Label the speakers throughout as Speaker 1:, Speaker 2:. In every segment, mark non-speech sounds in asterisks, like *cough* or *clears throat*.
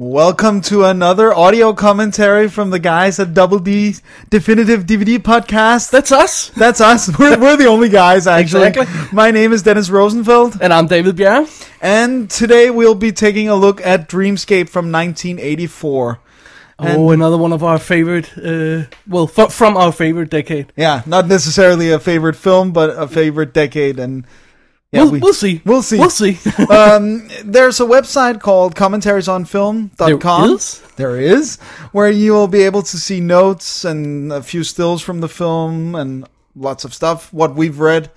Speaker 1: Welcome to another audio commentary from the guys at Double D Definitive DVD Podcast.
Speaker 2: That's us.
Speaker 1: That's us. *laughs* We're, we're the only guys, actually.
Speaker 2: Exactly.
Speaker 1: My name is Dennis Rosenfeld,
Speaker 2: And I'm David Bjerre.
Speaker 1: and today we'll be taking a look at Dreamscape from 1984.
Speaker 2: oh, another one of our favorite, uh, well, f- from our favorite decade.
Speaker 1: Yeah, not necessarily a favorite film, but a favorite decade, and yeah,
Speaker 2: we'll, we, will see.
Speaker 1: We'll see.
Speaker 2: We'll see.
Speaker 1: um, there's a website called commentariesonfilm.com.
Speaker 2: There is?
Speaker 1: There is, where you will be able to see notes and a few stills from the film and lots of stuff, what we've read.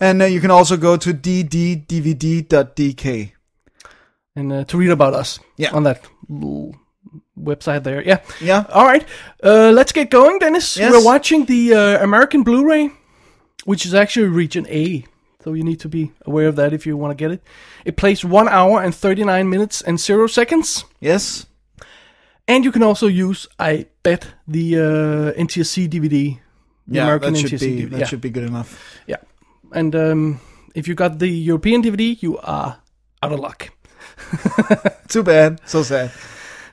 Speaker 1: And uh, you can also go to dddvd.dk.
Speaker 2: and uh, to read about us
Speaker 1: Yeah.
Speaker 2: on that l- website there. Yeah.
Speaker 1: Yeah.
Speaker 2: All right. Uh, let's get going, Dennis.
Speaker 1: Yes.
Speaker 2: We're watching the uh, American Blu ray, which is actually region A. So you need to be aware of that if you want to get it. It plays 1 hour and 39 minutes and 0 seconds.
Speaker 1: Yes.
Speaker 2: And you can also use, I bet, the uh, NTSC DVD. the
Speaker 1: Yeah,
Speaker 2: American
Speaker 1: that should
Speaker 2: NTSC
Speaker 1: be
Speaker 2: DVD.
Speaker 1: that
Speaker 2: yeah.
Speaker 1: should be good enough.
Speaker 2: Yeah. And um, if you got the European DVD, you are out of luck.
Speaker 1: Too bad. So sad.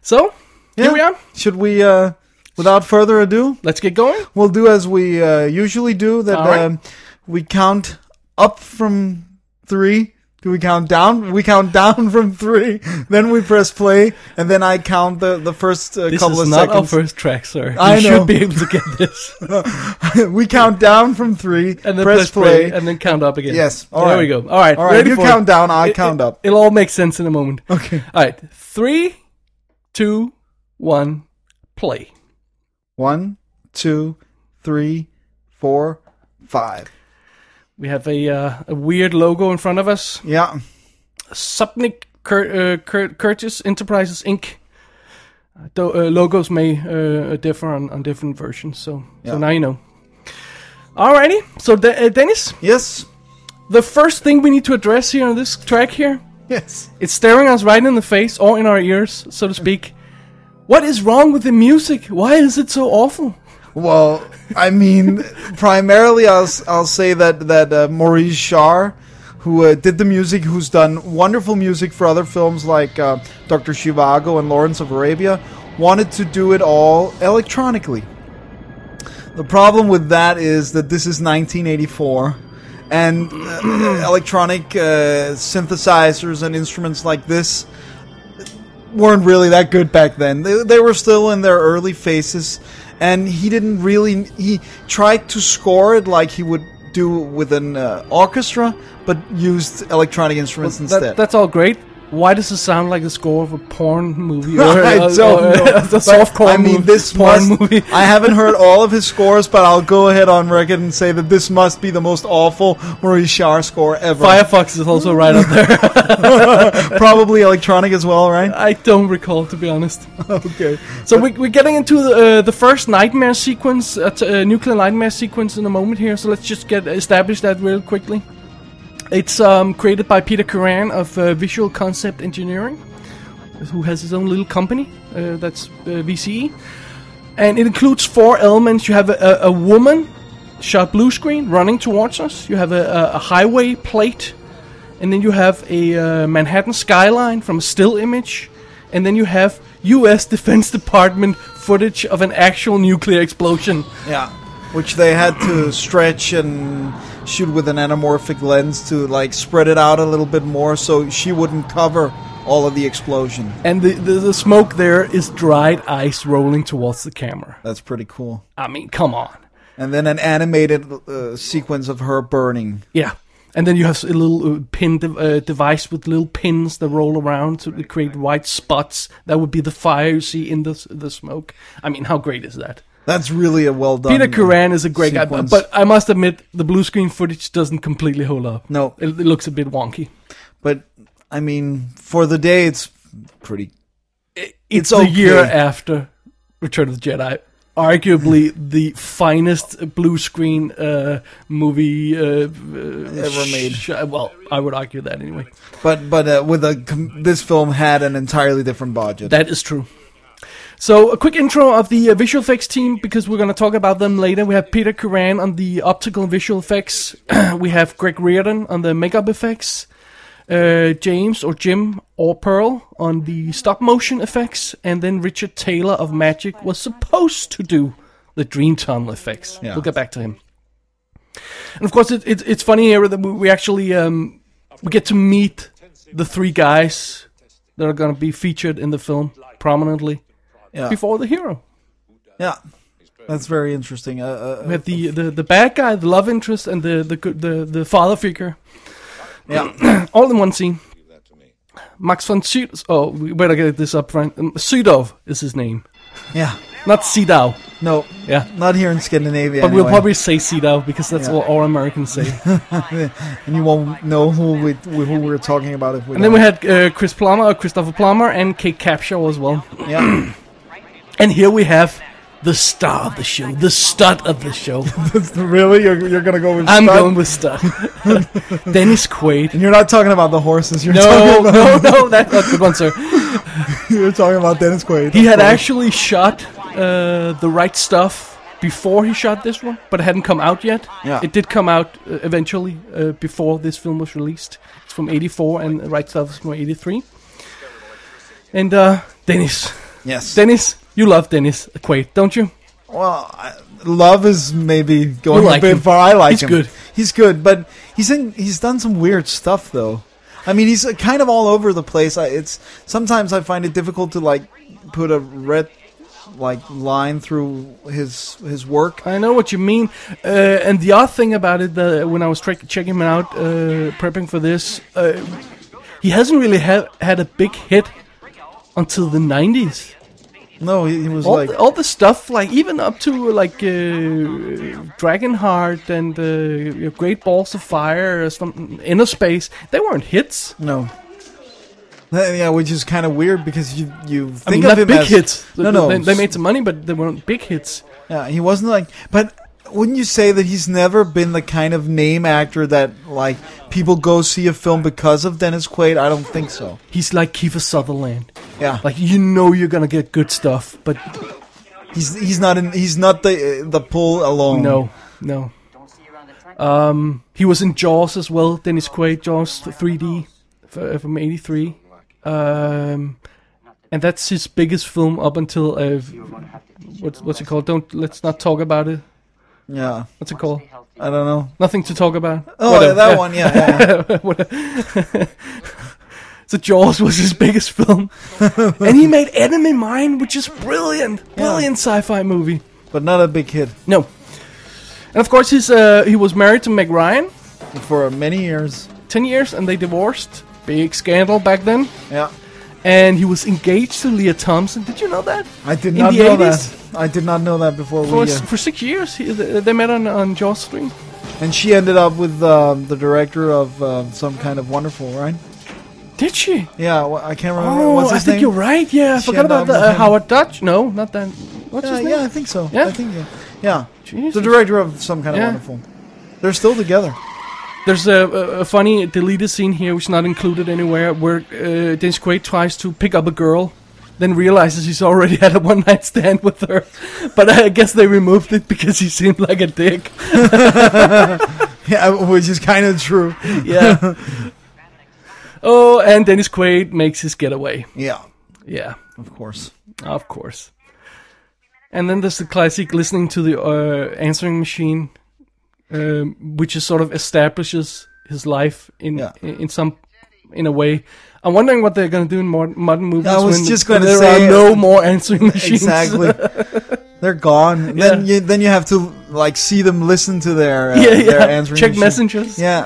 Speaker 2: So,
Speaker 1: Yeah.
Speaker 2: here we are.
Speaker 1: Should we uh without further ado,
Speaker 2: Let's get going.
Speaker 1: we'll do as we uh, usually do that
Speaker 2: All right.
Speaker 1: um, we count up from 3 do we count down? We count down *laughs* from three. Then we press play, and then I count the the first uh,
Speaker 2: This
Speaker 1: couple
Speaker 2: is
Speaker 1: of
Speaker 2: not our
Speaker 1: seconds.
Speaker 2: first track, sir.
Speaker 1: I know.
Speaker 2: you should be able to get
Speaker 1: *laughs*
Speaker 2: this.
Speaker 1: we count down from three,
Speaker 2: And then
Speaker 1: press, play.
Speaker 2: and then count up again.
Speaker 1: Yes. All
Speaker 2: there
Speaker 1: right.
Speaker 2: we go. All right.
Speaker 1: All right,
Speaker 2: ready
Speaker 1: you
Speaker 2: for it.
Speaker 1: count down, I
Speaker 2: It-
Speaker 1: count
Speaker 2: it-
Speaker 1: up.
Speaker 2: It'll all make sense in a moment.
Speaker 1: Okay.
Speaker 2: All right. Three, two, one, play.
Speaker 1: One, two, three, four, five.
Speaker 2: We have a, uh, a weird logo in front of us.
Speaker 1: Yeah.
Speaker 2: Supnik Cur- uh, Cur- Curtis Enterprises Inc. Though uh, logos may uh, differ on, on different versions, so
Speaker 1: Yeah.
Speaker 2: so now you know. Alrighty, so De- uh, Dennis,
Speaker 1: Yes.
Speaker 2: the first thing we need to address here on this track here,
Speaker 1: Yes.
Speaker 2: it's staring us right in the face or in our ears, so to speak. What is wrong with the music? Why is it so awful?
Speaker 1: Well, I mean, primarily, I'll s- I'll say that that uh, Maurice Shar, who uh, did the music, who's done wonderful music for other films like uh, Doctor Shivago and Lawrence of Arabia, wanted to do it all electronically. The problem with that is that this is 1984, and uh, electronic uh, synthesizers and instruments like this weren't really that good back then. They, they were still in their early phases, and he didn't really. He tried to score it like he would do with an uh, orchestra, but used electronic instruments
Speaker 2: That-
Speaker 1: instead.
Speaker 2: that's all great. Why does it sound like the score of a porn
Speaker 1: *laughs*
Speaker 2: movie? Or,
Speaker 1: I
Speaker 2: or-
Speaker 1: don't
Speaker 2: or- *laughs*
Speaker 1: know.
Speaker 2: the
Speaker 1: But,
Speaker 2: softcore
Speaker 1: I mean,
Speaker 2: mov-
Speaker 1: this
Speaker 2: porn
Speaker 1: must,
Speaker 2: movie.
Speaker 1: I haven't heard all of his scores, but I'll go ahead on record and say that this must be the most awful Maurice Shar score ever.
Speaker 2: Firefox is also right up there.
Speaker 1: *laughs* Probably electronic as well, right?
Speaker 2: I don't recall, to be honest.
Speaker 1: Okay.
Speaker 2: So we, we're getting into the, uh, the first nightmare sequence, uh, t- uh, nuclear nightmare sequence in a moment here. So let's just get establish that real quickly. It's um, created by Peter Curran of uh, Visual Concept Engineering, who has his own little company. Uh, that's uh, VCE, and it includes four elements. You have a, a, a woman shot blue screen running towards us. You have a, a, a highway plate and then you have a uh, Manhattan skyline from a still image, and then you have U.S. *laughs* Defense Department footage of an actual nuclear explosion.
Speaker 1: Yeah. Which they had to stretch and shoot with an anamorphic lens to like spread it out a little bit more, so she wouldn't cover all of the explosion.
Speaker 2: And the, the, the smoke there is dried ice rolling towards the camera.
Speaker 1: That's pretty cool.
Speaker 2: I mean, come on.
Speaker 1: And then an animated uh, sequence of her burning.
Speaker 2: Yeah. And then you have s- a little uh, pin de- uh, device with little pins that roll around to create white spots. That would be the fire you see in the, s- the smoke. I mean, how great is that?
Speaker 1: That's really a well done.
Speaker 2: Peter Curran is a great guy,
Speaker 1: sequence.
Speaker 2: but- but I must admit the blue screen footage doesn't completely hold up.
Speaker 1: No.
Speaker 2: it, it looks a bit wonky.
Speaker 1: But I mean, for the day, it's pretty.
Speaker 2: It's,
Speaker 1: It's
Speaker 2: a year
Speaker 1: okay.
Speaker 2: after Return of the Jedi, arguably the finest blue screen uh, movie uh, ever
Speaker 1: made.
Speaker 2: well, I would argue that anyway.
Speaker 1: But but uh, with a com- this film had an entirely different budget.
Speaker 2: That is true. So, a quick intro of the uh, visual effects team because we're going to talk about them later. We have Peter *clears throat* Curran on the optical visual effects. we have Greg Reardon on the makeup effects. uh, James or Jim or Pearl on the stop motion effects, and then Richard Taylor of Magic was supposed to do the Dream Tunnel effects.
Speaker 1: Yeah.
Speaker 2: We'll get back to him. And of course, it, it, it's funny here that we, we actually um, we get to meet the three guys that are going to be featured in the film prominently
Speaker 1: Yeah.
Speaker 2: before the hero.
Speaker 1: Yeah. That's very interesting. Uh, uh,
Speaker 2: We had the, the, the bad guy, the love interest, and the the good- the, the father figure *clears throat*
Speaker 1: yeah.
Speaker 2: all in one scene. Max von Sydow. Oh, we better get this up front. Um, Sydow is his name,
Speaker 1: Yeah.
Speaker 2: not Sydow.
Speaker 1: No,
Speaker 2: Yeah,
Speaker 1: not here in Scandinavia.
Speaker 2: but we'll
Speaker 1: anyway.
Speaker 2: probably say Sydow because that's what all Americans
Speaker 1: *laughs*
Speaker 2: say.
Speaker 1: and you won't know who we who we're talking about if we.
Speaker 2: and then we had uh, Chris Plummer, uh, Christopher Plummer, and Kate Capshaw as well.
Speaker 1: don't.
Speaker 2: *laughs*
Speaker 1: yeah,
Speaker 2: And here we have the star of the show, the stud of the
Speaker 1: *laughs*
Speaker 2: show.
Speaker 1: really, you're, you're gonna go with.
Speaker 2: I'm
Speaker 1: stud?
Speaker 2: going with stud. *laughs* Dennis Quaid.
Speaker 1: And you're not talking about the horses. You're
Speaker 2: No,
Speaker 1: talking about,
Speaker 2: no, no, that's not good one, sir.
Speaker 1: *laughs* you're talking about Dennis Quaid.
Speaker 2: *laughs* He
Speaker 1: of
Speaker 2: had
Speaker 1: course.
Speaker 2: actually shot uh, the right stuff before he shot this one, but it hadn't come out yet.
Speaker 1: Yeah.
Speaker 2: It did come out uh, eventually uh, before this film was released. It's from '84, and the right stuff is from '83. And uh, Dennis,
Speaker 1: yes.
Speaker 2: Dennis, you love Dennis Quaid, don't you?
Speaker 1: well, I, love is maybe going
Speaker 2: You like
Speaker 1: a bit
Speaker 2: him.
Speaker 1: far. I like
Speaker 2: He's
Speaker 1: him.
Speaker 2: good.
Speaker 1: He's good, but he's in, he's done some weird stuff though. I mean, he's uh, kind of all over the place. I, it's sometimes I find it difficult to like put a red like line through his his work.
Speaker 2: I know what you mean. Uh, and the odd thing about it, uh, when I was tra- checking him out, uh, prepping for this, uh, he hasn't really ha- had a big hit until the '90s.
Speaker 1: No, he, he was
Speaker 2: all,
Speaker 1: like
Speaker 2: the, all the stuff, like even up to like uh, Dragonheart and uh, your Great Balls of Fire, or some Inner Space, they weren't hits.
Speaker 1: No. Uh, Yeah, which is kind of weird because you you think
Speaker 2: I mean,
Speaker 1: of
Speaker 2: not
Speaker 1: him
Speaker 2: big
Speaker 1: as
Speaker 2: hits.
Speaker 1: no no
Speaker 2: They, they made some money, but they weren't big hits.
Speaker 1: yeah he wasn't like but wouldn't you say that he's never been the kind of name actor that like people go see a film because of Dennis Quaid I don't think so
Speaker 2: He's like Kiefer Sutherland.
Speaker 1: yeah
Speaker 2: Like you know you're gonna get good stuff, but
Speaker 1: he's he's not in he's not the uh, the pull alone
Speaker 2: no, no. Um, he was in Jaws as well. Dennis Quaid, Jaws 3D f- uh, from '83. Um, and that's his biggest film up until uh, what's what's it called? Don't let's not talk about it.
Speaker 1: yeah
Speaker 2: What's it called?
Speaker 1: I don't know
Speaker 2: Nothing to talk about.
Speaker 1: oh
Speaker 2: Whatever,
Speaker 1: that
Speaker 2: yeah.
Speaker 1: one yeah, yeah. *laughs*
Speaker 2: *laughs* Whatever. *laughs* so Jaws was his biggest film, and he made Enemy Mine, which is brilliant, brilliant sci-fi movie.
Speaker 1: but not a big hit
Speaker 2: No, and of course he's uh, he was married to Meg Ryan
Speaker 1: for many years
Speaker 2: 10 years and they divorced. Big scandal back then.
Speaker 1: yeah
Speaker 2: And he was engaged to Leah Thompson. Did you know that?
Speaker 1: I did
Speaker 2: In
Speaker 1: not
Speaker 2: the
Speaker 1: know
Speaker 2: 80s?
Speaker 1: that I did not know that before
Speaker 2: For,
Speaker 1: we
Speaker 2: s-
Speaker 1: uh,
Speaker 2: for six years, he, they they met on, on Jaws 3.
Speaker 1: and she ended up with um, the director of um, some kind of wonderful right.
Speaker 2: Did she?
Speaker 1: Yeah, wha- I can't remember.
Speaker 2: Oh,
Speaker 1: Uh, What's
Speaker 2: I
Speaker 1: his
Speaker 2: think
Speaker 1: name?
Speaker 2: you're right. Yeah, I
Speaker 1: She
Speaker 2: forgot
Speaker 1: and,
Speaker 2: about
Speaker 1: um,
Speaker 2: the, uh,
Speaker 1: him. Uh,
Speaker 2: Howard Dutch. No, not that. What's
Speaker 1: Yeah,
Speaker 2: his name?
Speaker 1: yeah, I think so.
Speaker 2: Yeah?
Speaker 1: I think yeah. Yeah.
Speaker 2: Jesus.
Speaker 1: The director of some kind of
Speaker 2: Yeah.
Speaker 1: wonderful. They're still together. *laughs*
Speaker 2: There's a, a, a funny deleted scene here, which is not included anywhere, where uh, Dennis Quaid tries to pick up a girl, then realizes he's already *laughs* had a one night stand with her. But I guess they removed it because he seemed like a dick.
Speaker 1: Yeah, which is kind of true.
Speaker 2: yeah.
Speaker 1: *laughs*
Speaker 2: Oh, and Dennis Quaid makes his getaway.
Speaker 1: Yeah,
Speaker 2: Yeah,
Speaker 1: of
Speaker 2: *laughs*
Speaker 1: course.
Speaker 2: of course. And then there's the classic listening to the uh, answering machine, um, which is sort of establishes his life in
Speaker 1: Yeah.
Speaker 2: in, in some in a way. I'm wondering what they're gonna do in modern, modern movies
Speaker 1: I was
Speaker 2: when
Speaker 1: just gonna
Speaker 2: there
Speaker 1: say-
Speaker 2: are no more answering machines. *laughs*
Speaker 1: Exactly. They're gone. Then
Speaker 2: Yeah.
Speaker 1: you then you have to like see them listen to their uh,
Speaker 2: yeah,
Speaker 1: their
Speaker 2: yeah.
Speaker 1: answering
Speaker 2: Check
Speaker 1: machine.
Speaker 2: messengers.
Speaker 1: Yeah.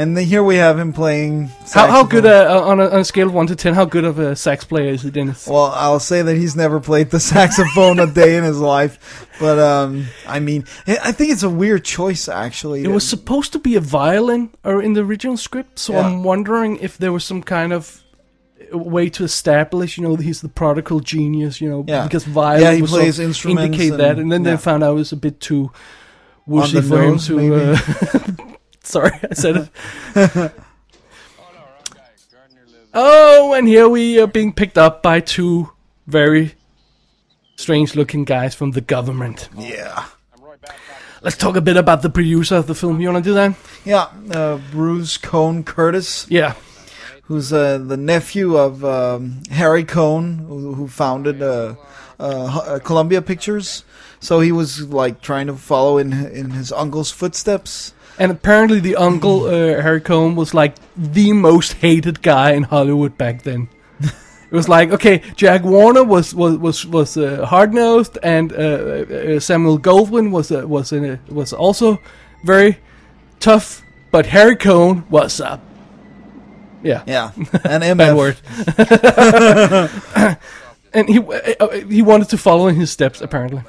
Speaker 1: And then here we have him playing.
Speaker 2: How, how good
Speaker 1: saxophone.
Speaker 2: uh, on, a, on a scale of one to ten? How good of a sax player is he, Dennis?
Speaker 1: Well, I'll say that he's never played the *laughs* saxophone a day in his life, but um, I mean, I I think it's a weird choice actually.
Speaker 2: It was supposed to be a violin or in the original script, so
Speaker 1: Yeah.
Speaker 2: I'm wondering if there was some kind of uh, way to establish, you know, he's the prodigal genius, you know,
Speaker 1: Yeah.
Speaker 2: because violin
Speaker 1: Yeah, he
Speaker 2: was
Speaker 1: plays
Speaker 2: sort of
Speaker 1: instruments
Speaker 2: indicate
Speaker 1: and-
Speaker 2: that, and then they
Speaker 1: yeah.
Speaker 2: found out it was a bit too woozy
Speaker 1: the
Speaker 2: for him
Speaker 1: nose,
Speaker 2: to.
Speaker 1: maybe.
Speaker 2: Uh, *laughs* sorry, I said it.
Speaker 1: *laughs*
Speaker 2: oh, and here we are being picked up by two very strange-looking guys from the government.
Speaker 1: yeah.
Speaker 2: Let's talk a bit about the producer of the film. You want to do that?
Speaker 1: Yeah, uh, Bruce Cohn Curtis,
Speaker 2: Yeah.
Speaker 1: who's uh, the nephew of um, Harry Cohn, who, who founded uh, uh, H- uh, Columbia Pictures. So he was like trying to follow in in his uncle's footsteps.
Speaker 2: And apparently, the uncle uh, Harry Cohn was like the most hated guy in Hollywood back then. it was like, okay, Jack Warner was was was was uh, hard nosed, and uh, uh, Samuel Goldwyn was uh, was in a, was also very tough, but Harry Cohn was up. Yeah,
Speaker 1: Yeah, and MF.
Speaker 2: *laughs* bad
Speaker 1: *laughs*
Speaker 2: word. and he uh, uh, he wanted to follow in his steps apparently.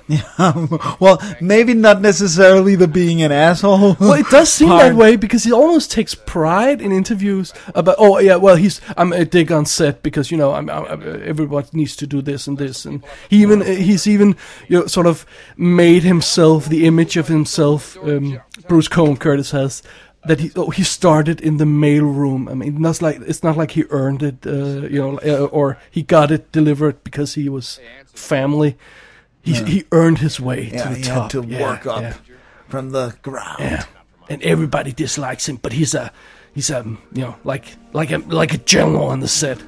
Speaker 1: well, maybe not necessarily the being an asshole.
Speaker 2: *laughs* Well, it does seem that
Speaker 1: Pardon.
Speaker 2: way because he almost takes pride in interviews about. Oh yeah, well he's I'm a dig on set because you know I'm, I'm, I'm- everyone needs to do this and this and he even he's even you know, sort of made himself the image of himself. Um, Bruce Cohen Curtis has that he oh, he started in the mail room. I mean, not like it's not like he earned it, uh, you know, uh, or he got it delivered because he was family. He he earned his way
Speaker 1: yeah,
Speaker 2: to the
Speaker 1: he
Speaker 2: top.
Speaker 1: had to
Speaker 2: Yeah,
Speaker 1: work up
Speaker 2: yeah.
Speaker 1: from the ground.
Speaker 2: Yeah. And everybody dislikes him, but he's a he's a you know like like a like a general on the set.
Speaker 1: *laughs*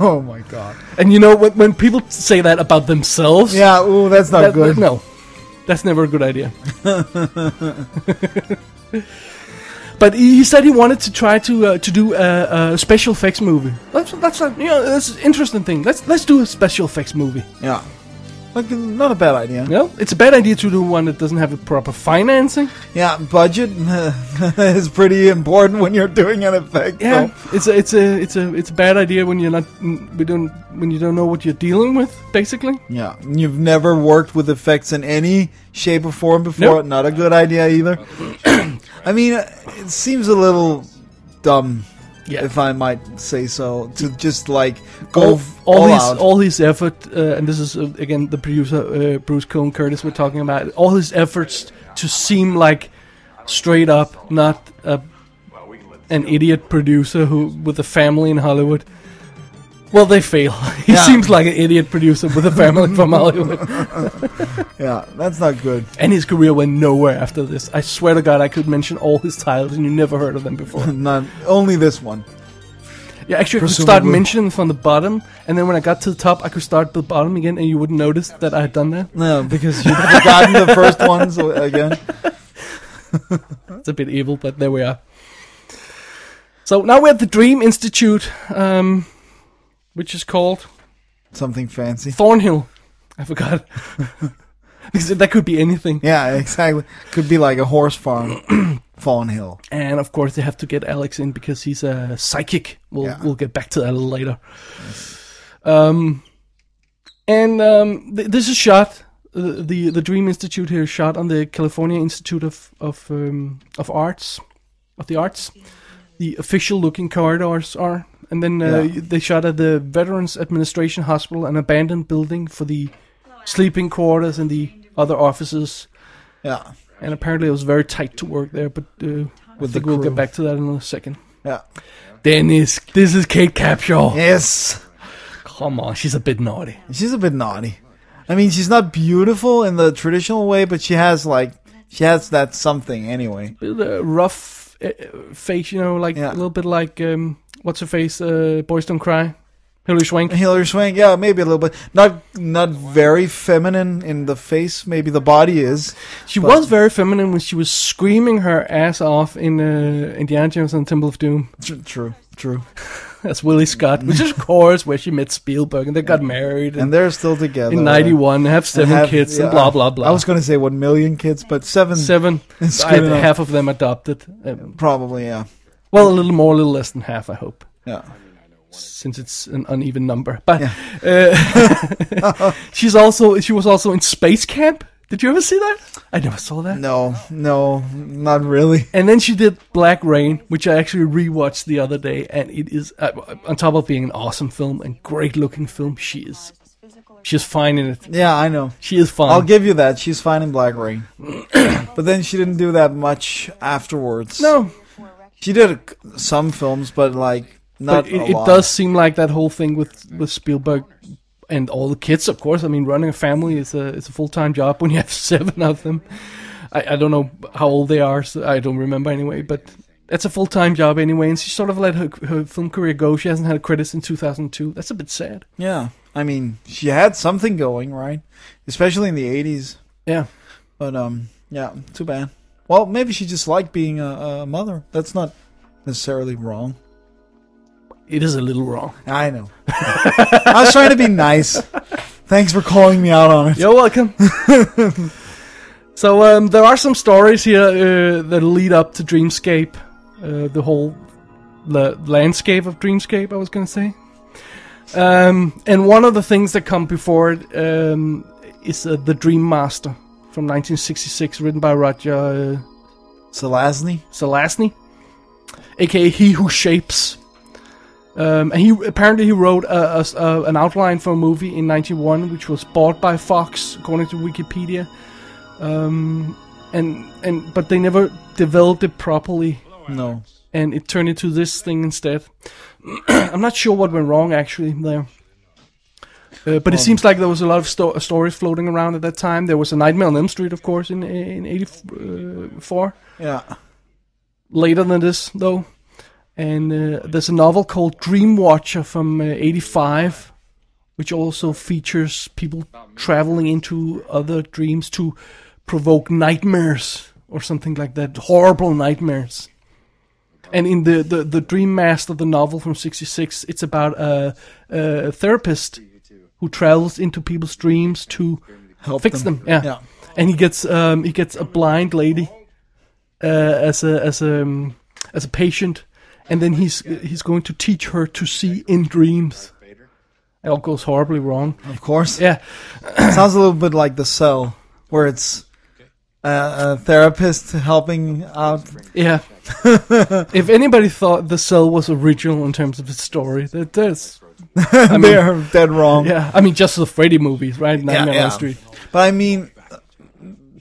Speaker 1: Oh my god.
Speaker 2: And you know when when people say that about themselves,
Speaker 1: Yeah, ooh, that's not
Speaker 2: that-
Speaker 1: good.
Speaker 2: No, that's never a good idea. *laughs* but he he said he wanted to try to uh, to do a, a special effects movie. That's that's a, you know that's an interesting thing. Let's let's do a special effects movie.
Speaker 1: Yeah. Like, not a bad idea.
Speaker 2: You know, it's a bad idea to do one that doesn't have a proper financing.
Speaker 1: Yeah, budget *laughs* is pretty important when you're doing an effect.
Speaker 2: Yeah,
Speaker 1: so-
Speaker 2: it's a it's a it's a it's a bad idea when you're not mm, we don't when you don't know what you're dealing with. Basically,
Speaker 1: Yeah. And You've never worked with effects in any shape or form before.
Speaker 2: Nope.
Speaker 1: Not a good idea either. *clears throat* I mean, it seems a little dumb,
Speaker 2: yeah.
Speaker 1: if I might say so, to just like go
Speaker 2: all,
Speaker 1: f-
Speaker 2: all,
Speaker 1: all
Speaker 2: his
Speaker 1: out.
Speaker 2: all his effort, uh, and this is uh, again the producer uh, Bruce Cohen Curtis we're talking about. All his efforts to seem like straight up, not a, an idiot producer who with a family in Hollywood. Well, they fail. *laughs* he
Speaker 1: Yeah.
Speaker 2: seems like an idiot producer with a family
Speaker 1: *laughs*
Speaker 2: from Hollywood.
Speaker 1: yeah, that's not good. *laughs*
Speaker 2: And his career went nowhere after this. I swear to God, I could mention all his titles and you never heard of them
Speaker 1: *laughs*
Speaker 2: before.
Speaker 1: Not only this one.
Speaker 2: Yeah, actually, I could start
Speaker 1: Presumably.
Speaker 2: mentioning them from the bottom, and then when I got to the top, I could start at the bottom again, and you wouldn't notice that I had done that.
Speaker 1: No, because *laughs* you've forgotten the first ones again.
Speaker 2: It's a bit evil, but there we are. So now we're at the Dream Institute, um, which is called
Speaker 1: Something fancy.
Speaker 2: Thornhill. I forgot. *laughs* because that could be anything.
Speaker 1: Yeah, exactly. Could be like a horse farm, *clears throat* Thornhill.
Speaker 2: And of course, they have to get Alex in because he's a psychic. We'll
Speaker 1: Yeah.
Speaker 2: we'll get back to that a little later. Um, and um, th- this is shot. Uh, the the Dream Institute here is shot on the California Institute of of um, of Arts, of the Arts. The official looking corridors are, and then uh,
Speaker 1: Yeah.
Speaker 2: they shot at the Veterans Administration Hospital, an abandoned building for the sleeping quarters and the other offices.
Speaker 1: Yeah,
Speaker 2: And apparently, it was very tight to work there, but uh,
Speaker 1: With
Speaker 2: I think
Speaker 1: the
Speaker 2: we'll get
Speaker 1: crew.
Speaker 2: back to that in a second.
Speaker 1: yeah.
Speaker 2: Dennis, this is Kate Capshaw.
Speaker 1: Yes,
Speaker 2: Come on, she's a bit naughty.
Speaker 1: she's a bit naughty. I mean, she's not beautiful in the traditional way, but she has like she has that something anyway.
Speaker 2: Bit of a rough uh, uh, face, you know, like
Speaker 1: Yeah.
Speaker 2: a little bit like um, what's her face? Uh, Boys Don't Cry, Hilary Swank.
Speaker 1: Hillary Swank, yeah, maybe a little bit. Not not very feminine in the face. Maybe the body is.
Speaker 2: She
Speaker 1: But-
Speaker 2: was very feminine when she was screaming her ass off in uh, Indiana Jones and the Temple of Doom. *laughs*
Speaker 1: Tr- True, true.
Speaker 2: That's Willie Scott, which is of course where she met Spielberg and they got married
Speaker 1: And
Speaker 2: and,
Speaker 1: they're still together.
Speaker 2: in '91, have seven
Speaker 1: have-
Speaker 2: kids and
Speaker 1: yeah.
Speaker 2: blah blah blah.
Speaker 1: I was gonna say one million kids, but seven.
Speaker 2: seven.
Speaker 1: is
Speaker 2: I
Speaker 1: good
Speaker 2: had
Speaker 1: enough.
Speaker 2: half of them adopted. Um,
Speaker 1: Probably, yeah,
Speaker 2: well, a little more, a little less than half, I hope.
Speaker 1: yeah.
Speaker 2: since it's an uneven number. But uh, *laughs* she's also she was also in Space Camp. Did you ever see that? I never saw that.
Speaker 1: No, no, not really.
Speaker 2: And then she did Black Rain, which I actually rewatched the other day, and it is uh, on top of being an awesome film and great looking film, she is she's fine in it.
Speaker 1: Yeah, I know.
Speaker 2: She is fine.
Speaker 1: I'll give you that. She's fine in Black Rain, *coughs* but then she didn't do that much afterwards.
Speaker 2: no,
Speaker 1: she did a- some films, but like not
Speaker 2: but it,
Speaker 1: a
Speaker 2: it
Speaker 1: lot.
Speaker 2: does seem like that whole thing with with Spielberg. *laughs* And all the kids, of course. I mean, running a family is a is a full time job when you have seven of them. I, I don't know how old they are. So I don't remember anyway. But that's a full time job anyway, and she sort of let her her film career go. She hasn't had credits in 2002. That's a bit sad.
Speaker 1: Yeah. I mean, she had something going, right? Especially in the 80s.
Speaker 2: Yeah.
Speaker 1: But um, yeah, too bad. Well, maybe she just liked being a, a mother. That's not necessarily wrong.
Speaker 2: It is a little wrong.
Speaker 1: I know. *laughs* I was trying to be nice. Thanks for calling me out on it.
Speaker 2: You're welcome. *laughs* so um, there are some stories here uh, that lead up to Dreamscape, uh, the whole la- landscape of Dreamscape. I was going to say, um, and one of the things that come before it um, is uh, the Dream Master from 1966, written by Roger uh,
Speaker 1: Selazny?
Speaker 2: Zelazny, aka He Who Shapes. Um, and he apparently he wrote a, a s- a- an outline for a movie in '91, which was bought by Fox, according to Wikipedia. Um, and and but they never developed it properly,
Speaker 1: No.
Speaker 2: and it turned into this thing instead. *clears throat* I'm not sure what went wrong actually there. Uh, but it seems like there was a lot of sto- stories floating around at that time. There was a Nightmare on Elm Street, of course, in in uh, '84
Speaker 1: Yeah.
Speaker 2: later than this though, and uh, there's a novel called Dream Watcher from uh, '85, which also features people traveling into other dreams to provoke nightmares or something like that, horrible nightmares. And in the the, the Dream Master, the novel from '66, it's about a, a therapist who travels into people's dreams to
Speaker 1: Help
Speaker 2: fix them. Yeah.
Speaker 1: Yeah.
Speaker 2: And he gets um, he gets a blind lady uh, as a as a um, as a patient, and then he's he's going to teach her to see in dreams. It all goes horribly wrong.
Speaker 1: Of course.
Speaker 2: Yeah,
Speaker 1: Sounds a little bit like The Cell, where it's a, a therapist helping out.
Speaker 2: yeah. *laughs* if anybody thought the cell was original in terms of its story, that that's I mean,
Speaker 1: They're dead wrong.
Speaker 2: yeah. I mean, just the Freddy movies, right? Nightmare on
Speaker 1: yeah.
Speaker 2: Elm Street.
Speaker 1: But I mean,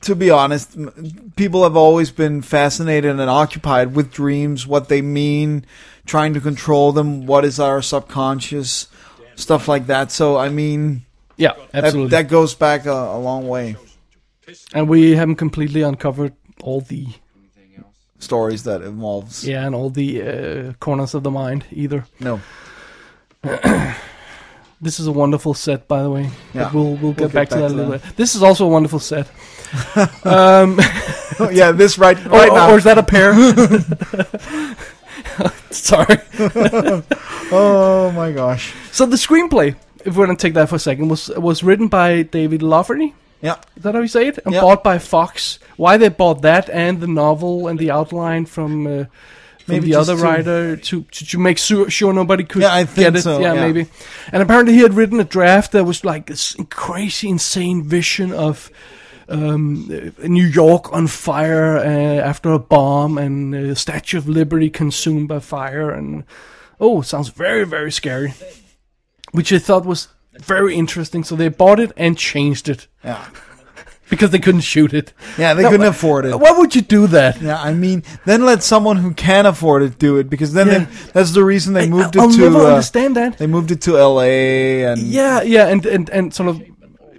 Speaker 1: to be honest, m- people have always been fascinated and occupied with dreams, what they mean, trying to control them, what is our subconscious, stuff like that. So, I mean,
Speaker 2: Yeah,
Speaker 1: that,
Speaker 2: absolutely.
Speaker 1: that goes back a, a long way.
Speaker 2: and we haven't completely uncovered all the
Speaker 1: Stories that involves
Speaker 2: yeah and all the uh, corners of the mind either. *laughs*
Speaker 1: no.
Speaker 2: This is a wonderful set, by the way.
Speaker 1: Yeah.
Speaker 2: But we'll, we'll get back, to that a little
Speaker 1: that.
Speaker 2: bit. This is also a wonderful set.
Speaker 1: *laughs*
Speaker 2: um,
Speaker 1: yeah, this right *laughs*
Speaker 2: or,
Speaker 1: right now.
Speaker 2: or is that a pair? *laughs* Sorry.
Speaker 1: *laughs* oh my gosh.
Speaker 2: So the screenplay, if we're gonna take that for a second, was was written by David Lafferty.
Speaker 1: Yeah.
Speaker 2: Is that how you say it? And
Speaker 1: Yeah.
Speaker 2: bought by Fox. Why they bought that and the novel and the outline from. Uh, from
Speaker 1: Maybe
Speaker 2: the
Speaker 1: just
Speaker 2: other
Speaker 1: to-
Speaker 2: writer to, to to make sure, sure nobody could
Speaker 1: Yeah, I think
Speaker 2: get it.
Speaker 1: so,
Speaker 2: yeah,
Speaker 1: yeah.
Speaker 2: maybe. And apparently he had written a draft that was like this crazy, insane vision of um, uh, New York on fire uh, after a bomb and uh, Statue of Liberty consumed by fire. And oh, sounds very, very scary. Which I thought was very interesting. So they bought it and changed it
Speaker 1: Yeah.
Speaker 2: because they couldn't shoot it.
Speaker 1: Yeah, they couldn't afford it.
Speaker 2: Why would you do that?
Speaker 1: Yeah, I mean, then let someone who can afford it do it because then
Speaker 2: Yeah.
Speaker 1: they, that's the reason they moved
Speaker 2: I'll
Speaker 1: it to
Speaker 2: never
Speaker 1: uh,
Speaker 2: understand that.
Speaker 1: they moved it to L.A. and
Speaker 2: Yeah, yeah, and and, and sort of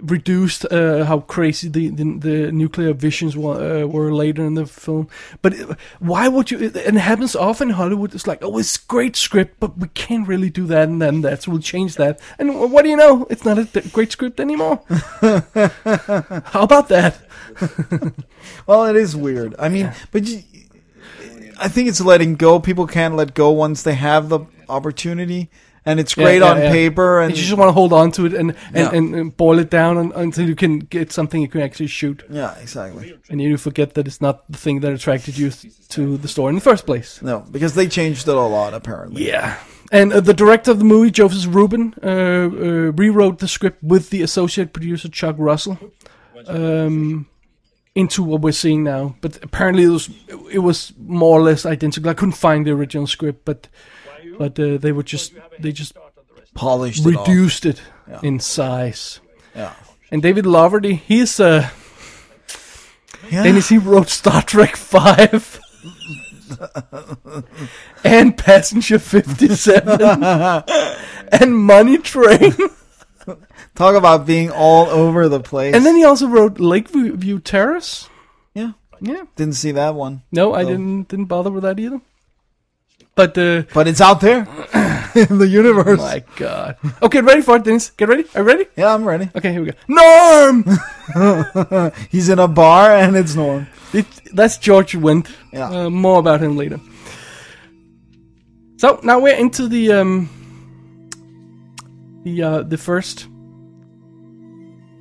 Speaker 2: reduced uh, how crazy the, the the nuclear visions were, uh, were later in the film. But uh, why would you? And it happens often in Hollywood. It's like, oh, it's great script, but we can't really do that, and then that's we'll change that. And what do you know? It's not a d- great script anymore.
Speaker 1: *laughs*
Speaker 2: how about that?
Speaker 1: Well, it is weird. I mean, but you, I think it's letting go. People can't let go once they have the opportunity, and it's
Speaker 2: Yeah,
Speaker 1: great
Speaker 2: yeah,
Speaker 1: on
Speaker 2: yeah.
Speaker 1: paper. And
Speaker 2: You just want to hold on to it and and,
Speaker 1: Yeah.
Speaker 2: and, and boil it down un until you can get something you can actually shoot,
Speaker 1: yeah, exactly.
Speaker 2: and you forget that it's not the thing that attracted you to the store in the first place.
Speaker 1: No, because they changed it a lot apparently.
Speaker 2: Yeah. And uh, the director of the movie, Joseph Rubin, uh, uh, rewrote the script with the associate producer Chuck Russell um, into what we're seeing now. But apparently, it was it was more or less identical. I couldn't find the original script, but but uh, they were just they just
Speaker 1: Polished, it off.
Speaker 2: reduced it in size.
Speaker 1: Yeah.
Speaker 2: And David Laverty, he's uh,
Speaker 1: Yeah.
Speaker 2: Dennis, he wrote Star Trek Five. and Passenger 57 and Money Train.
Speaker 1: Talk about being all over the place.
Speaker 2: And then he also wrote Lakeview View Terrace.
Speaker 1: yeah,
Speaker 2: Yeah.
Speaker 1: Didn't see that one,
Speaker 2: No, I
Speaker 1: Oh.
Speaker 2: didn't didn't bother with that either. But uh,
Speaker 1: but it's out there *clears throat* in the universe.
Speaker 2: my god. Okay, ready for it, Dennis. Get ready. Are you ready?
Speaker 1: Yeah, I'm ready.
Speaker 2: Okay, here we go. Norm. *laughs*
Speaker 1: He's in a bar and it's Norm.
Speaker 2: it, that's George Wendt.
Speaker 1: Yeah.
Speaker 2: Uh, more about him later. So now we're into the um, the uh, the first.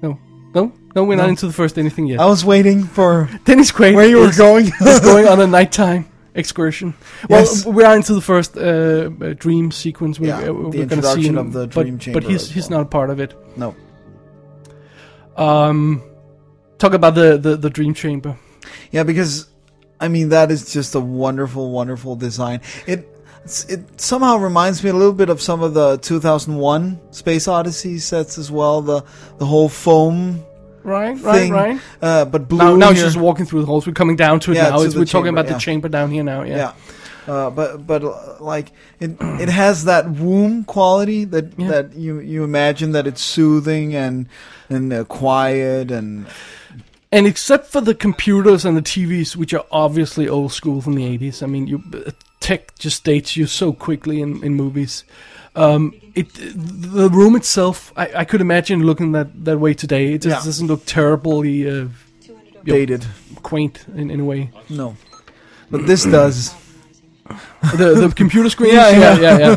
Speaker 2: No, no, no. We're not into the first anything yet.
Speaker 1: I was waiting for
Speaker 2: Dennis Quaid.
Speaker 1: Oh. where you were
Speaker 2: is-
Speaker 1: going. *laughs*
Speaker 2: is going on a nighttime excursion. Well,
Speaker 1: Yes.
Speaker 2: we are into the first uh, uh, dream sequence. We,
Speaker 1: Yeah,
Speaker 2: uh,
Speaker 1: the
Speaker 2: we're going to see
Speaker 1: introduction
Speaker 2: him,
Speaker 1: of the
Speaker 2: but-
Speaker 1: dream
Speaker 2: but,
Speaker 1: chamber
Speaker 2: he's
Speaker 1: as
Speaker 2: he's
Speaker 1: well.
Speaker 2: not a part of it.
Speaker 1: no.
Speaker 2: Um, talk about the, the the dream chamber.
Speaker 1: Yeah, because I mean that is just a wonderful, wonderful design. It it's- it somehow reminds me a little bit of some of the 2001 Space Odyssey sets as well. The the whole foam
Speaker 2: Right, right,
Speaker 1: thing,
Speaker 2: right.
Speaker 1: Uh, but blue.
Speaker 2: Now, now it's
Speaker 1: here.
Speaker 2: just walking through the halls. We're coming down to it
Speaker 1: Yeah,
Speaker 2: now.
Speaker 1: to
Speaker 2: It's-
Speaker 1: the
Speaker 2: we're talking
Speaker 1: chamber,
Speaker 2: about the
Speaker 1: yeah.
Speaker 2: chamber down here now. Yeah.
Speaker 1: yeah. Uh, but but uh, like it it has that womb quality that
Speaker 2: Yeah.
Speaker 1: that you you imagine that it's soothing and and uh, quiet and
Speaker 2: And except for the computers and the TVs, which are obviously old school from the 80s, I mean, you uh, tech just dates you so quickly in, in movies. Um, it the room itself, I, I could imagine looking that, that way today. It just
Speaker 1: Yeah.
Speaker 2: doesn't look terribly uh, Yep.
Speaker 1: dated.
Speaker 2: quaint in, in a way.
Speaker 1: No, but this does
Speaker 2: The the computer screen,
Speaker 1: *laughs* Yeah,
Speaker 2: yeah, yeah. yeah.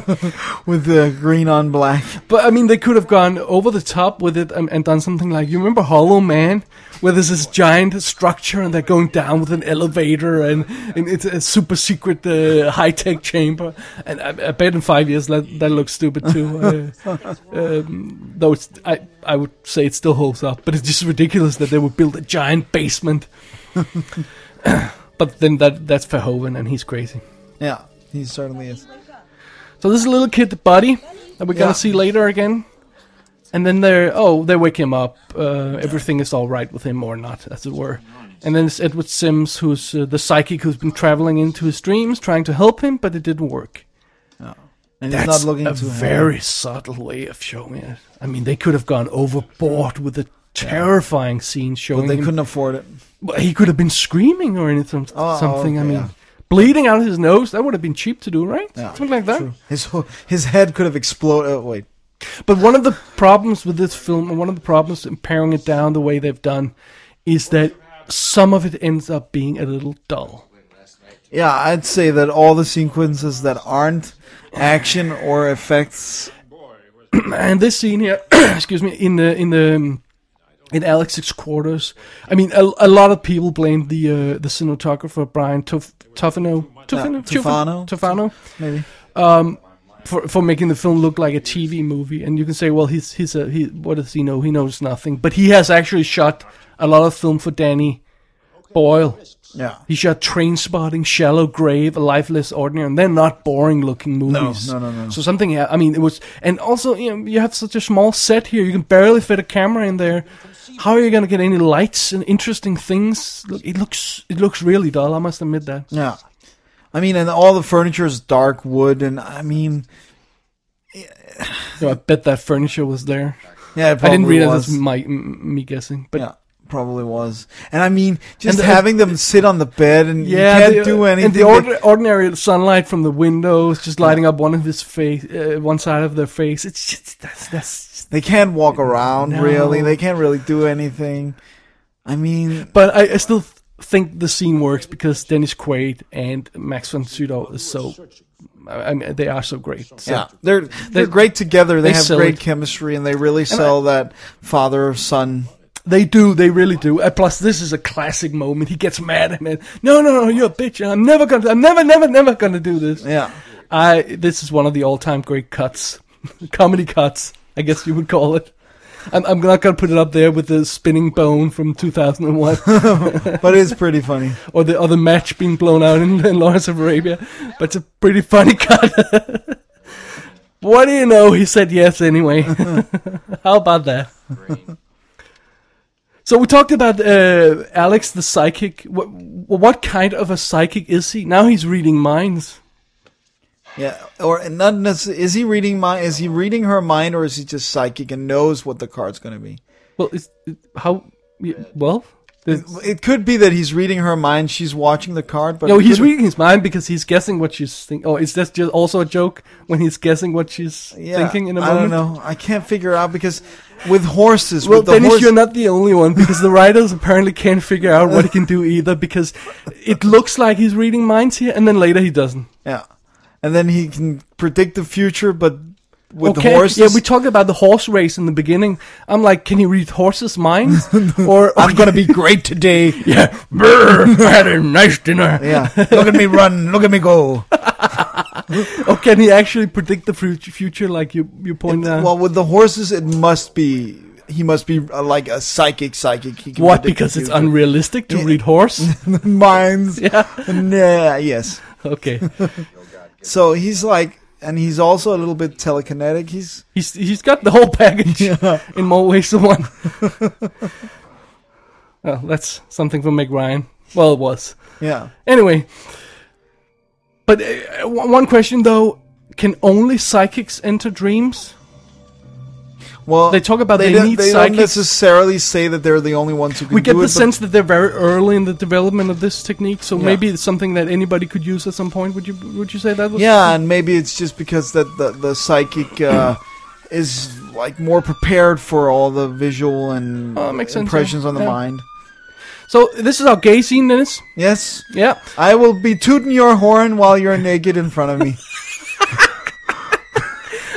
Speaker 1: with the green on black. *laughs*
Speaker 2: But I mean, they could have gone over the top with it and, and done something like you remember Hollow Man, where there's this giant structure and they're going down with an elevator and, and it's a super secret uh, high tech chamber. And I, I bet in five years that that looks stupid too. Uh, um, though it's I I would say it still holds up, but it's just ridiculous that they would build a giant basement. *coughs* but then that that's Verhoeven and he's crazy.
Speaker 1: Yeah, he certainly is.
Speaker 2: So this is a little kid, Buddy, that we're gonna
Speaker 1: Yeah.
Speaker 2: see later again. And then they're oh they wake him up. Uh, everything is all right with him or not, as it were. And then it's Edward Sims, who's uh, the psychic who's been traveling into his dreams, trying to help him, but it didn't work.
Speaker 1: And
Speaker 2: That's
Speaker 1: he's not looking
Speaker 2: a
Speaker 1: too happy.
Speaker 2: very subtle way of showing it. I mean, they could have gone overboard with a terrifying scene showing
Speaker 1: But they
Speaker 2: him
Speaker 1: couldn't afford it.
Speaker 2: well, he could have been screaming or anything.
Speaker 1: Oh,
Speaker 2: something. I
Speaker 1: okay,
Speaker 2: mean,
Speaker 1: yeah.
Speaker 2: bleeding out of his nose—that would have been cheap to do, right?
Speaker 1: Yeah,
Speaker 2: something like that.
Speaker 1: True. His ho- his head could have exploded. Oh, wait,
Speaker 2: But one of the problems with this film, and one of the problems in paring it down the way they've done, is that some of it ends up being a little dull.
Speaker 1: yeah, I'd say that all the sequences that aren't action or effects.
Speaker 2: *clears throat* and this scene here, excuse me, in the in the um, in Alex's quarters. I mean, a, a lot of people blame the uh, the cinematographer Brian Tuf- Tufano Tufano
Speaker 1: Tufano.
Speaker 2: Tufano Um,
Speaker 1: Maybe
Speaker 2: for for making the film look like a TV movie, and you can say, well, he's he's a he. What does he know? He knows nothing. But he has actually shot a lot of film for Danny Boyle.
Speaker 1: yeah.
Speaker 2: He shot Train Spotting, Shallow Grave, A Lifeless Ordinary, and they're not boring looking movies.
Speaker 1: no, no, no.
Speaker 2: So something, yeah, I mean, it was, and also, you know, you have such a small set here. You can barely fit a camera in there. How are you going to get any lights and interesting things? Look, it looks, it looks really dull. I must admit that.
Speaker 1: Yeah, I mean, and all the furniture is dark wood, and I mean,
Speaker 2: You know, I bet that furniture was there.
Speaker 1: yeah, it
Speaker 2: I
Speaker 1: probably
Speaker 2: didn't read it.
Speaker 1: was.
Speaker 2: That's my m- me guessing, but.
Speaker 1: yeah, probably was. And I mean, just
Speaker 2: the-
Speaker 1: having them sit on the bed and
Speaker 2: Yeah,
Speaker 1: you can't
Speaker 2: the- uh,
Speaker 1: do anything.
Speaker 2: And the ordi- ordinary sunlight from the windows just lighting up one of his face, uh, one side of their face. It's just that's that's
Speaker 1: they, they can't walk around
Speaker 2: No.
Speaker 1: really. They can't really do anything. I mean,
Speaker 2: But I, I still th- think the scene works because Dennis Quaid and Max von Sydow is so. I I mean, they are so great. So.
Speaker 1: yeah, they're they're great together. They,
Speaker 2: they
Speaker 1: have
Speaker 2: sell
Speaker 1: great
Speaker 2: it.
Speaker 1: chemistry, and they really sell that father son.
Speaker 2: They do, they really do. Uh, plus, this is a classic moment. He gets mad at him. No, no, no, you're a bitch. and I'm never gonna. I'm never, never, never gonna do this.
Speaker 1: Yeah,
Speaker 2: I. This is one of the all-time great cuts, *laughs* comedy cuts. I guess you would call it. I'm, I'm not gonna put it up there with the spinning bone from 2001.
Speaker 1: but it's pretty funny.
Speaker 2: or the other match being blown out in, in Lawrence of Arabia. But it's a pretty funny *laughs* cut. what do you know? He said yes anyway. *laughs* How about that? so we talked about uh, Alex the psychic. What, what kind of a psychic is he? Now he's reading minds.
Speaker 1: Yeah, or not necessarily. Is he reading my? Is he reading her mind, or is he just psychic and knows what the card's going to be?
Speaker 2: Well, it's, it, how? y- Well, It's-
Speaker 1: It could be that he's reading her mind. She's watching the card, but
Speaker 2: no,
Speaker 1: it
Speaker 2: he's
Speaker 1: could-
Speaker 2: reading his mind because he's guessing what she's thinking. Oh, is that just also a joke when he's guessing what she's
Speaker 1: yeah,
Speaker 2: thinking in a
Speaker 1: I
Speaker 2: moment?
Speaker 1: don't know. I can't figure out because with horses,
Speaker 2: Well,
Speaker 1: with the
Speaker 2: Dennis,
Speaker 1: horse-
Speaker 2: you're not the only one because the writers apparently can't figure out what he can do either because it looks like he's reading minds here and then later he doesn't.
Speaker 1: yeah, and then he can predict the future, but with
Speaker 2: okay,
Speaker 1: the horses,
Speaker 2: yeah, we talked about the horse race in the beginning. I'm like, can he read horses' minds?
Speaker 1: *laughs*
Speaker 2: or
Speaker 1: I'm gonna be great today.
Speaker 2: *laughs* yeah, brr, I had a nice *laughs* dinner.
Speaker 1: Yeah, look at me run, look at me go.
Speaker 2: Or can he actually predict the fru- future like you you point out?
Speaker 1: Well, with the horses, it must be he must be uh, like a psychic, psychic. He can
Speaker 2: what?
Speaker 1: predict
Speaker 2: Because
Speaker 1: the
Speaker 2: it's
Speaker 1: future.
Speaker 2: unrealistic to
Speaker 1: Yeah.
Speaker 2: read horse.
Speaker 1: *laughs* minds.
Speaker 2: *laughs* yeah.
Speaker 1: Nah, yes.
Speaker 2: Okay.
Speaker 1: So he's like, and he's also a little bit telekinetic. He's
Speaker 2: He's he's got the whole
Speaker 1: *laughs*
Speaker 2: package in more ways than one. *laughs* well, that's something for Meg Ryan. Well, it was
Speaker 1: yeah.
Speaker 2: anyway. But uh, one one question though: Can only psychics enter dreams?
Speaker 1: Well,
Speaker 2: They talk about they
Speaker 1: don't-
Speaker 2: need
Speaker 1: they
Speaker 2: psychics.
Speaker 1: don't necessarily say that they're the only ones who can
Speaker 2: We get
Speaker 1: do
Speaker 2: the
Speaker 1: it, but
Speaker 2: sense that they're very early in the development of this technique, so
Speaker 1: Yeah.
Speaker 2: maybe it's something that anybody could use at some point. Would you would you say that? Was
Speaker 1: Yeah, and maybe it's just because that the the psychic
Speaker 2: *clears throat*
Speaker 1: uh, is like more prepared for all the visual and
Speaker 2: Oh, makes sense,
Speaker 1: impressions on the
Speaker 2: yeah.
Speaker 1: mind.
Speaker 2: So this is our gay scene, Dennis.
Speaker 1: Yes,
Speaker 2: Yeah. *laughs*
Speaker 1: I will be tooting your horn while you're naked in front of
Speaker 2: *laughs*
Speaker 1: me.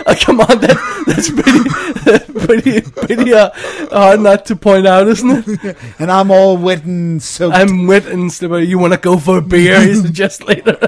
Speaker 2: Uh, come on, that, that's pretty, *laughs* pretty, pretty uh, hard not to point out, isn't it?
Speaker 1: and I'm all wet and soaked.
Speaker 2: I'm wet and slippery. You want to go for a
Speaker 1: *laughs*
Speaker 2: beer? He suggests later.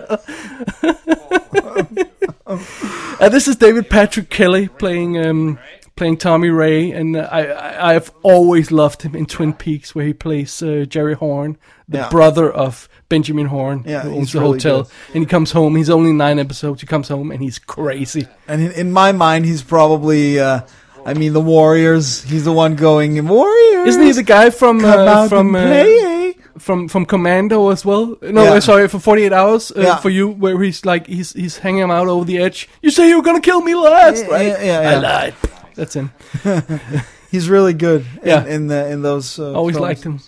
Speaker 2: uh, this is David Patrick Kelly playing um, playing Tommy Ray, and uh, I, I I've always loved him in Twin Peaks, where he plays uh, Jerry Horn, the
Speaker 1: Yeah,
Speaker 2: brother of Benjamin Horn,
Speaker 1: Yeah,
Speaker 2: who
Speaker 1: he's
Speaker 2: owns the
Speaker 1: really
Speaker 2: hotel. And he comes home. He's only nine episodes. He comes home and he's crazy.
Speaker 1: and in, in my mind, he's probably. Uh, I mean, the Warriors. He's the one going Warriors.
Speaker 2: Isn't he the guy from
Speaker 1: come
Speaker 2: uh,
Speaker 1: out
Speaker 2: from
Speaker 1: and
Speaker 2: uh,
Speaker 1: play?
Speaker 2: from from Commando as well. No,
Speaker 1: Yeah.
Speaker 2: uh, sorry, for 48 hours uh,
Speaker 1: Yeah.
Speaker 2: for you, where he's like he's he's hanging him out over the edge. You say you were gonna kill me last,
Speaker 1: Yeah,
Speaker 2: right?
Speaker 1: yeah, yeah,
Speaker 2: I
Speaker 1: yeah.
Speaker 2: lied. That's him.
Speaker 1: He's really good. In,
Speaker 2: Yeah.
Speaker 1: in the in those. Uh,
Speaker 2: Always
Speaker 1: films.
Speaker 2: liked him.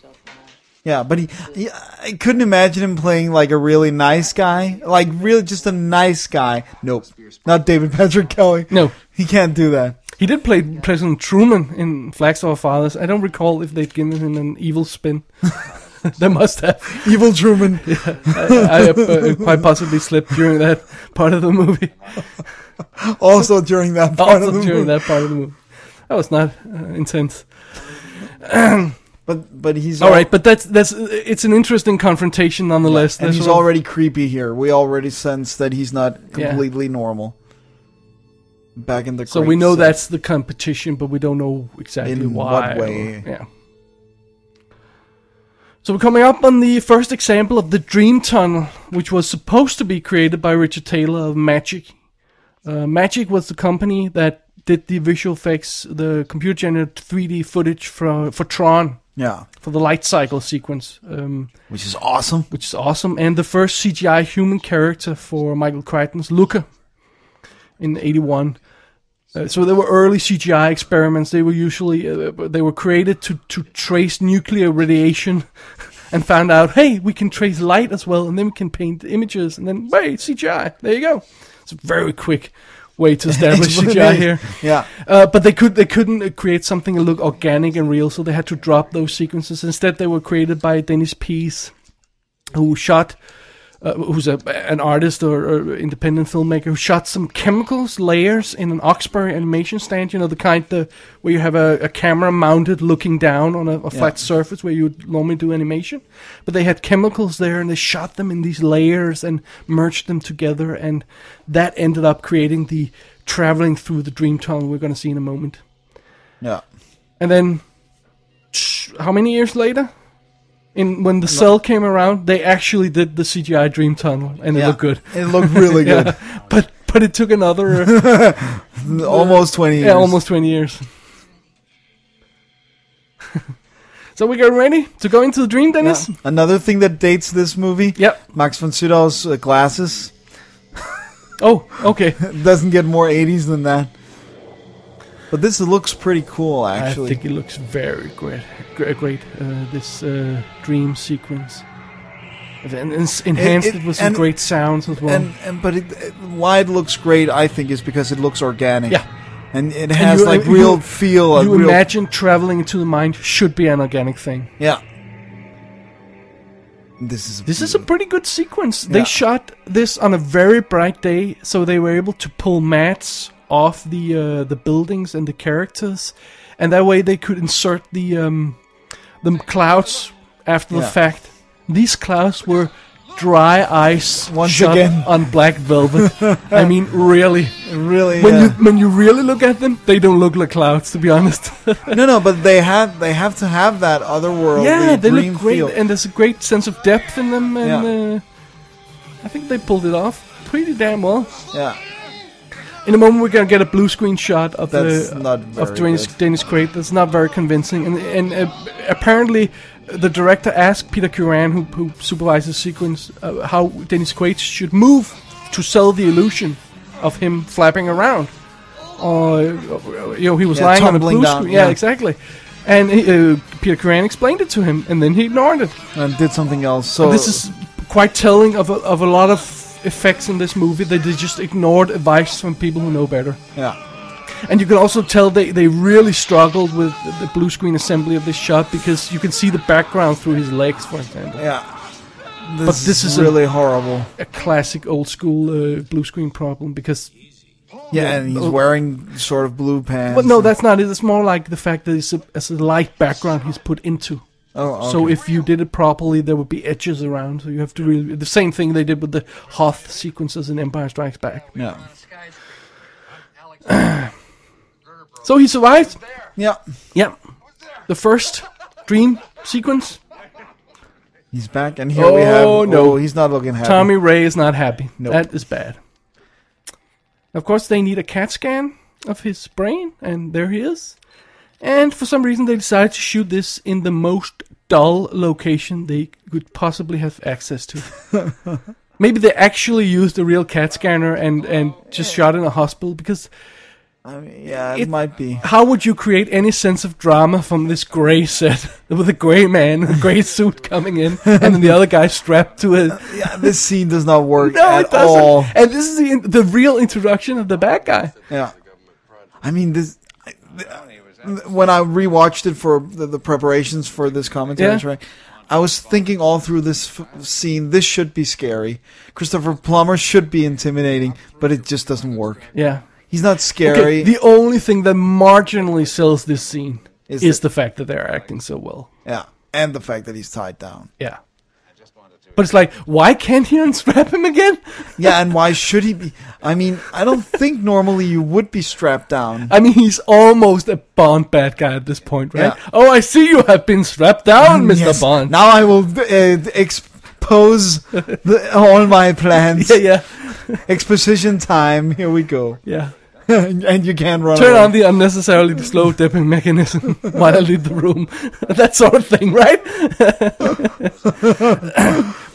Speaker 1: Yeah, but he, he, I couldn't imagine him playing like a really nice guy, like really just a nice guy. Nope, not David *laughs* Patrick Kelly.
Speaker 2: No,
Speaker 1: He can't do that.
Speaker 2: he did play President Truman in Flags of Our Fathers. I don't recall if they'd given him an evil
Speaker 1: *laughs*
Speaker 2: spin. they must have.
Speaker 1: Evil
Speaker 2: *laughs*
Speaker 1: Truman.
Speaker 2: I, I uh, quite possibly slipped during that part of the movie.
Speaker 1: also during that *laughs* part
Speaker 2: Also
Speaker 1: of the
Speaker 2: during
Speaker 1: movie.
Speaker 2: that part of the movie. That was not uh, intense.
Speaker 1: But but he's
Speaker 2: All right, but that's that's it's an interesting confrontation nonetheless.
Speaker 1: and
Speaker 2: That's
Speaker 1: he's
Speaker 2: what-
Speaker 1: already creepy here. We already sense that he's not
Speaker 2: Yeah.
Speaker 1: completely normal. Back in the
Speaker 2: So
Speaker 1: great
Speaker 2: we know
Speaker 1: set.
Speaker 2: that's the competition, but we don't know exactly
Speaker 1: In
Speaker 2: why.
Speaker 1: what
Speaker 2: or-
Speaker 1: way.
Speaker 2: yeah. So we're coming up on the first example of the Dream Tunnel, which was supposed to be created by Richard Taylor of Magic. Uh, Magic was the company that did the visual effects, the computer-generated 3D footage for for Tron,
Speaker 1: yeah,
Speaker 2: for the light cycle sequence, um,
Speaker 1: which is awesome.
Speaker 2: which is awesome, and the first CGI human character for Michael Crichton's Luca in '81. Uh, so they were early CGI experiments. They were usually uh, they were created to to trace nuclear radiation, *laughs* and found out, hey, we can trace light as well, and then we can paint images, and then wait, CGI. There you go. It's a very quick way
Speaker 1: *laughs*
Speaker 2: to establish
Speaker 1: what it
Speaker 2: CGI
Speaker 1: is.
Speaker 2: here.
Speaker 1: Yeah,
Speaker 2: Uh, but they could they couldn't uh, create something that looked organic and real, so they had to drop those sequences. Instead, they were created by Dennis Pease, who shot, uh, who's a, an artist or, or independent filmmaker who shot some chemicals layers in an Oxbury animation stand. You know the kind the where you have a, a camera mounted looking down on a, a flat surface where you would normally do animation, but they had chemicals there and they shot them in these layers and merged them together, and that ended up creating the traveling through the dream tunnel we're going to see in a moment.
Speaker 1: yeah.
Speaker 2: And then, tsh, how many years later, in when the cell came around, they actually did the CGI Dream Tunnel, and it
Speaker 1: yeah.
Speaker 2: looked
Speaker 1: *laughs*
Speaker 2: good.
Speaker 1: It looked really good.
Speaker 2: *laughs* Yeah, but but it took
Speaker 1: *laughs*
Speaker 2: another uh,
Speaker 1: Almost twenty years.
Speaker 2: yeah, almost twenty years. *laughs* so we get ready to go into the dream,
Speaker 1: Yeah.
Speaker 2: Dennis.
Speaker 1: Another thing that dates this movie.
Speaker 2: Yep.
Speaker 1: Max von Sydow's uh, glasses *laughs*
Speaker 2: Oh, okay.
Speaker 1: doesn't get more 80s than that. But this looks pretty cool, *laughs*
Speaker 2: I
Speaker 1: actually.
Speaker 2: think it looks very great. Great, great uh, this uh, dream sequence. And it's enhanced it,
Speaker 1: it-
Speaker 2: with some
Speaker 1: and-
Speaker 2: great sounds as well.
Speaker 1: and, and but it, it- why it looks great, I think, is because it looks organic.
Speaker 2: Yeah.
Speaker 1: and it has
Speaker 2: you-
Speaker 1: like
Speaker 2: you-
Speaker 1: real feel. and
Speaker 2: you
Speaker 1: real,
Speaker 2: imagine traveling into the mind should be an organic thing.
Speaker 1: yeah. This is
Speaker 2: This is a pretty good sequence. They
Speaker 1: Yeah.
Speaker 2: shot this on a very bright day, so they were able to pull mats off the uh, the buildings and the characters, and that way they could insert the um, the clouds after the
Speaker 1: Yeah.
Speaker 2: fact. These clouds were dry ice
Speaker 1: Once
Speaker 2: shot
Speaker 1: again.
Speaker 2: on black *laughs* velvet. I mean, really.
Speaker 1: really
Speaker 2: When
Speaker 1: yeah.
Speaker 2: you when you really look at them, they don't look like clouds, to be honest.
Speaker 1: no no, but they have they have to have that otherworldly
Speaker 2: yeah, they
Speaker 1: dream
Speaker 2: look great,
Speaker 1: feel.
Speaker 2: and there's a great sense of depth in them, and
Speaker 1: Yeah.
Speaker 2: uh, I think they pulled it off pretty damn well.
Speaker 1: yeah,
Speaker 2: In a moment, we're gonna get a blue screen shot of
Speaker 1: that's
Speaker 2: the
Speaker 1: not very
Speaker 2: of Danish
Speaker 1: good.
Speaker 2: Danish crate. That's not very convincing, and and uh, apparently. The director asked Peter Curran, who, who supervised the sequence, uh, how Dennis Quaid should move to sell the illusion of him flapping around. Or, uh, you know, he was
Speaker 1: Yeah,
Speaker 2: lying on a
Speaker 1: tumbling
Speaker 2: blue
Speaker 1: down,
Speaker 2: screen. Yeah,
Speaker 1: yeah.
Speaker 2: exactly. And he, uh, Peter Curran explained it to him, and then he ignored it.
Speaker 1: and did something else. So
Speaker 2: And this is quite telling of a, of a lot of effects in this movie that they just ignored advice from people who know better.
Speaker 1: yeah,
Speaker 2: And you can also tell they, they really struggled with the, the blue screen assembly of this shot because you can see the background through his legs, for example.
Speaker 1: yeah. This
Speaker 2: this is a-
Speaker 1: really horrible.
Speaker 2: A classic old school uh, blue screen problem because.
Speaker 1: Yeah, and he's
Speaker 2: Oh.
Speaker 1: wearing sort of blue pants.
Speaker 2: But no,
Speaker 1: and-
Speaker 2: that's not it. It's more like the fact that it's a, it's a light background he's put into.
Speaker 1: oh,
Speaker 2: So
Speaker 1: okay.
Speaker 2: if you did it properly, there would be edges around. So you have to really. The same thing they did with the Hoth sequences in Empire Strikes Back.
Speaker 1: yeah,
Speaker 2: So he survived.
Speaker 1: yeah,
Speaker 2: Yeah. The first dream sequence.
Speaker 1: he's back, and here we have.
Speaker 2: Oh, no.
Speaker 1: oh, he's not looking happy.
Speaker 2: Tommy Ray is not happy.
Speaker 1: Nope.
Speaker 2: That is bad. Of course, they need a CAT scan of his brain, and there he is. And for some reason, they decided to shoot this in the most dull location they could possibly have access to. Maybe they actually used a real CAT scanner and, and just shot in a hospital because
Speaker 1: I mean, yeah, it,
Speaker 2: It-
Speaker 1: might be.
Speaker 2: how would you create any sense of drama from this gray set *laughs* with a gray man in a gray suit coming in and then the other guy strapped to it?
Speaker 1: *laughs* Yeah, this scene does not work
Speaker 2: No,
Speaker 1: at
Speaker 2: it doesn't.
Speaker 1: all.
Speaker 2: And this is the in- the real introduction of the bad guy.
Speaker 1: Yeah, I mean this. I- th- When I rewatched it for the, the preparations for this commentary
Speaker 2: Yeah.
Speaker 1: track, I was thinking all through this f- scene. This should be scary. Christopher Plummer should be intimidating, but it just doesn't work.
Speaker 2: Yeah.
Speaker 1: He's not scary.
Speaker 2: Okay, the only thing that marginally sells this scene
Speaker 1: Is
Speaker 2: is,
Speaker 1: it-
Speaker 2: the fact that they're acting so well.
Speaker 1: yeah, and the fact that he's tied down.
Speaker 2: Yeah. But it's like, why can't he unstrap him again?
Speaker 1: Yeah, and why should he be? I mean, I don't think normally you would be strapped down.
Speaker 2: *laughs* I mean, he's almost a Bond bad guy at this point, right?
Speaker 1: Yeah.
Speaker 2: Oh, I see you have been strapped down, Mr.
Speaker 1: Yes,
Speaker 2: Bond.
Speaker 1: Now I will uh, expose the, all my plans.
Speaker 2: *laughs* *laughs* yeah, yeah,
Speaker 1: Exposition time. Here we go. *laughs*
Speaker 2: yeah.
Speaker 1: and you can run.
Speaker 2: Turn
Speaker 1: away.
Speaker 2: on the unnecessarily slow dipping mechanism *laughs* while I leave the room. *laughs* that sort of thing, right?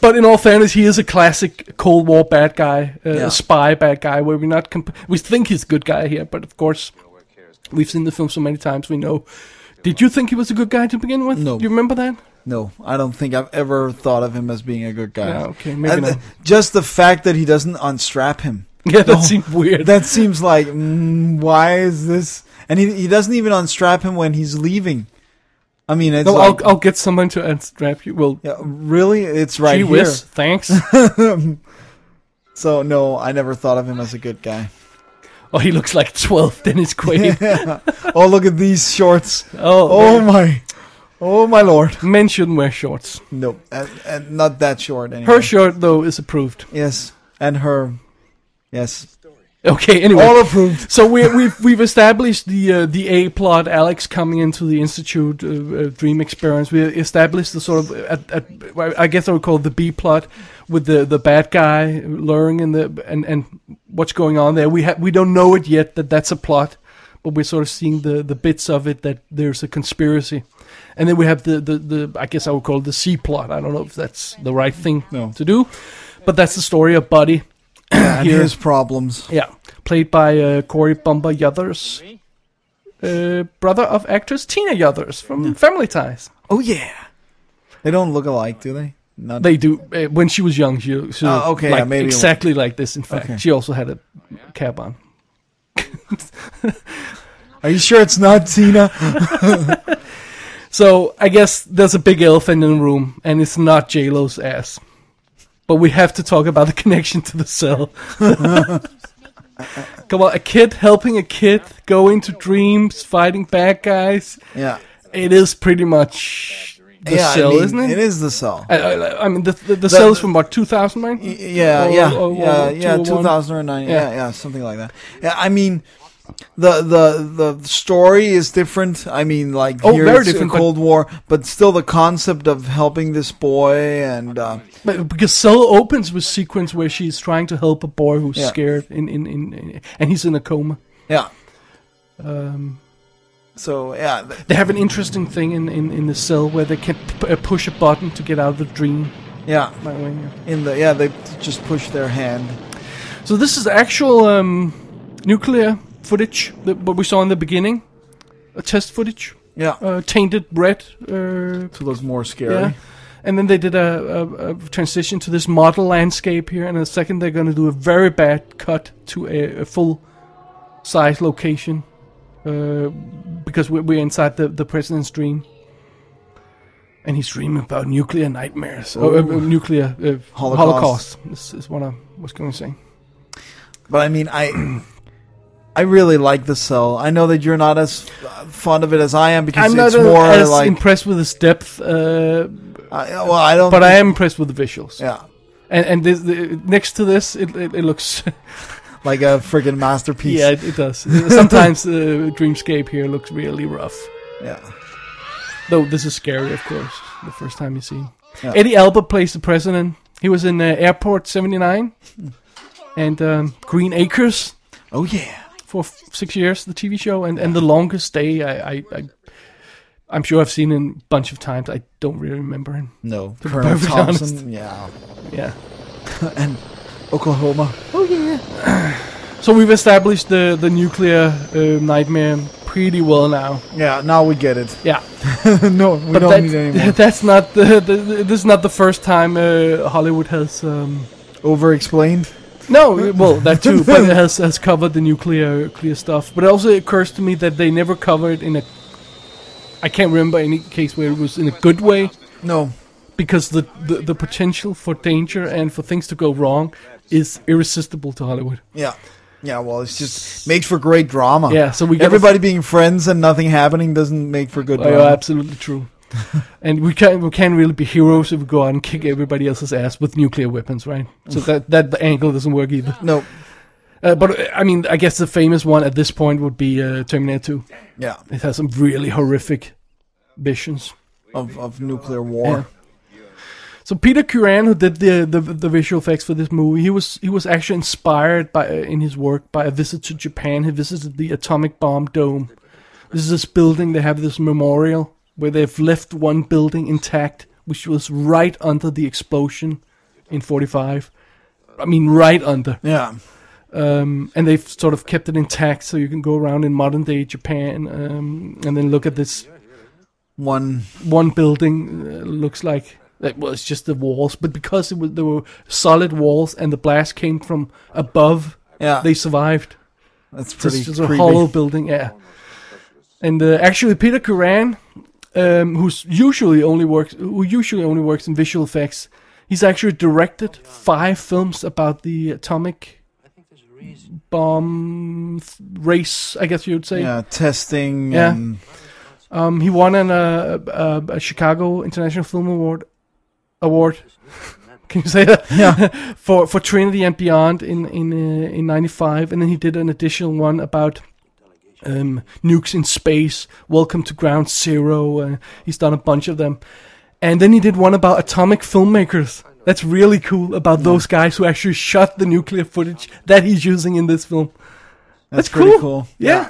Speaker 2: *laughs* but in all fairness, he is a classic Cold War bad guy, uh,
Speaker 1: Yeah.
Speaker 2: a spy bad guy, where we're not. Comp- we think he's a good guy here, but of course, we've seen the film so many times, we know. Did you think he was a good guy to begin with?
Speaker 1: No.
Speaker 2: Do you remember that?
Speaker 1: No, I don't think I've ever thought of him as being a good guy.
Speaker 2: Yeah, Ah, okay, maybe
Speaker 1: And, uh,
Speaker 2: not.
Speaker 1: just the fact that he doesn't unstrap him.
Speaker 2: *laughs* Yeah, that
Speaker 1: No.
Speaker 2: seemed weird.
Speaker 1: That seems like mm, why is this? And he he doesn't even unstrap him when he's leaving. I mean, it's
Speaker 2: no,
Speaker 1: like,
Speaker 2: I'll, I'll get someone to unstrap you. Well,
Speaker 1: yeah, really, it's right
Speaker 2: gee
Speaker 1: here. *laughs*
Speaker 2: whiz, thanks.
Speaker 1: So no, I never thought of him as a good guy. *laughs*
Speaker 2: oh, he looks like 12 Dennis Quaid.
Speaker 1: oh, look at these shorts.
Speaker 2: Oh,
Speaker 1: Oh my, oh my lord.
Speaker 2: men shouldn't wear shorts.
Speaker 1: No, and, and not that short anyway.
Speaker 2: Her shirt though is approved.
Speaker 1: yes, and her,
Speaker 2: *coughs*
Speaker 1: yes,
Speaker 2: Okay, anyway.
Speaker 1: all approved.
Speaker 2: so we, we've we've established the uh, the A plot. Alex coming into the Institute uh, uh, Dream Experience. We established the sort of at, at, well, I guess I would call it the B plot with the, the bad guy luring and the and, and what's going on there. We ha- we don't know it yet that that's a plot, but we're sort of seeing the, the bits of it that there's a conspiracy, and then we have the, the, the I guess I would call it the C plot. I don't know if that's the right thing
Speaker 1: No.
Speaker 2: to do, but that's the story of Buddy.
Speaker 1: and
Speaker 2: Here.
Speaker 1: his problems.
Speaker 2: Yeah, played by uh, Corey Bumba Yothers. uh, brother of actress Tina Yothers from Family Ties.
Speaker 1: Oh yeah. They don't look alike, do they? Not
Speaker 2: They do. Uh, when she was young, she, she
Speaker 1: Oh, okay,
Speaker 2: like,
Speaker 1: yeah, maybe-
Speaker 2: exactly like this. In fact,
Speaker 1: Okay.
Speaker 2: she also had a cap on.
Speaker 1: Are you sure it's not
Speaker 2: *laughs*
Speaker 1: Tina?
Speaker 2: So I guess there's a big elephant in the room, and it's not J Lo's ass. But we have to talk about the *laughs* connection to the cell. *laughs* Come on, a kid helping a kid go into dreams, fighting bad guys.
Speaker 1: yeah.
Speaker 2: It is pretty much the
Speaker 1: yeah, I
Speaker 2: cell,
Speaker 1: mean,
Speaker 2: isn't it?
Speaker 1: It is the cell.
Speaker 2: I, I, I mean, the the, the, cell is from what 2000, right?
Speaker 1: Y- yeah,
Speaker 2: Or-
Speaker 1: yeah,
Speaker 2: or- oh or
Speaker 1: yeah, yeah,
Speaker 2: 201.
Speaker 1: 2009, yeah.
Speaker 2: Yeah.
Speaker 1: yeah, something like that. Yeah, I mean, the the the story is different. I mean, like
Speaker 2: Oh,
Speaker 1: here
Speaker 2: very
Speaker 1: it's a
Speaker 2: different, but-
Speaker 1: Cold War, but still the concept of helping this boy and uh,
Speaker 2: But because Cell opens with sequence where she's trying to help a boy who's
Speaker 1: Yeah.
Speaker 2: scared in, in, in, in and he's in a coma.
Speaker 1: yeah,
Speaker 2: Um,
Speaker 1: so yeah, th-
Speaker 2: they have an interesting thing in, in, in the cell where they can p- uh, push a button to get out of the dream.
Speaker 1: yeah,
Speaker 2: By the way, yeah.
Speaker 1: in the yeah they just push their hand.
Speaker 2: So this is actual um, nuclear footage that what we saw in the beginning, a test footage,
Speaker 1: Yeah,
Speaker 2: uh, tainted red. Uh,
Speaker 1: so those more scary.
Speaker 2: yeah. And then they did a, a, a transition to this model landscape here, and in a second they're going to do a very bad cut to a, a full size location uh, because we're, we're inside the, the president's dream. And he's dreaming about nuclear nightmares. Or, uh,
Speaker 1: Ooh.
Speaker 2: nuclear uh,
Speaker 1: Holocaust.
Speaker 2: holocaust. This is what I was going to say.
Speaker 1: But I mean, I I really like the cell. I know that you're not as uh, fond of it as I am because
Speaker 2: I'm
Speaker 1: it's
Speaker 2: not uh,
Speaker 1: more
Speaker 2: as
Speaker 1: like
Speaker 2: impressed with its depth, uh,
Speaker 1: I- well, I don't.
Speaker 2: but I am impressed with the visuals.
Speaker 1: yeah,
Speaker 2: And, and this, the, next to this, it, it, it looks
Speaker 1: like a friggin' masterpiece.
Speaker 2: Yeah, it, it does. Sometimes uh, Dreamscape here looks really rough.
Speaker 1: yeah.
Speaker 2: Though this is scary, of course, the first time you see him.
Speaker 1: Yeah.
Speaker 2: Eddie Albert plays the president. He was in uh, Airport 79 and um, Green Acres
Speaker 1: Oh yeah.
Speaker 2: for f- six years, the TV show, and, and The Longest Day. I, I, I, I'm sure I've seen him a bunch of times. I don't really remember him.
Speaker 1: No, Colonel
Speaker 2: perfectly
Speaker 1: Thompson.
Speaker 2: *laughs*
Speaker 1: Yeah,
Speaker 2: Yeah.
Speaker 1: and Oklahoma.
Speaker 2: So we've established the, the nuclear uh, nightmare pretty well now.
Speaker 1: Yeah, now we get
Speaker 2: *laughs*
Speaker 1: it.
Speaker 2: Yeah.
Speaker 1: no, we
Speaker 2: But
Speaker 1: don't
Speaker 2: that- *laughs*
Speaker 1: need any more.
Speaker 2: That's not the, the, the- this is not the first time uh, Hollywood has um,
Speaker 1: *laughs* Over-explained.
Speaker 2: *laughs* no well that
Speaker 1: *laughs*
Speaker 2: too but it has has covered the nuclear nuclear stuff. But it also occurs to me that they never covered it in a I can't remember any case where it was in a good way
Speaker 1: No.
Speaker 2: because the, the, the potential for danger and for things to go wrong is irresistible to Hollywood.
Speaker 1: Yeah. Yeah. Well, it's just makes for great drama.
Speaker 2: Yeah, so we get a-
Speaker 1: Ah. Everybody being friends and nothing happening doesn't make for good
Speaker 2: Oh,
Speaker 1: drama.
Speaker 2: yeah, absolutely true. *laughs* and we can't we can't really be heroes if we go out and kick everybody else's ass with nuclear weapons, right? So that that angle doesn't work either.
Speaker 1: no.
Speaker 2: Uh, but uh, I mean, I guess the famous one at this point would be uh, Terminator 2.
Speaker 1: Yeah.
Speaker 2: It has some really horrific visions.
Speaker 1: Of of nuclear war.
Speaker 2: So Peter Curran, who did the, the the visual effects for this movie, he was he was actually inspired by uh, in his work by a visit to Japan. He visited the atomic bomb dome. This is this building. They have this memorial where they've left one building intact, which was right under the explosion in '45. I mean, right under.
Speaker 1: Yeah.
Speaker 2: um, and they've sort of kept it intact, so you can go around in modern day Japan um, and then look at this
Speaker 1: One.
Speaker 2: one building. Uh, looks like it was just the walls, but because it was, there were solid walls and the blast came from above,
Speaker 1: Yeah.
Speaker 2: they survived.
Speaker 1: that's pretty
Speaker 2: Just, just a
Speaker 1: creepy.
Speaker 2: hollow building, yeah. And uh, actually, Peter Curran, um, who's usually only works, who usually only works in visual effects, he's actually directed five films about the atomic bomb th- race, I guess you would say.
Speaker 1: Yeah. Testing.
Speaker 2: Yeah.
Speaker 1: And,
Speaker 2: Um, he won an, uh, uh, a Chicago International Film Award. Award. *laughs* Can you say that? Yeah. *laughs* for for Trinity and Beyond in in uh, in '95, and then he did an additional one about um, nukes in space. Welcome to Ground Zero. Uh, he's done a bunch of them, and then he did one about atomic filmmakers. That's really cool about those guys who actually shot the nuclear footage that he's using in this film.
Speaker 1: that's
Speaker 2: That's
Speaker 1: pretty
Speaker 2: cool.
Speaker 1: cool.
Speaker 2: Yeah.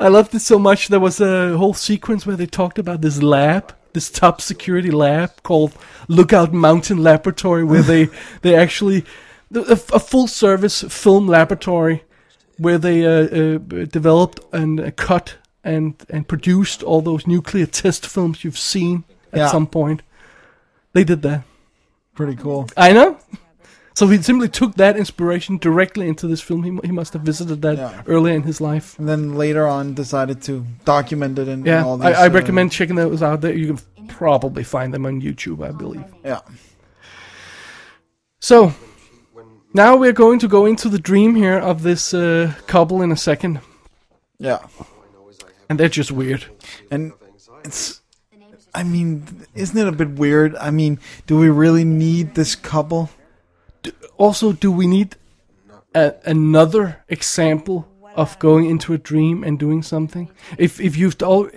Speaker 2: I loved it so much. There was a whole sequence where they talked about this lab, this top security lab called Lookout
Speaker 1: *laughs*
Speaker 2: Mountain Laboratory, where they they actually the- a, a full service film laboratory where they uh, uh, developed and uh, cut and and produced all those nuclear test films you've seen at
Speaker 1: Yeah.
Speaker 2: some point. They did that.
Speaker 1: Pretty cool.
Speaker 2: I know. So he simply took that inspiration directly into this film. He, mu- he must have visited that
Speaker 1: Yeah.
Speaker 2: earlier in his life.
Speaker 1: And then later on, decided to document it in, in
Speaker 2: Yeah,
Speaker 1: all these.
Speaker 2: I, I
Speaker 1: uh,
Speaker 2: recommend checking those out. There, you can probably find them on YouTube, I believe.
Speaker 1: Yeah.
Speaker 2: So now we're going to go into the dream here of this uh, couple in a second,
Speaker 1: Yeah.
Speaker 2: and they're just weird.
Speaker 1: And it's. I mean, isn't it a bit weird? I mean, do we really need this couple?
Speaker 2: Also, do we need a, another example of going into a dream and doing something? If if you've all,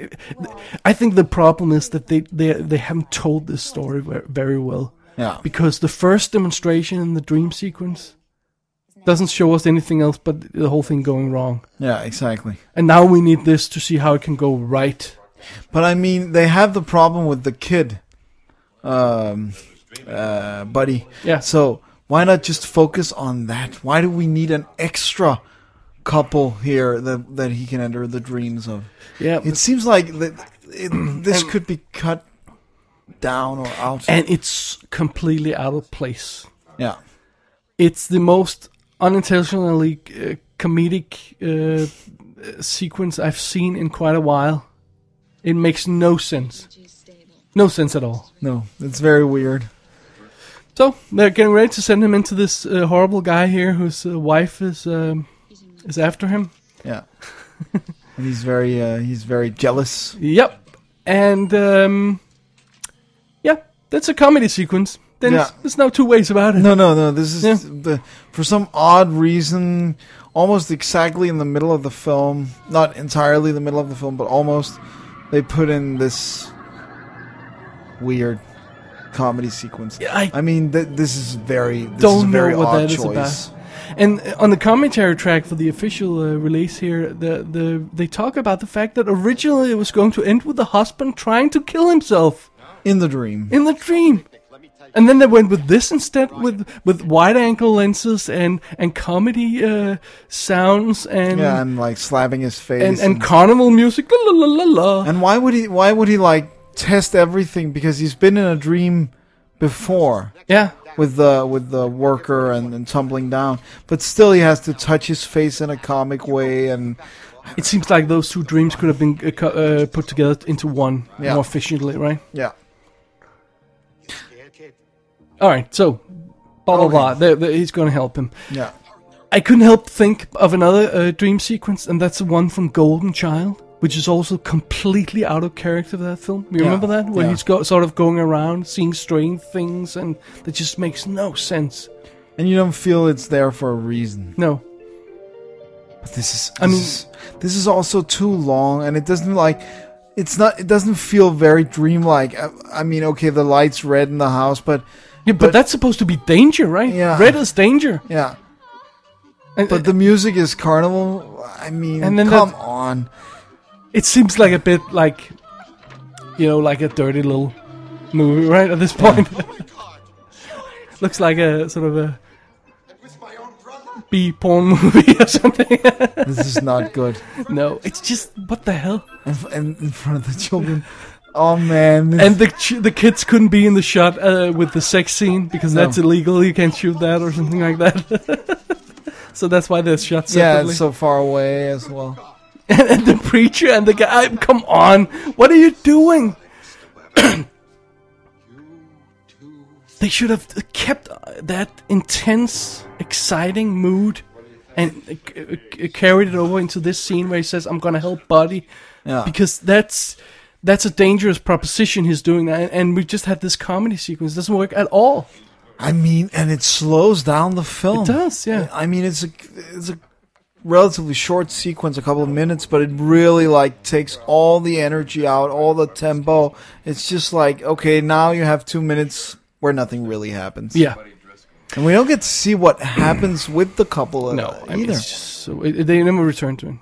Speaker 2: I think the problem is that they they they haven't told this story ver- very well
Speaker 1: Yeah.
Speaker 2: because the first demonstration in the dream sequence doesn't show us anything else but the whole thing going wrong.
Speaker 1: Yeah, exactly.
Speaker 2: And now we need this to see how it can go right.
Speaker 1: But I mean, they have the problem with the kid, um, uh, buddy.
Speaker 2: Yeah.
Speaker 1: So why not just focus on that? Why do we need an extra couple here that that he can enter the dreams of?
Speaker 2: Yeah.
Speaker 1: It seems like that it, this could be cut down or out.
Speaker 2: and it's completely out of place.
Speaker 1: yeah.
Speaker 2: It's the most unintentionally uh, comedic uh, uh, sequence I've seen in quite a while. It makes no sense. No sense at all.
Speaker 1: No, it's very weird.
Speaker 2: So they're getting ready to send him into this uh, horrible guy here, whose uh, wife is um, is after him. *laughs*
Speaker 1: Yeah. and he's very uh, he's very jealous.
Speaker 2: Yep. And um, yeah, that's a comedy sequence. Then
Speaker 1: Yeah.
Speaker 2: it's- there's no two ways about it.
Speaker 1: No, no, no. This is
Speaker 2: Yeah.
Speaker 1: the for some odd reason, almost exactly in the middle of the film. Not entirely the middle of the film, but almost. They put in this weird comedy sequence.
Speaker 2: Yeah, I-
Speaker 1: mean, th- this is very this is
Speaker 2: Don't
Speaker 1: a
Speaker 2: know
Speaker 1: very
Speaker 2: what
Speaker 1: odd
Speaker 2: that is
Speaker 1: choice.
Speaker 2: And uh, on the commentary track for the official uh, release here, the, the they talk about the fact that originally it was going to end with the husband trying to kill himself
Speaker 1: In the dream,
Speaker 2: in the dream. And then they went with this instead, with with wide angle lenses and and comedy uh, sounds and,
Speaker 1: yeah, and like slapping his face,
Speaker 2: and and carnival music. La, la, la, la, la.
Speaker 1: and why would he? Why would he like test everything? Because he's been in a dream before.
Speaker 2: Yeah,
Speaker 1: with the with the worker and, and tumbling down. But still, he has to touch his face in a comic way, and
Speaker 2: it seems like those two dreams could have been uh, co- uh, put together into one
Speaker 1: Yeah.
Speaker 2: more efficiently, right?
Speaker 1: yeah,
Speaker 2: All right, so blah blah
Speaker 1: Okay.
Speaker 2: blah. They- they- he's going to help him.
Speaker 1: yeah,
Speaker 2: I couldn't help think of another uh, dream sequence, and that's the one from Golden Child, which is also completely out of character for that film. You
Speaker 1: Yeah,
Speaker 2: remember that? Where
Speaker 1: yeah.
Speaker 2: he's got sort of going around, seeing strange things, and that just makes no sense.
Speaker 1: and you don't feel it's there for a reason.
Speaker 2: No.
Speaker 1: But this is,
Speaker 2: I
Speaker 1: this
Speaker 2: mean-
Speaker 1: is- this is also too long, and it doesn't like. It's not. It doesn't feel very dreamlike. I, I mean, okay, the lights red in the house, but
Speaker 2: Yeah, but,
Speaker 1: But-
Speaker 2: that's supposed to be danger, right?
Speaker 1: Yeah.
Speaker 2: Red is danger.
Speaker 1: yeah.
Speaker 2: And, uh,
Speaker 1: But the music is carnival. I mean,
Speaker 2: And then
Speaker 1: come
Speaker 2: that-
Speaker 1: on.
Speaker 2: it seems like a bit like, you know, like a dirty little movie, right? At this point, *laughs* looks like a sort of a B porn movie or something. *laughs*
Speaker 1: This is not good.
Speaker 2: No, it's just what the hell.
Speaker 1: And, f- and in front of the children. Oh man. this-
Speaker 2: And the ch- the kids couldn't be in the shot uh, with the sex scene because
Speaker 1: No.
Speaker 2: that's illegal. You can't shoot that or something like that. *laughs* so that's why they're shot
Speaker 1: yeah,
Speaker 2: separately.
Speaker 1: it's so far away as well.
Speaker 2: and, and the preacher and the guy. Come on, what are you doing? *clears throat* they should have kept uh, that intense, exciting mood. And uh, c- c- carried it over into this scene where he says, "I'm gonna help Buddy,"
Speaker 1: Yeah.
Speaker 2: because that's that's a dangerous proposition he's doing and, and we just had this comedy sequence it doesn't work at all
Speaker 1: I mean, and it slows down the film.
Speaker 2: It does, yeah.
Speaker 1: I mean, it's a it's a relatively short sequence, a couple of minutes, but it really like takes all the energy out, all the tempo. It's just like, okay, now you have two minutes where nothing really happens.
Speaker 2: yeah
Speaker 1: and we don't get to see what happens with the couple uh,
Speaker 2: no I mean,
Speaker 1: either.
Speaker 2: it's just so it, they never return to him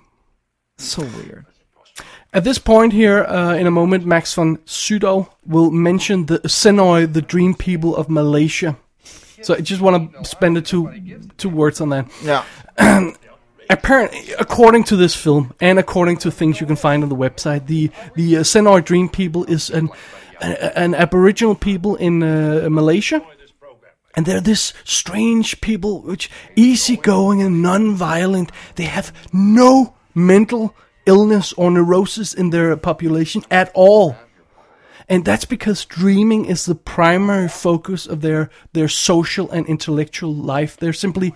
Speaker 1: so weird.
Speaker 2: at this point here uh, in a moment max von Sydow will mention the senoi the dream people of malaysia so i just want to spend the two two words on that
Speaker 1: Yeah,
Speaker 2: apparently, according to this film and according to things you can find on the website, the the uh, Senor Dream people is an an, an Aboriginal people in uh, Malaysia, and they're this strange people which easygoing and non-violent. They have no mental illness or neurosis in their population at all. And that's because dreaming is the primary focus of their their social and intellectual life. They're simply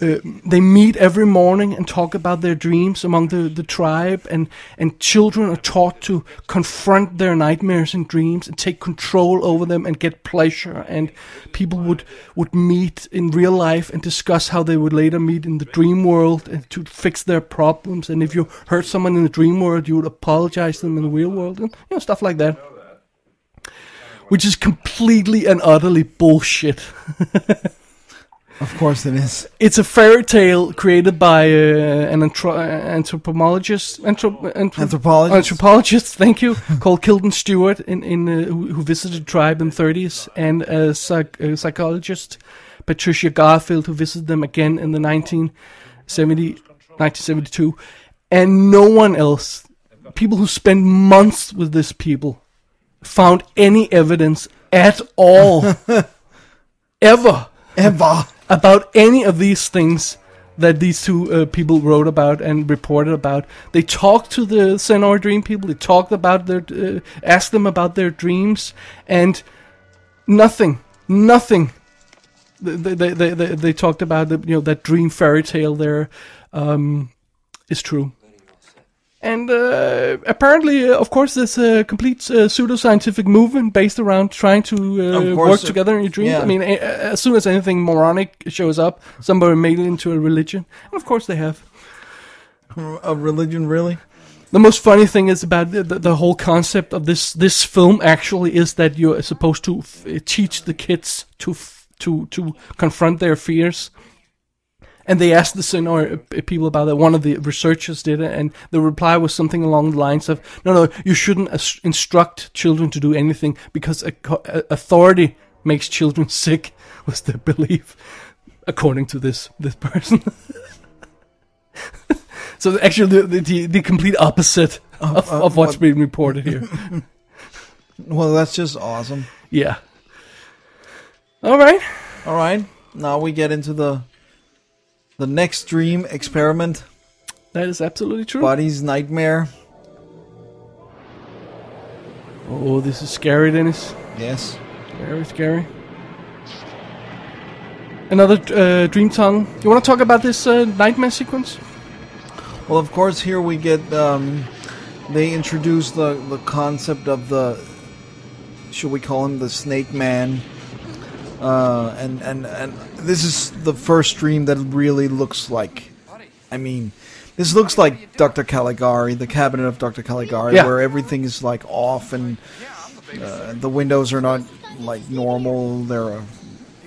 Speaker 2: uh, they meet every morning and talk about their dreams among the, the tribe and, and children are taught to confront their nightmares and dreams and take control over them and get pleasure and people would would meet in real life and discuss how they would later meet in the dream world and to fix their problems and if you hurt someone in the dream world you would apologize to them in the real world and you know stuff like that which is completely and utterly bullshit.
Speaker 1: Of course it is.
Speaker 2: It's a fairy tale created by uh, an antro- anthropologist, uh, anthrop- anthrop-
Speaker 1: Anthropologist.
Speaker 2: anthropologist, thank you, called Kilden Stewart, in, in uh, who, who visited the tribe in the 30s, and a, psych- a psychologist, Patricia Garfield, who visited them again in the 1970, 1972, and no one else. People who spend months with these people found any evidence at all, ever
Speaker 1: Ever.
Speaker 2: about any of these things that these two uh, people wrote about and reported about. They talked to the Senor Dream people. They talked about their, uh, asked them about their dreams, and nothing, nothing. They they they, they, they talked about the, you know that dream fairy tale there, um, is true. And uh, apparently, uh, of course, there's a complete uh, pseudoscientific movement based around trying to uh,
Speaker 1: Of course,
Speaker 2: work
Speaker 1: uh,
Speaker 2: together in your dreams.
Speaker 1: yeah.
Speaker 2: I mean, a- a- as soon as anything moronic shows up, somebody made it into a religion. And of course, they have.
Speaker 1: A religion, really?
Speaker 2: The most funny thing is about the, the, the whole concept of this this film actually is that you're supposed to f- eh, teach the kids to f- to to confront their fears. And they asked the Senor uh, people about that. One of the researchers did it, and the reply was something along the lines of, "No, no, you shouldn't as- instruct children to do anything because a- co- a- authority makes children *laughs* sick." Was their *laughs* belief, according to this this person. So the- actually, the the, the, the complete opposite of, of,
Speaker 1: uh,
Speaker 2: what's
Speaker 1: what-
Speaker 2: being reported
Speaker 1: *laughs*
Speaker 2: here.
Speaker 1: Well, that's just awesome.
Speaker 2: yeah. All right.
Speaker 1: All right. Now we get into the the next dream experiment,
Speaker 2: That is absolutely true.
Speaker 1: Buddy's nightmare.
Speaker 2: oh, this is scary, Dennis.
Speaker 1: Yes.
Speaker 2: Very scary. Another uh, dream tunnel. You want to talk about this uh, nightmare sequence?
Speaker 1: Well, of course, here we get um, they introduce the the concept of the should we call him the Snake Man? Uh, and and and this is the first dream that really looks like. I mean, this looks like Dr. Caligari, the cabinet of Dr. Caligari,
Speaker 2: Yeah.
Speaker 1: where everything is like off and uh, the windows are not like normal. They're uh,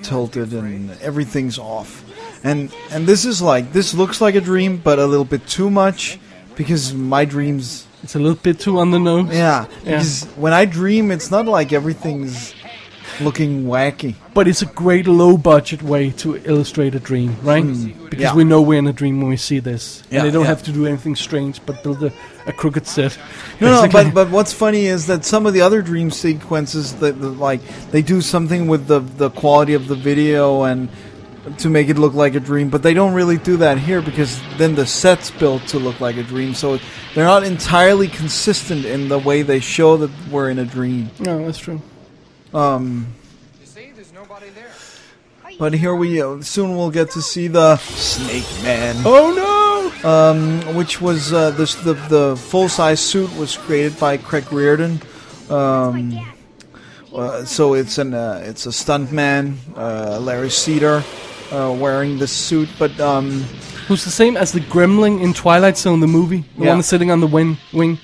Speaker 1: tilted and everything's off. And and this is like this looks like a dream, but a little bit too much because my dreams.
Speaker 2: It's a little bit too on the nose.
Speaker 1: Yeah,
Speaker 2: Yeah.
Speaker 1: because when I dream, it's not like everything's looking wacky.
Speaker 2: But it's a great low budget way to illustrate a dream, right? because
Speaker 1: Hmm. yeah.
Speaker 2: we know we're in a dream when we see this.
Speaker 1: Yeah,
Speaker 2: and they don't
Speaker 1: yeah.
Speaker 2: have to do anything strange but build a, a crooked set.
Speaker 1: No, no,
Speaker 2: basically.
Speaker 1: but but what's funny is that some of the other dream sequences that that, like they do something with the the quality of the video and to make it look like a dream, but they don't really do that here because then the set's built to look like a dream, so they're not entirely consistent in the way they show that we're in a dream.
Speaker 2: No, that's true.
Speaker 1: Um,
Speaker 3: You see, there's nobody there.
Speaker 1: but here we uh, soon we'll get to see the Snake Man.
Speaker 2: Oh no!
Speaker 1: um, which was uh, this, the the full size suit was created by Craig Reardon. Um, uh, so it's an uh, it's a stuntman, uh, Larry Cedar, uh, wearing this suit. But um,
Speaker 2: Who's the same as the gremlin in Twilight Zone, the movie? The
Speaker 1: Yeah.
Speaker 2: one that's sitting on the wing. wing.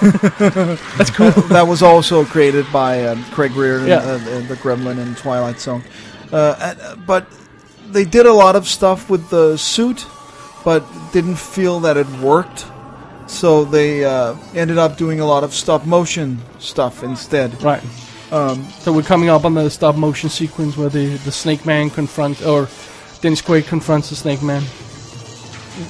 Speaker 2: that's cool.
Speaker 1: that was also created by um, Craig Reardon,
Speaker 2: Yeah.
Speaker 1: uh, the, the Gremlin in Twilight Zone. Uh, and, uh, but they did a lot of stuff with the suit, but didn't feel that it worked. So they uh, ended up doing a lot of stop motion stuff instead.
Speaker 2: right. so we're coming up on the stop motion sequence where the, the Snake Man confronts, or Dennis Quaid confronts the Snake Man.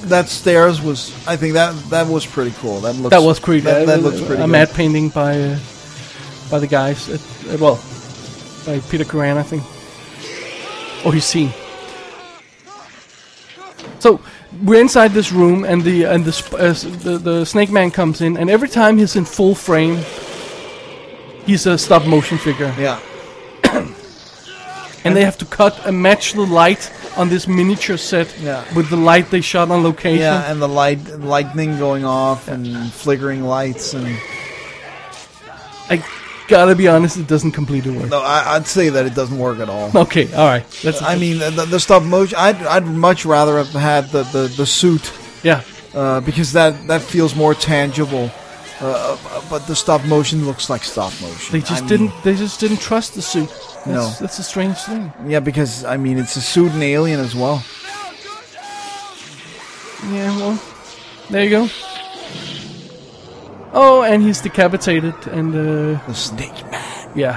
Speaker 1: that stairs was. I think that that was pretty cool. That looks
Speaker 2: That was pretty.
Speaker 1: That,
Speaker 2: uh,
Speaker 1: that looks pretty.
Speaker 2: A
Speaker 1: good.
Speaker 2: mad painting by uh, by the guys. At, uh, well, by Peter Curran, I think. Oh, he's seen. So we're inside this room, and the and the, sp- uh, s- the the Snake Man comes in, and every time he's in full frame, he's a stop motion figure,
Speaker 1: Yeah.
Speaker 2: and they have to cut and match the light on this miniature set
Speaker 1: Yeah.
Speaker 2: with the light they shot on location.
Speaker 1: Yeah, and the light lightning going off and flickering lights and
Speaker 2: I gotta be honest, it doesn't completely work.
Speaker 1: no, I, I'd say that it doesn't work at all.
Speaker 2: Okay, all right. That's
Speaker 1: I mean, the, the stop motion. I'd, I'd much rather have had the the, the suit
Speaker 2: yeah.
Speaker 1: uh, because that that feels more tangible. Uh, uh, but the stop motion looks like stop motion.
Speaker 2: They
Speaker 1: I
Speaker 2: just
Speaker 1: mean-
Speaker 2: didn't. They just didn't trust the suit. That's,
Speaker 1: No.
Speaker 2: that's a strange thing.
Speaker 1: Yeah, because I mean, it's a suit and alien as well.
Speaker 2: Yeah. Well, there you go. Oh, and he's decapitated, and uh,
Speaker 1: The snake man.
Speaker 2: yeah.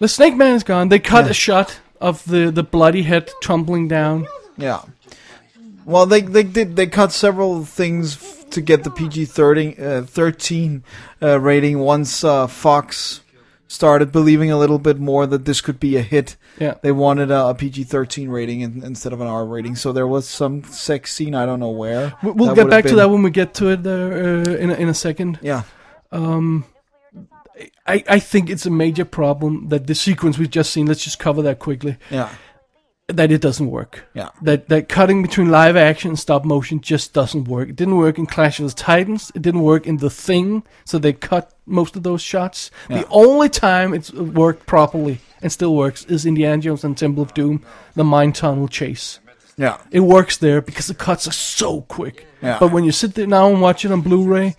Speaker 2: The snake man is gone. They cut
Speaker 1: Yeah.
Speaker 2: a shot of the the bloody head tumbling down.
Speaker 1: Yeah. Well, they they did they cut several things f- to get the PG thirteen uh, thirteen uh, rating. Once uh, Fox started believing a little bit more that this could be a hit,
Speaker 2: Yeah.
Speaker 1: they wanted a, a PG thirteen rating in, instead of an R rating. So there was some sex scene I don't know where.
Speaker 2: We-
Speaker 1: that
Speaker 2: We'll get
Speaker 1: would've
Speaker 2: back to
Speaker 1: been-
Speaker 2: that when we get to it uh, uh, in a, in a second.
Speaker 1: Yeah,
Speaker 2: I, I think it's a major problem that the sequence we've just seen. Let's just cover that quickly.
Speaker 1: yeah,
Speaker 2: that it doesn't work.
Speaker 1: Yeah.
Speaker 2: That that cutting between live action and stop motion just doesn't work. It didn't work in Clash of the Titans. It didn't work in The Thing. So they cut most of those shots. The only time it's worked properly and still works is Indiana Jones and Temple of Doom, the mine tunnel chase.
Speaker 1: yeah,
Speaker 2: It works there because the cuts are so quick.
Speaker 1: Yeah.
Speaker 2: But when you sit there now and watch it on Blu-ray,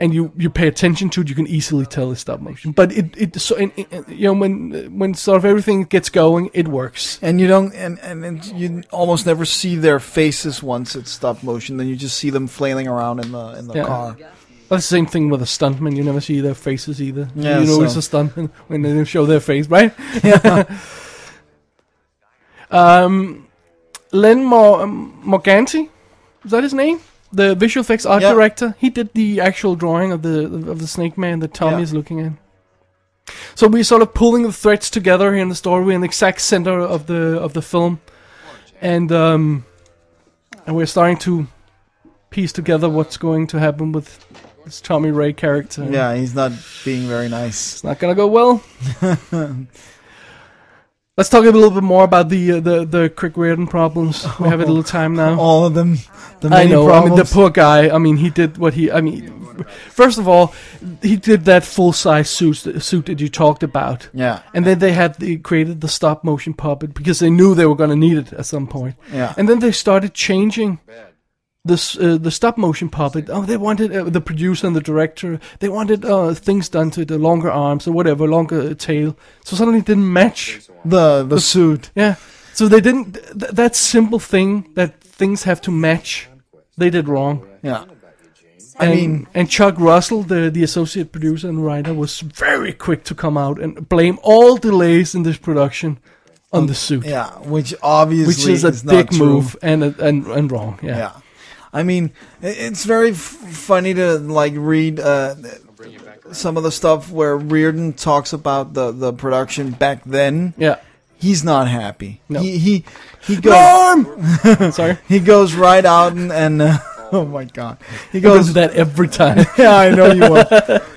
Speaker 2: and you, you pay attention to it, you can easily tell it's stop motion. But it it so and, and, you know when when sort of everything gets going, it works.
Speaker 1: and you don't and, and and you almost never see their faces once it's stop motion. Then you just see them flailing around in the in the
Speaker 2: Yeah.
Speaker 1: car.
Speaker 2: That's Oh, the same thing with a stuntman. You never see their faces either.
Speaker 1: Yeah,
Speaker 2: you know
Speaker 1: so-
Speaker 2: it's a stuntman when they show their face, right?
Speaker 1: *laughs* Yeah.
Speaker 2: Um, Len Mor- um, Morganti, is that his name? The visual effects art
Speaker 1: Yeah.
Speaker 2: director. He did the actual drawing of the of the snake man that Tommy
Speaker 1: Yeah.
Speaker 2: is looking at. So we're sort of pulling the threads together here in the story. We're in the exact center of the of the film, and um, and we're starting to piece together what's going to happen with this Tommy Ray character.
Speaker 1: Yeah, he's not being very nice.
Speaker 2: It's not gonna go
Speaker 1: *laughs*
Speaker 2: well. Let's talk a little bit more about the uh, the the Crick Reardon problems. We have a
Speaker 1: *laughs*
Speaker 2: little time now.
Speaker 1: All of them, the
Speaker 2: I
Speaker 1: many
Speaker 2: know. I mean, the
Speaker 1: problems.
Speaker 2: poor guy. I mean, he did what he. I mean, first of all, he did that full size suit suit that you talked about,
Speaker 1: yeah,
Speaker 2: and then they had they created the stop motion puppet because they knew they were gonna need it at some point.
Speaker 1: yeah,
Speaker 2: And then they started changing this uh, the stop motion puppet. Oh, they wanted uh, the producer and the director. They wanted uh, things done to it, the longer arms or whatever, longer uh, tail. So suddenly it didn't match.
Speaker 1: the the suit.
Speaker 2: Yeah. So they didn't. Th- that simple thing that things have to match, they did wrong.
Speaker 1: Yeah,
Speaker 2: I
Speaker 1: mean-
Speaker 2: and Chuck Russell, the the associate producer and writer, was very quick to come out and blame all delays in this production on the suit,
Speaker 1: yeah, which obviously
Speaker 2: which is a
Speaker 1: not
Speaker 2: dick
Speaker 1: true.
Speaker 2: move and and and wrong. Yeah.
Speaker 1: Yeah, I mean, i- it's very f- funny to like read uh, some of the stuff where Reardon talks about the the production back then.
Speaker 2: Yeah.
Speaker 1: He's not happy.
Speaker 2: No.
Speaker 1: He he he goes
Speaker 2: Sorry.
Speaker 1: he goes right out and, and *laughs* uh, oh my god, he
Speaker 2: I
Speaker 1: goes
Speaker 2: do that every time.
Speaker 1: *laughs* yeah, I know you will.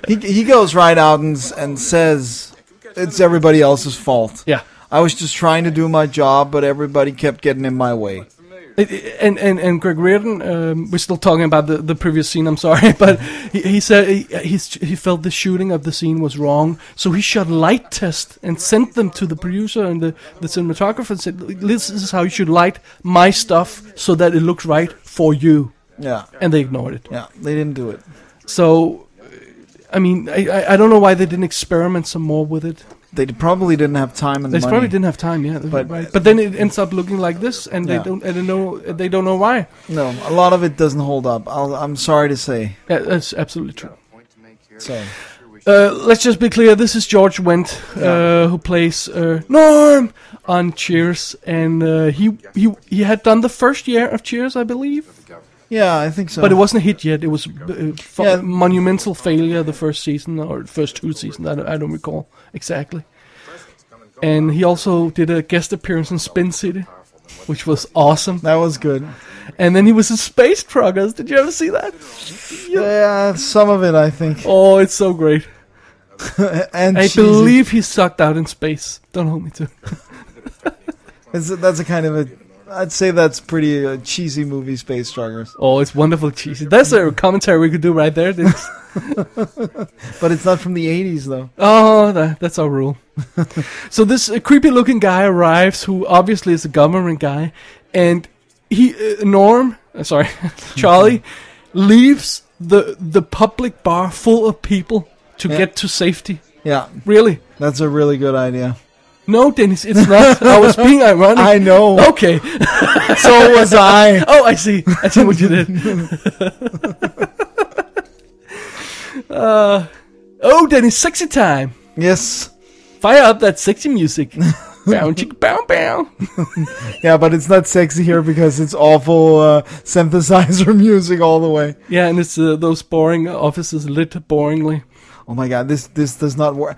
Speaker 1: he, he goes right out and, s- and says, It's everybody else's fault.
Speaker 2: yeah.
Speaker 1: I was just trying to do my job, but everybody kept getting in my way.
Speaker 2: It- it- and and and Greg Reardon, um, we're still talking about the, the previous scene. I'm sorry, *laughs* but he, he said he he's, he felt the shooting of the scene was wrong, so he shot light test and sent them to the producer and the, the cinematographer and said, "This is how you should light my stuff so that it looks right for you."
Speaker 1: Yeah.
Speaker 2: And they ignored it.
Speaker 1: Yeah. They didn't do it.
Speaker 2: So, I mean, I, I I don't know why they didn't experiment some more with it.
Speaker 1: They d- probably didn't have time and
Speaker 2: They
Speaker 1: money.
Speaker 2: probably didn't have time, yeah. But,
Speaker 1: But-
Speaker 2: right. but then it ends up looking like this, and they
Speaker 1: Yeah.
Speaker 2: don't, I don't know, they don't know why.
Speaker 1: No, a lot of it doesn't hold up. I'll, I'm sorry to say.
Speaker 2: That- That's absolutely true.
Speaker 1: So,
Speaker 3: years.
Speaker 2: Uh, let's just be clear. This is George Wendt, uh, who plays uh, Norm on Cheers, and uh, he he he had done the first year of Cheers, I believe,
Speaker 1: Yeah, I think so.
Speaker 2: but it wasn't a hit yet. It was uh, fu-
Speaker 1: Yeah.
Speaker 2: monumental failure the first season or first two seasons. I don't, I don't recall exactly. And he also did a guest appearance in Spin City, which was awesome.
Speaker 1: that was good.
Speaker 2: And then he was in Space Truckers. Did you ever see that?
Speaker 1: Yeah, some of it I think.
Speaker 2: Oh, it's so great.
Speaker 1: *laughs* And
Speaker 2: I
Speaker 1: cheesy.
Speaker 2: believe he sucked out in space. Don't hold me to. it.
Speaker 1: It's, that's a kind of a. I'd say that's pretty uh, cheesy movie, Space Truckers.
Speaker 2: Oh, it's wonderful cheesy. That's a commentary we could do right there.
Speaker 1: *laughs*
Speaker 2: That's-
Speaker 1: But it's not from the 80s, though.
Speaker 2: oh, that, that's
Speaker 1: *laughs*
Speaker 2: our rule. so this uh, creepy-looking guy arrives, who obviously is a government guy, and he uh, Norm, uh, sorry, *laughs*
Speaker 1: *laughs*
Speaker 2: Charlie, leaves the the public bar full of people to
Speaker 1: Yeah.
Speaker 2: get to safety.
Speaker 1: Yeah,
Speaker 2: Really?
Speaker 1: that's a really good idea.
Speaker 2: No, Dennis, it's not. I was being
Speaker 1: *laughs*
Speaker 2: ironic.
Speaker 1: I know. *laughs*
Speaker 2: okay.
Speaker 1: so was I.
Speaker 2: Oh, I see. I see what you did. uh, oh, Dennis, sexy time.
Speaker 1: Yes.
Speaker 2: Fire up that sexy *laughs* music. bow, chicka, bow, bow.
Speaker 1: Yeah, but it's not sexy here because it's awful uh, synthesizer *laughs* music all the way.
Speaker 2: Yeah, and it's uh, those boring offices lit boringly.
Speaker 1: Oh my god, this this does not work.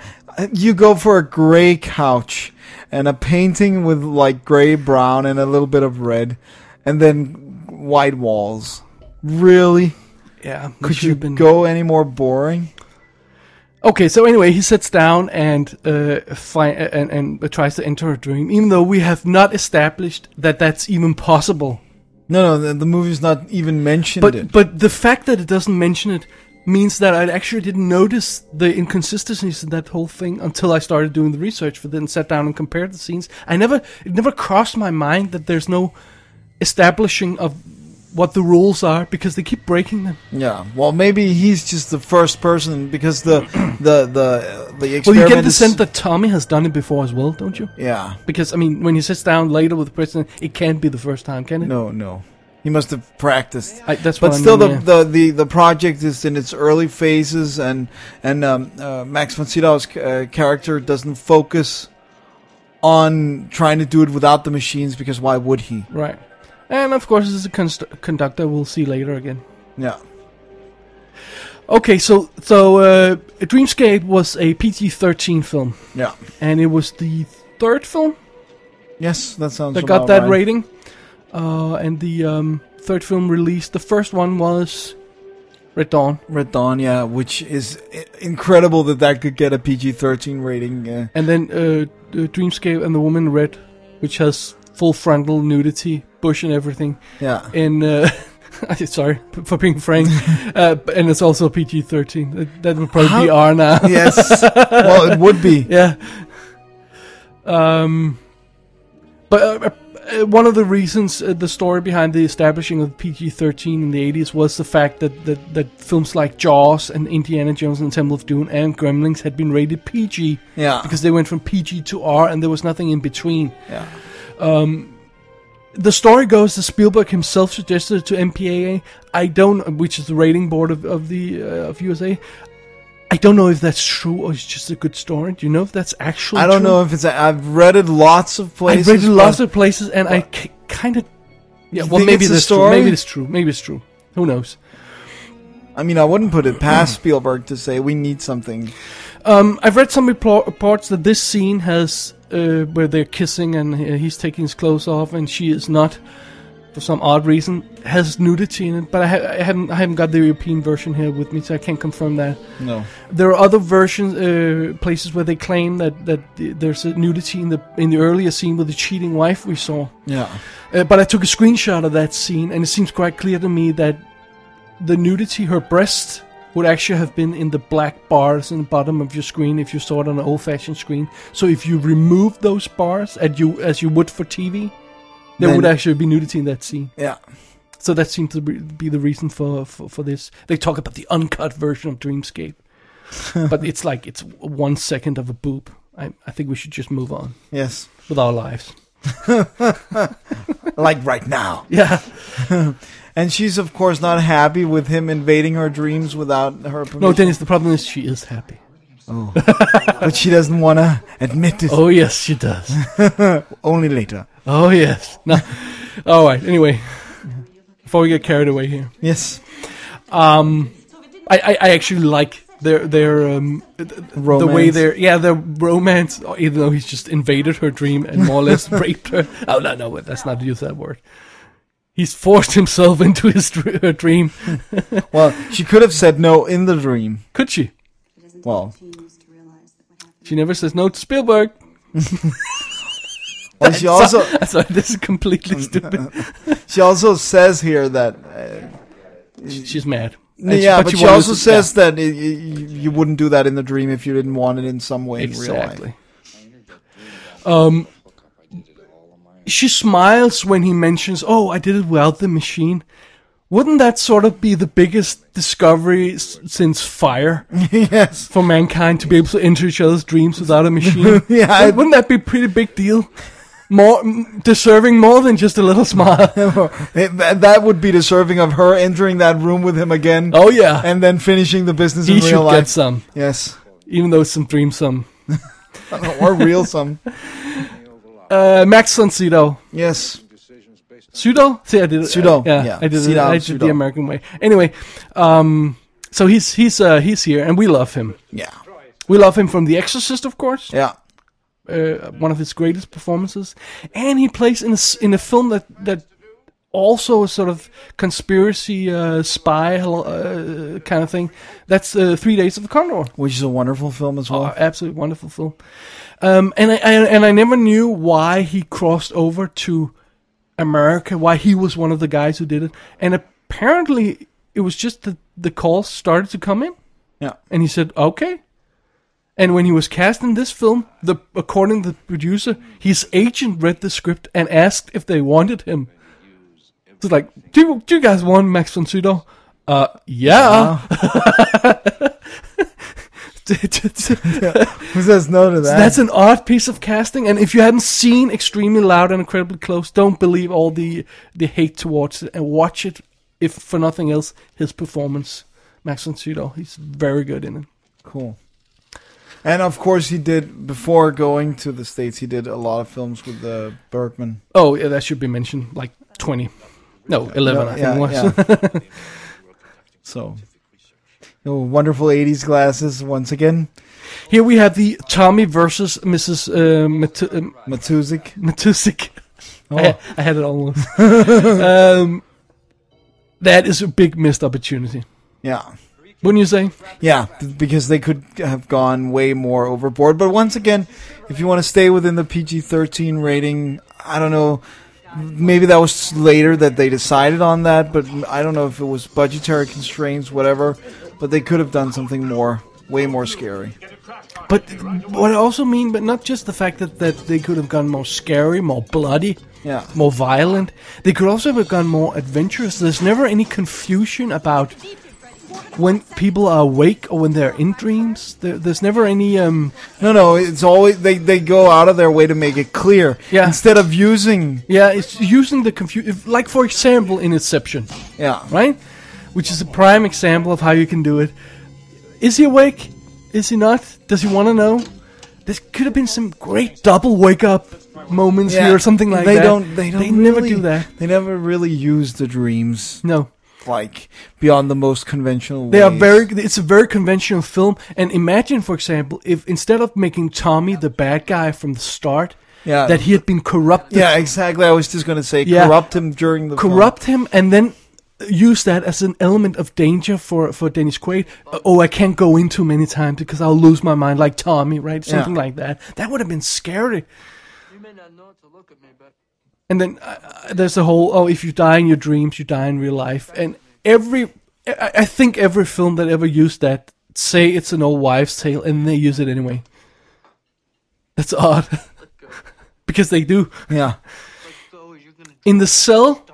Speaker 1: You go for a gray couch and a painting with like gray brown and a little bit of red, and then white walls. Really?
Speaker 2: Yeah, that
Speaker 1: Could
Speaker 2: should
Speaker 1: you
Speaker 2: have been-
Speaker 1: go any more boring?
Speaker 2: Okay, so anyway, he sits down and uh, fi- and and tries to enter a dream, even though we have not established that that's even possible.
Speaker 1: No, no, the, the movie's not even mentioned
Speaker 2: But
Speaker 1: it.
Speaker 2: but the fact that it doesn't mention it means that I actually didn't notice the inconsistencies in that whole thing until I started doing the research for it and sat down and compared the scenes. I never it never crossed my mind that there's no establishing of what the rules are because they keep breaking them.
Speaker 1: Yeah, well, maybe he's just the first person because
Speaker 2: *clears throat*
Speaker 1: the the the the experiment.
Speaker 2: Well, you get the
Speaker 1: is-
Speaker 2: sense that Tommy has done it before as well, don't you?
Speaker 1: Yeah.
Speaker 2: Because I mean, when he sits down later with the president, it can't be the first time, can it?
Speaker 1: No, no. He must have practiced.
Speaker 2: I, that's
Speaker 1: But
Speaker 2: what
Speaker 1: still,
Speaker 2: I mean, yeah.
Speaker 1: the, the, the the project is in its early phases, and and um, uh, Max von Sydow's uh, character doesn't focus on trying to do it without the machines because why would he?
Speaker 2: right. And of course, this is a const- conductor we'll see later again.
Speaker 1: Yeah,
Speaker 2: Okay, so so uh, Dreamscape was a PG-13 film,
Speaker 1: yeah,
Speaker 2: and it was the third film
Speaker 1: yes, that sounds.
Speaker 2: that
Speaker 1: about
Speaker 2: got that
Speaker 1: right.
Speaker 2: rating. Uh, and the um, third film released, the first one was Red Dawn,
Speaker 1: Red Dawn, yeah, which is i- incredible that that could get a PG thirteen rating. Uh,
Speaker 2: and then uh, uh, Dreamscape and the Woman in Red, which has full frontal nudity, bush and everything.
Speaker 1: yeah,
Speaker 2: In uh, *laughs* sorry *laughs* p- for being frank, uh, b- and it's also PG-13. That, that would probably be
Speaker 1: How- *laughs*
Speaker 2: R now.
Speaker 1: yes. Well, it would be.
Speaker 2: yeah. Um, but uh, uh, one of the reasons uh, the story behind the establishing of PG thirteen in the eighties was the fact that, that that films like Jaws and Indiana Jones and Temple of Doom and Gremlins had been rated PG
Speaker 1: Yeah,
Speaker 2: because they went from PG to R and there was nothing in between.
Speaker 1: yeah.
Speaker 2: The story goes that Spielberg himself suggested to MPAA, I don't, which is the rating board of, of the uh, of USA. I don't know if that's true or it's just a good story. Do you know if that's actually?
Speaker 1: I don't
Speaker 2: true?
Speaker 1: know if it's. A, I've read it lots of places.
Speaker 2: I read lots
Speaker 1: but
Speaker 2: of places, and I c- kind of yeah.
Speaker 1: You
Speaker 2: Well,
Speaker 1: think
Speaker 2: maybe
Speaker 1: it's a
Speaker 2: that's true.
Speaker 1: story?
Speaker 2: Maybe it's true. Maybe it's true. Who knows?
Speaker 1: I mean, I wouldn't put it past Spielberg to say we need something.
Speaker 2: Um, I've read some replo- reports that this scene has uh, where they're kissing and uh, he's taking his clothes off, and she is not for some odd reason has nudity in it. But I, ha- I haven't I haven't got the European version here with me, so I can't confirm that.
Speaker 1: No.
Speaker 2: There are other versions, uh, places where they claim that that uh, there's a nudity in the in the earlier scene with the cheating wife we saw.
Speaker 1: Yeah.
Speaker 2: Uh, but I took a screenshot of that scene, and it seems quite clear to me that the nudity, her breast, would actually have been in the black bars in the bottom of your screen if you saw it on an old-fashioned screen. So if you remove those bars, at you as you would for TV, there
Speaker 1: Then-
Speaker 2: would actually be nudity in that scene.
Speaker 1: Yeah.
Speaker 2: So that seems to be be the reason for, for, for this. They talk about the uncut version of Dreamscape, but it's like it's one second of a boob. I, I think we should just move on
Speaker 1: Yes.
Speaker 2: with our lives.
Speaker 1: like right now.
Speaker 2: *laughs* Yeah.
Speaker 1: And she's of course not happy with him invading her dreams without her permission.
Speaker 2: No, Dennis, the problem is she is happy.
Speaker 1: but she doesn't want to admit it.
Speaker 2: Oh yes, she does.
Speaker 1: Only later.
Speaker 2: oh yes. No. All right. Anyway, before we get carried away here,
Speaker 1: Yes.
Speaker 2: um, I I, I actually like their their um
Speaker 1: Romance.
Speaker 2: the way their yeah their romance. oh, Even though he's just invaded her dream and more or less *laughs* raped her. Oh no no, let's not use that word. He's forced himself into his dr- her dream.
Speaker 1: Well, she could have said no in the dream.
Speaker 2: Could she?
Speaker 1: Well,
Speaker 2: She never says no to Spielberg.
Speaker 1: well she also Um, uh,
Speaker 2: That's why this is completely stupid.
Speaker 1: she also says here that uh,
Speaker 2: She's mad. And
Speaker 1: yeah, but, she
Speaker 2: wanted
Speaker 1: also
Speaker 2: to-
Speaker 1: says that i i you, you wouldn't do that in the dream if you didn't want it in some way in real life. *laughs*
Speaker 2: Exactly. Um, she smiles when he mentions, "Oh, I did it without the machine." Wouldn't that sort of be the biggest discovery s- since fire
Speaker 1: yes.
Speaker 2: for mankind to be able to enter each other's dreams without a machine?
Speaker 1: *laughs* Yeah, I-
Speaker 2: Wouldn't that be a pretty big deal? More m- deserving more than just a little
Speaker 1: *laughs*
Speaker 2: smile.
Speaker 1: It- tha- that would be deserving of her entering that room with him again
Speaker 2: oh yeah,
Speaker 1: and then finishing the business
Speaker 2: he
Speaker 1: in
Speaker 2: should
Speaker 1: real
Speaker 2: get
Speaker 1: life.
Speaker 2: some,
Speaker 1: Yes. *laughs*
Speaker 2: even though it's some dream some.
Speaker 1: or real some.
Speaker 2: Uh, Max von Sydow.
Speaker 1: Yes.
Speaker 2: Pseudo? See, I did it.
Speaker 1: Pseudo,
Speaker 2: yeah,
Speaker 1: yeah.
Speaker 2: I did it.
Speaker 1: Pseudo,
Speaker 2: I did
Speaker 1: pseudo.
Speaker 2: the American way. Anyway, um, so he's he's uh, he's here, and we love him.
Speaker 1: Yeah.
Speaker 2: We love him from The Exorcist, of course.
Speaker 1: Yeah.
Speaker 2: Uh, one of his greatest performances, and he plays in a s- in a film that that also a sort of conspiracy uh, spy uh, kind of thing. That's uh, Three Days of the Condor.
Speaker 1: Which is a wonderful film as well.
Speaker 2: Oh, absolutely wonderful film. Um, and I, I and I never knew why he crossed over to America. Why he was one of the guys who did it. And apparently, it was just that the calls started to come in,
Speaker 1: yeah.
Speaker 2: and he said, "Okay." And when he was cast in this film, the according to the producer, his agent read the script and asked if they wanted him. It's like, do you, do you guys want Max von Sydow? Uh, yeah.
Speaker 1: Uh,
Speaker 2: *laughs* *laughs*
Speaker 1: Who says no to that?
Speaker 2: That's an odd piece of casting, and if you hadn't seen Extremely Loud and Incredibly Close, don't believe all the the hate towards it, and watch it if for nothing else. His performance, Max von Sydow, he's very good in it.
Speaker 1: cool. And of course, he did before going to the states. He did a lot of films with uh, Bergman.
Speaker 2: Oh, yeah, that should be mentioned, like twenty, no, eleven,
Speaker 1: No,
Speaker 2: I think it was.
Speaker 1: yeah. so, your wonderful '80s glasses once again,
Speaker 2: *laughs* Here we have the Tommy versus Mrs. Uh, Matu- um,
Speaker 1: Matuzik.
Speaker 2: Matusik.
Speaker 1: Oh,
Speaker 2: I, I had it almost.
Speaker 1: *laughs*
Speaker 2: um, that is a big missed opportunity,
Speaker 1: yeah,
Speaker 2: wouldn't you say?
Speaker 1: yeah, th- because they could have gone way more overboard. But once again, if you want to stay within the PG-13 rating, I don't know. Maybe that was later that they decided on that, but I don't know if it was budgetary constraints, whatever. But they could have done something more, way more scary.
Speaker 2: But what I also mean, but not just the fact that, that they could have gone more scary, more bloody,
Speaker 1: Yeah.
Speaker 2: more violent. They could also have gone more adventurous. There's never any confusion about when people are awake or when they're in dreams. There, there's never any. Um,
Speaker 1: No, no, it's always they, they go out of their way to make it clear.
Speaker 2: Yeah.
Speaker 1: Instead of using
Speaker 2: yeah, it's using the confusion. Like for example, in Inception,
Speaker 1: yeah.
Speaker 2: right? Which is a prime example of how you can do it. Is he awake? Is he not? Does he want to know? There could have been some great double wake up moments
Speaker 1: Yeah.
Speaker 2: here or something like
Speaker 1: they
Speaker 2: that.
Speaker 1: Don't, they don't
Speaker 2: They never
Speaker 1: really-
Speaker 2: do that.
Speaker 1: They never really use the dreams
Speaker 2: No,
Speaker 1: like beyond the most conventional
Speaker 2: they are
Speaker 1: ways.
Speaker 2: very. It's a very conventional film. And imagine, for example, if instead of making Tommy the bad guy from the start,
Speaker 1: Yeah.
Speaker 2: that he had been corrupted,
Speaker 1: Yeah, exactly. I was just gonna say
Speaker 2: Yeah.
Speaker 1: corrupt him during the film.
Speaker 2: corrupt him, and then use that as an element of danger for for Dennis Quaid. Uh, Oh, I can't go in too many times because I'll lose my mind, like Tommy, right? Something like that. That would have been scary.
Speaker 3: You may not know to look at me, but
Speaker 2: And then uh, uh, there's the whole oh, if you die in your dreams, you die in real life. And every, I, I think every film that ever used that say it's an old wives' tale, and they use it anyway. That's odd, *laughs* because they do.
Speaker 1: Yeah.
Speaker 3: so you're gonna
Speaker 2: In the cell,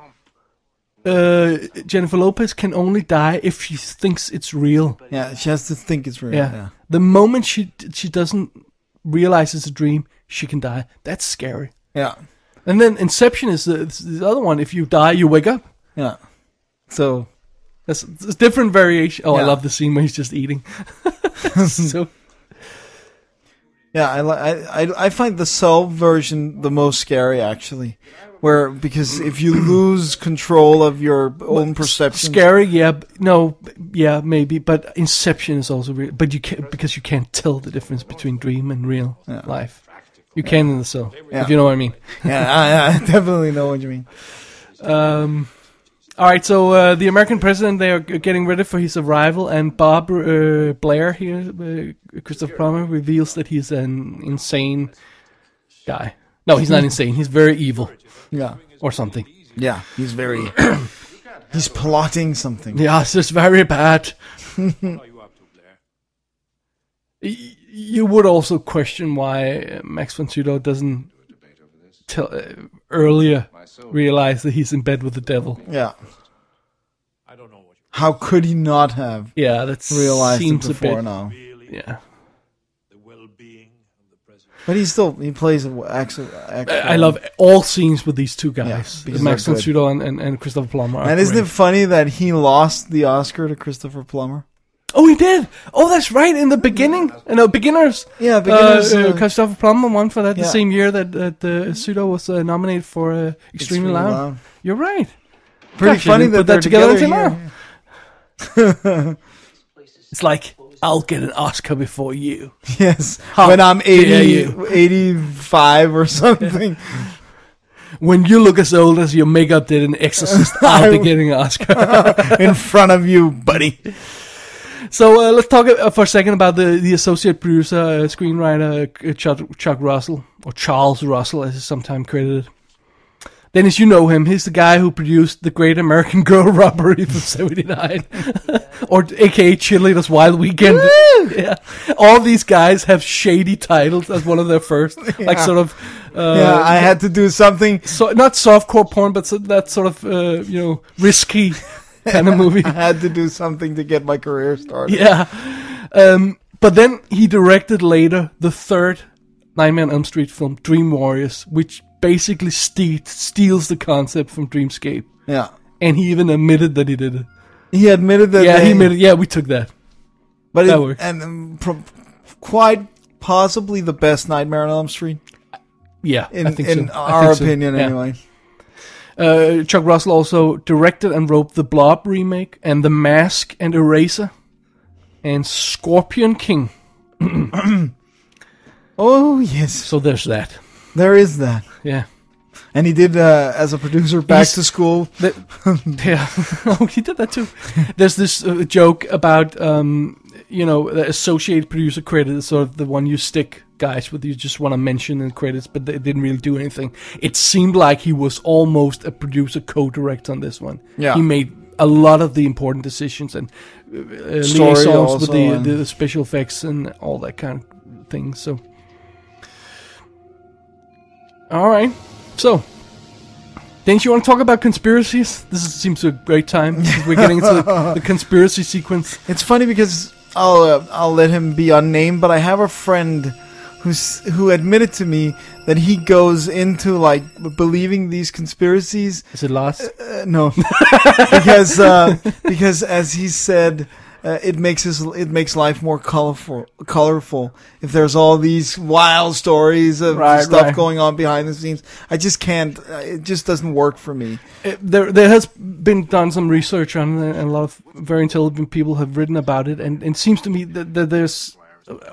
Speaker 2: uh, Jennifer Lopez can only die if she thinks it's real.
Speaker 1: Yeah. She has to think it's real.
Speaker 2: Yeah.
Speaker 1: Yeah.
Speaker 2: The moment she she doesn't realize it's a dream, she can die. That's scary.
Speaker 1: Yeah.
Speaker 2: And then Inception is the, is the other one. If you die, you wake up.
Speaker 1: Yeah. So
Speaker 2: That's, that's different variation. Oh, I
Speaker 1: Yeah. *laughs*
Speaker 2: love the scene where he's just eating. *laughs* so
Speaker 1: Yeah, I, li- I I I find the cell version the most scary actually, where because if you lose control of your own perception,
Speaker 2: Scary, yeah. b- No, b- yeah, maybe. But Inception is also real. But you can't because you can't tell the difference between dream and real life. You can in the cell,
Speaker 1: Yeah.
Speaker 2: if you know what I mean.
Speaker 1: yeah, I, I
Speaker 2: *laughs*
Speaker 1: definitely know what you mean.
Speaker 2: Um, all right, so uh, the American president they are g- getting ready for his arrival, and Bob uh, Blair here, uh, Christopher Plummer, reveals that he's an insane guy. No, he's not insane. He's very evil
Speaker 1: Yeah,
Speaker 2: or something.
Speaker 1: yeah, he's
Speaker 2: *clears throat*
Speaker 1: very, he's plotting something.
Speaker 2: Yeah, it's just very bad. *laughs*
Speaker 4: Are you up to Blair?
Speaker 2: Y- you would also question why uh, Max von Sydow doesn't tell uh, earlier realize that he's in bed with the devil.
Speaker 1: Yeah,
Speaker 4: I don't know what you
Speaker 1: how could he not have
Speaker 2: Yeah, that
Speaker 1: realized it
Speaker 2: seems a
Speaker 1: before
Speaker 2: bit.
Speaker 1: now?
Speaker 4: really
Speaker 2: Yeah,
Speaker 4: the well-being of the president.
Speaker 1: But he still he plays it excellent. excellent.
Speaker 2: I love all scenes with these two guys,
Speaker 1: Yeah, because
Speaker 2: Max
Speaker 1: they're
Speaker 2: von
Speaker 1: good.
Speaker 2: Sydow and, and, and Christopher Plummer. are
Speaker 1: And isn't it
Speaker 2: great.
Speaker 1: funny that he lost the Oscar to Christopher Plummer?
Speaker 2: Oh, he did. Oh, that's right. In the beginning, uh, no, beginners.
Speaker 1: Mm. Yeah,
Speaker 2: Because
Speaker 1: because
Speaker 2: uh,
Speaker 1: uh,
Speaker 2: Christopher Plummer won for that the
Speaker 1: yeah.
Speaker 2: same year that that uh, Sydow was uh, nominated for uh, Extremely,
Speaker 1: Extremely
Speaker 2: Loud.
Speaker 1: Loud.
Speaker 2: You're right.
Speaker 1: pretty
Speaker 2: Gosh, you
Speaker 1: funny
Speaker 2: didn't
Speaker 1: that
Speaker 2: put
Speaker 1: they're
Speaker 2: that together,
Speaker 1: together
Speaker 2: until now. It's like I'll get an Oscar before you.
Speaker 1: *laughs* Yes,
Speaker 2: How
Speaker 1: when I'm
Speaker 2: dare
Speaker 1: 80,
Speaker 2: you.
Speaker 1: 85 or *laughs*
Speaker 2: *laughs*
Speaker 1: something.
Speaker 2: When you look as old as your makeup did in
Speaker 1: *laughs*
Speaker 2: Exorcist, I'll be getting an Oscar.
Speaker 1: in front of you, buddy.
Speaker 2: Uh, so uh, let's talk uh, for a second about the, the associate producer, uh, screenwriter uh, Chuck, Chuck Russell, or Charles Russell, as he's sometimes credited. Dennis, you know him. He's the guy who produced the Great American *laughs* Girl
Speaker 1: *laughs*
Speaker 2: Robbery from '79, or AKA Cheerleaders Wild Weekend. *laughs* yeah, all these guys have shady titles as one of their
Speaker 1: *laughs*
Speaker 2: first, like
Speaker 1: Yeah.
Speaker 2: sort of. Uh,
Speaker 1: yeah, I had to do something.
Speaker 2: so not softcore porn, but so, that sort of uh, you know
Speaker 1: *laughs*
Speaker 2: risky kind of movie.
Speaker 1: I had to do something to get my career started.
Speaker 2: *laughs* yeah. Um, but then he directed later the third Nightmare on Elm Street film, Dream Warriors, which basically ste- steals the concept from Dreamscape,
Speaker 1: Yeah.
Speaker 2: and he even admitted that he did it.
Speaker 1: He admitted that.
Speaker 2: yeah,
Speaker 1: they-
Speaker 2: he admitted. Yeah, we took that.
Speaker 1: But
Speaker 2: that
Speaker 1: it-
Speaker 2: works.
Speaker 1: and um, pro- quite possibly the best Nightmare on Elm Street
Speaker 2: Yeah,
Speaker 1: in,
Speaker 2: I think
Speaker 1: in
Speaker 2: so. I
Speaker 1: our
Speaker 2: think so.
Speaker 1: opinion,
Speaker 2: Yeah.
Speaker 1: anyway.
Speaker 2: Uh, Chuck Russell also directed and wrote the Blob remake and the Mask and Eraser and Scorpion King.
Speaker 1: Oh yes,
Speaker 2: So there's that.
Speaker 1: there is that.
Speaker 2: Yeah.
Speaker 1: And he did uh, as a producer back
Speaker 2: He's-
Speaker 1: to school.
Speaker 2: The, *laughs* yeah, oh, he did that too. There's this uh, joke about um, you know the associate producer credit is sort of the one you stick guys with you just want to mention in credits, but they didn't really do anything. It seemed like he was almost a producer co-direct on this one.
Speaker 1: Yeah.
Speaker 2: he made a lot of the important decisions and uh, uh,
Speaker 1: Story
Speaker 2: liaisons with
Speaker 1: also
Speaker 2: the,
Speaker 1: and-
Speaker 2: the special effects and all that kind of thing. So, all right, so. Didn't you want to talk about conspiracies? This is, seems a great time. 'cause We're getting into the, the conspiracy sequence.
Speaker 1: It's funny because I'll uh, I'll let him be unnamed, but I have a friend who's who admitted to me that he goes into like b- believing these conspiracies.
Speaker 2: Is it last?
Speaker 1: Uh,
Speaker 2: *laughs*
Speaker 1: no, because uh, because as he said. Uh, it makes his it makes life more colorful. Colorful if there's all these wild stories of
Speaker 2: Right,
Speaker 1: stuff
Speaker 2: right.
Speaker 1: going on behind the scenes. I just can't. uh, It just doesn't work for me.
Speaker 2: Uh, there, there has been done some research on it, and a lot of very intelligent people have written about it, and, and it seems to me that, that there's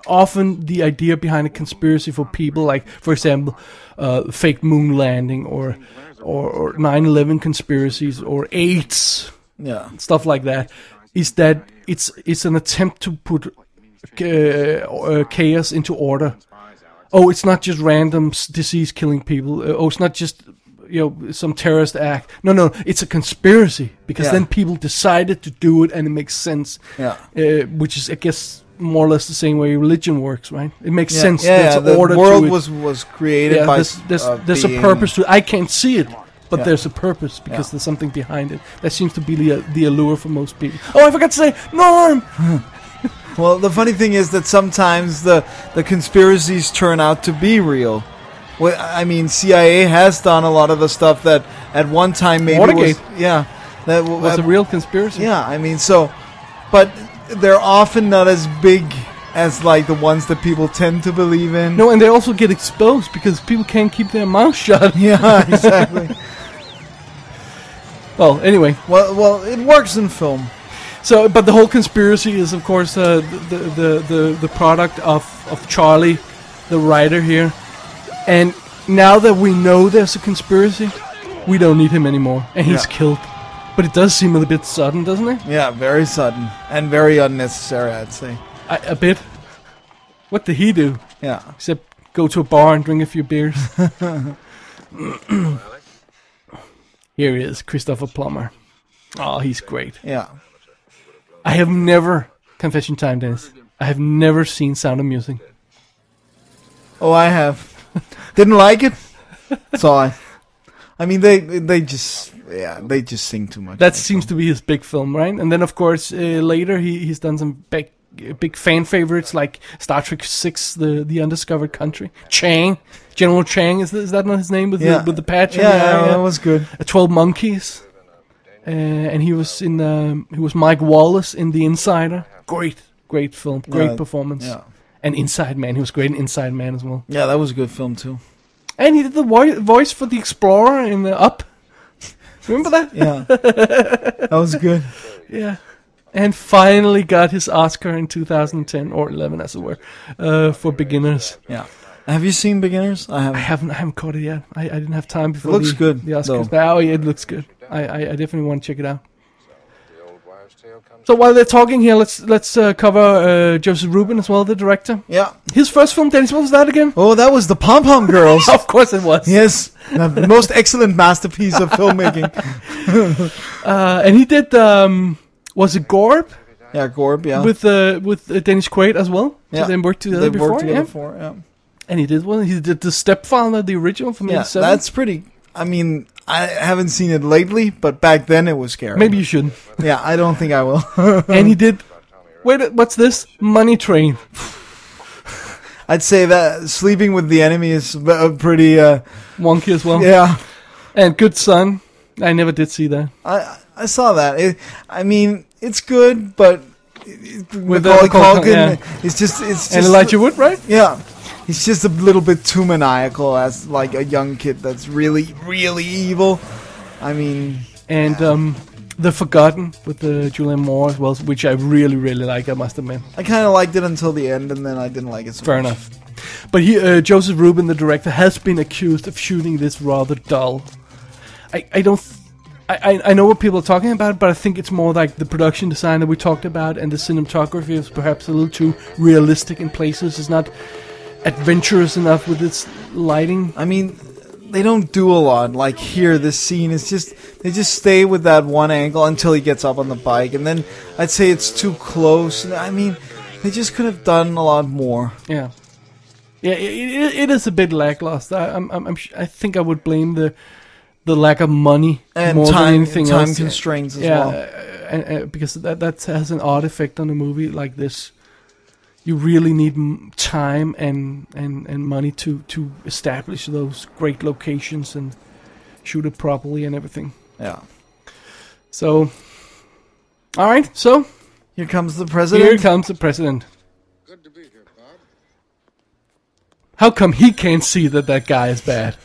Speaker 2: often the idea behind a conspiracy for people, like, for example, uh, fake moon landing or, or, or 9-11 conspiracies or AIDS.
Speaker 1: Yeah,
Speaker 2: stuff like that is that it's it's an attempt to put uh, uh, chaos into order. Oh, it's not just random s- disease killing people. Uh, oh, it's not just you know some terrorist act. No, no, it's a conspiracy because
Speaker 1: Yeah.
Speaker 2: then people decided to do it and it makes sense.
Speaker 1: yeah.
Speaker 2: Uh, which is, I guess, more or less the same way religion works, right? It makes
Speaker 1: Yeah,
Speaker 2: sense.
Speaker 1: yeah,
Speaker 2: There's
Speaker 1: yeah,
Speaker 2: an
Speaker 1: the
Speaker 2: order to
Speaker 1: world
Speaker 2: it.
Speaker 1: was was created
Speaker 2: yeah,
Speaker 1: by
Speaker 2: there's there's,
Speaker 1: uh,
Speaker 2: there's a
Speaker 1: being-
Speaker 2: purpose to. I can't see it, but
Speaker 1: Yeah.
Speaker 2: there's a purpose because there's something behind it. That seems to be the uh, the allure for most people. Oh, I forgot to say Norm.
Speaker 1: Well, the funny thing is that sometimes the the conspiracies turn out to be real. Well, I mean, CIA has done a lot of the stuff that at one time maybe
Speaker 2: Watergate.
Speaker 1: was yeah that w-
Speaker 2: Was a real conspiracy.
Speaker 1: yeah. I mean, so but they're often not as big as like the ones that people tend to believe in.
Speaker 2: No, and they also get exposed because people can't keep their mouth *laughs* shut.
Speaker 1: *laughs* Yeah, exactly. *laughs*
Speaker 2: well, anyway.
Speaker 1: well, well, it works in film.
Speaker 2: So, but the whole conspiracy is, of course, uh, the, the the the product of of Charlie, the writer here, and now that we know there's a conspiracy, we don't need him anymore, and he's
Speaker 1: Yeah.
Speaker 2: killed. But it does seem a little bit sudden, doesn't it?
Speaker 1: Yeah, very sudden and very unnecessary, I'd say.
Speaker 2: I, a bit. What did he do?
Speaker 1: Yeah.
Speaker 2: Except go to a bar and drink a few
Speaker 1: *laughs*
Speaker 2: beers. Here he is, Christopher Plummer. Oh, he's great.
Speaker 1: Yeah.
Speaker 2: I have never, confession time, Dennis, I have never seen Sound of Music.
Speaker 1: Oh, I have. *laughs* Didn't like it. So I. I mean, they they just yeah they just sing too much.
Speaker 2: That seems to be his big film, right? And then, of course, uh, later he, he's done some big, big fan favorites like Star Trek Six, the the Undiscovered Country, Chang, General Chang. Is, is that not his name with
Speaker 1: yeah.
Speaker 2: the, with the patch? on
Speaker 1: Yeah,
Speaker 2: the eye?
Speaker 1: yeah, that was good.
Speaker 2: uh, Twelve Monkeys, uh, and he was in um, he was Mike Wallace in The Insider. Great, great film, great
Speaker 1: Yeah,
Speaker 2: performance.
Speaker 1: Yeah,
Speaker 2: And Inside Man, he was great in Inside Man as well.
Speaker 1: yeah, that was a good film too.
Speaker 2: And he did the voi- voice for the Explorer in the Up. *laughs* Remember that? *laughs*
Speaker 1: Yeah, that was good.
Speaker 2: yeah. And finally got his Oscar in 2010 or 11, as it were, uh, for beginners.
Speaker 1: Yeah. Have you seen Beginners? I
Speaker 2: I
Speaker 1: have.
Speaker 2: haven't, I haven't caught it yet. I, I didn't have time before.
Speaker 1: looks
Speaker 2: the,
Speaker 1: good,
Speaker 2: The Oscars.
Speaker 1: though.
Speaker 2: Oh, yeah, it looks good. I, I, I definitely want to check it out. So while they're talking here, let's let's uh, cover uh, Joseph Rubin as well, the director.
Speaker 1: Yeah.
Speaker 2: His first film, Dennis, what was that again? *laughs*
Speaker 1: Oh, that was the Pom Pom Girls.
Speaker 2: Of course it was.
Speaker 1: yes, the most excellent masterpiece of filmmaking.
Speaker 2: Uh, and he did um, was it Gorb
Speaker 1: Yeah, Gorb. Yeah,
Speaker 2: with uh, with uh, Dennis Quaid as well? So
Speaker 1: Yeah.
Speaker 2: they worked together
Speaker 1: they
Speaker 2: before.
Speaker 1: worked together
Speaker 2: yeah?
Speaker 1: before. Yeah,
Speaker 2: And he did one. He did the stepfather, the original from
Speaker 1: yeah
Speaker 2: '87.
Speaker 1: that's pretty. I mean, I haven't seen it lately, but back then it was scary.
Speaker 2: Maybe you shouldn't.
Speaker 1: Yeah, I don't think I will. *laughs*
Speaker 2: and he did. Wait, what's this? Money Train.
Speaker 1: I'd say that sleeping with the enemy is b- uh, pretty. Uh,
Speaker 2: Wonky as well.
Speaker 1: yeah,
Speaker 2: And Good Son. I never did see that.
Speaker 1: I I saw that. It, I mean, it's good, but it, it,
Speaker 2: With,
Speaker 1: with
Speaker 2: uh,
Speaker 1: Macaulay
Speaker 2: Macaulay Culkin,
Speaker 1: Culkin, it's just it's just
Speaker 2: and Elijah Wood, right?
Speaker 1: Yeah, he's just a little bit too maniacal as like a young kid that's really really evil. I mean,
Speaker 2: And um, The Forgotten with uh, Julian Moore as well, which I really, really like. I must admit.
Speaker 1: I kind of liked it until the end, and then I didn't like it. So
Speaker 2: Fair
Speaker 1: much.
Speaker 2: enough. But he, uh, Joseph Rubin, the director, has been accused of shooting this rather dull. I, I don't. Th- I, I- I know what people are talking about, but I think it's more like the production design that we talked about, and the cinematography is perhaps a little too realistic in places. It's not adventurous enough with its lighting.
Speaker 1: I mean, they don't do a lot. Like here, this scene is just they just stay with that one angle until he gets up on the bike, and then I'd say it's too close. And I mean, they just could have done a lot more.
Speaker 2: Yeah, yeah, it, it, it is a bit lackluster. I, I'm, I'm, I'm sh- I think I would blame the the lack of money
Speaker 1: And
Speaker 2: more than
Speaker 1: time
Speaker 2: anything
Speaker 1: time
Speaker 2: else.
Speaker 1: constraints as
Speaker 2: yeah,
Speaker 1: well.
Speaker 2: uh, and, uh, because that that has an odd effect on a movie like this. You really need m- time and, and, and money to, to establish those great locations and shoot it properly and everything.
Speaker 1: Yeah.
Speaker 2: So, all right. So
Speaker 1: Here comes the
Speaker 2: here
Speaker 1: president. *laughs*
Speaker 2: comes the president. How come he can't see that that guy is bad?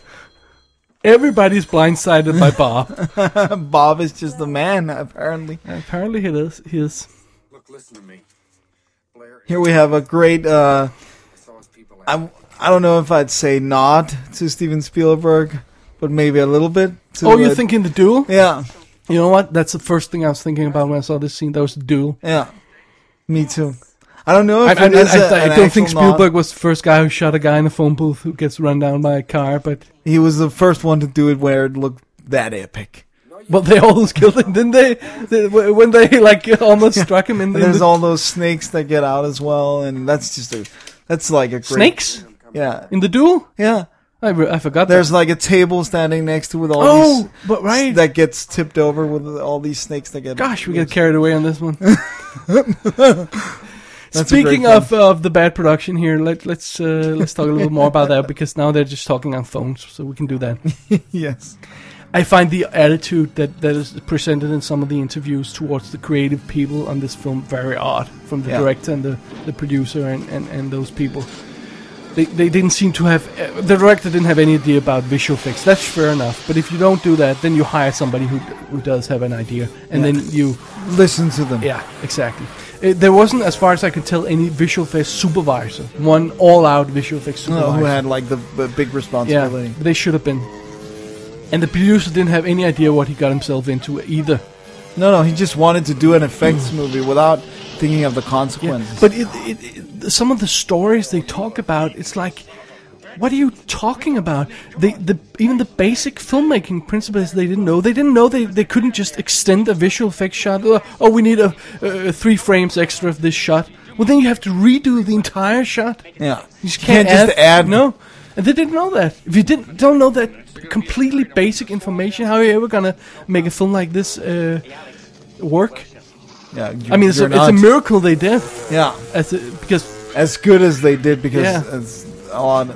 Speaker 2: Everybody's blindsided by Bob.
Speaker 1: Bob is just the man, *laughs* apparently.
Speaker 2: Apparently, he is. He is.
Speaker 5: Look, listen to me. Blair
Speaker 1: Here we have a great. Uh,
Speaker 5: saw his people out.
Speaker 1: I I don't know if I'd say nod to Steven Spielberg, but maybe a little bit. To,
Speaker 2: Oh, you're
Speaker 1: uh,
Speaker 2: thinking the duel?
Speaker 1: Yeah.
Speaker 2: You know what? That's the first thing I was thinking about when I saw this scene. That was the duel.
Speaker 1: Yeah, me too. I don't know
Speaker 2: I,
Speaker 1: if
Speaker 2: I-
Speaker 1: it is
Speaker 2: I-
Speaker 1: a-
Speaker 2: I
Speaker 1: an
Speaker 2: don't think
Speaker 1: actual nod.
Speaker 2: Spielberg was the first guy who shot a guy in a phone booth who gets run down by a car, but
Speaker 1: He was the first one to do it where it looked that epic.
Speaker 2: well, they almost *laughs* killed him, didn't they? They- When they like *laughs* almost struck him in,
Speaker 1: And
Speaker 2: the- in
Speaker 1: there's
Speaker 2: the
Speaker 1: all those snakes that get out as well, and that's just a that's like a great,
Speaker 2: snakes
Speaker 1: Yeah,
Speaker 2: in the duel.
Speaker 1: yeah.
Speaker 2: I, re- I forgot. that.
Speaker 1: There's like a table standing next to with all
Speaker 2: oh,
Speaker 1: these
Speaker 2: but right.
Speaker 1: that gets tipped over with all these snakes that get.
Speaker 2: Gosh, we got carried away on this one.
Speaker 1: That's a great
Speaker 2: Speaking
Speaker 1: film.
Speaker 2: of of the bad production here, let let's uh, let's talk a little more about that because now they're just talking on phones, so we can do that.
Speaker 1: *laughs* yes,
Speaker 2: I find the attitude that, that is presented in some of the interviews towards the creative people on this film very odd from the
Speaker 1: Yeah.
Speaker 2: director and the, the producer and, and, and those people. They, they didn't seem to have uh, the director didn't have any idea about visual effects. That's fair enough. But if you don't do that, then you hire somebody who who does have an idea, and
Speaker 1: Yeah.
Speaker 2: then you
Speaker 1: Listen to them.
Speaker 2: yeah, exactly. Uh, there wasn't, as far as I could tell, any visual effects supervisor. One all-out visual effects
Speaker 1: No,
Speaker 2: supervisor.
Speaker 1: who had like the, the big
Speaker 2: yeah,
Speaker 1: responsibility.
Speaker 2: but they should have been. And the producer didn't have any idea what he got himself into either.
Speaker 1: No, no, he just wanted to do an effects movie without thinking of the consequences.
Speaker 2: But it, it, it, some of the stories they talk about, it's like, what are you talking about? They, the, even the basic filmmaking principles they didn't know. They didn't know they, they couldn't just extend a visual effects shot. Oh, oh, we need a, uh, three frames extra of this shot. Well, then you have to redo the entire shot.
Speaker 1: yeah,
Speaker 2: You just can't,
Speaker 1: just add.
Speaker 2: No, and they didn't know that. If you didn't don't know that completely basic information, how are you ever gonna make a film like this uh, work?
Speaker 1: Yeah, you-
Speaker 2: I mean, it's a,
Speaker 1: you're
Speaker 2: it's a
Speaker 1: not.
Speaker 2: miracle they did,
Speaker 1: Yeah,
Speaker 2: as a, because
Speaker 1: as good as they did because
Speaker 2: Yeah.
Speaker 1: it's, a lot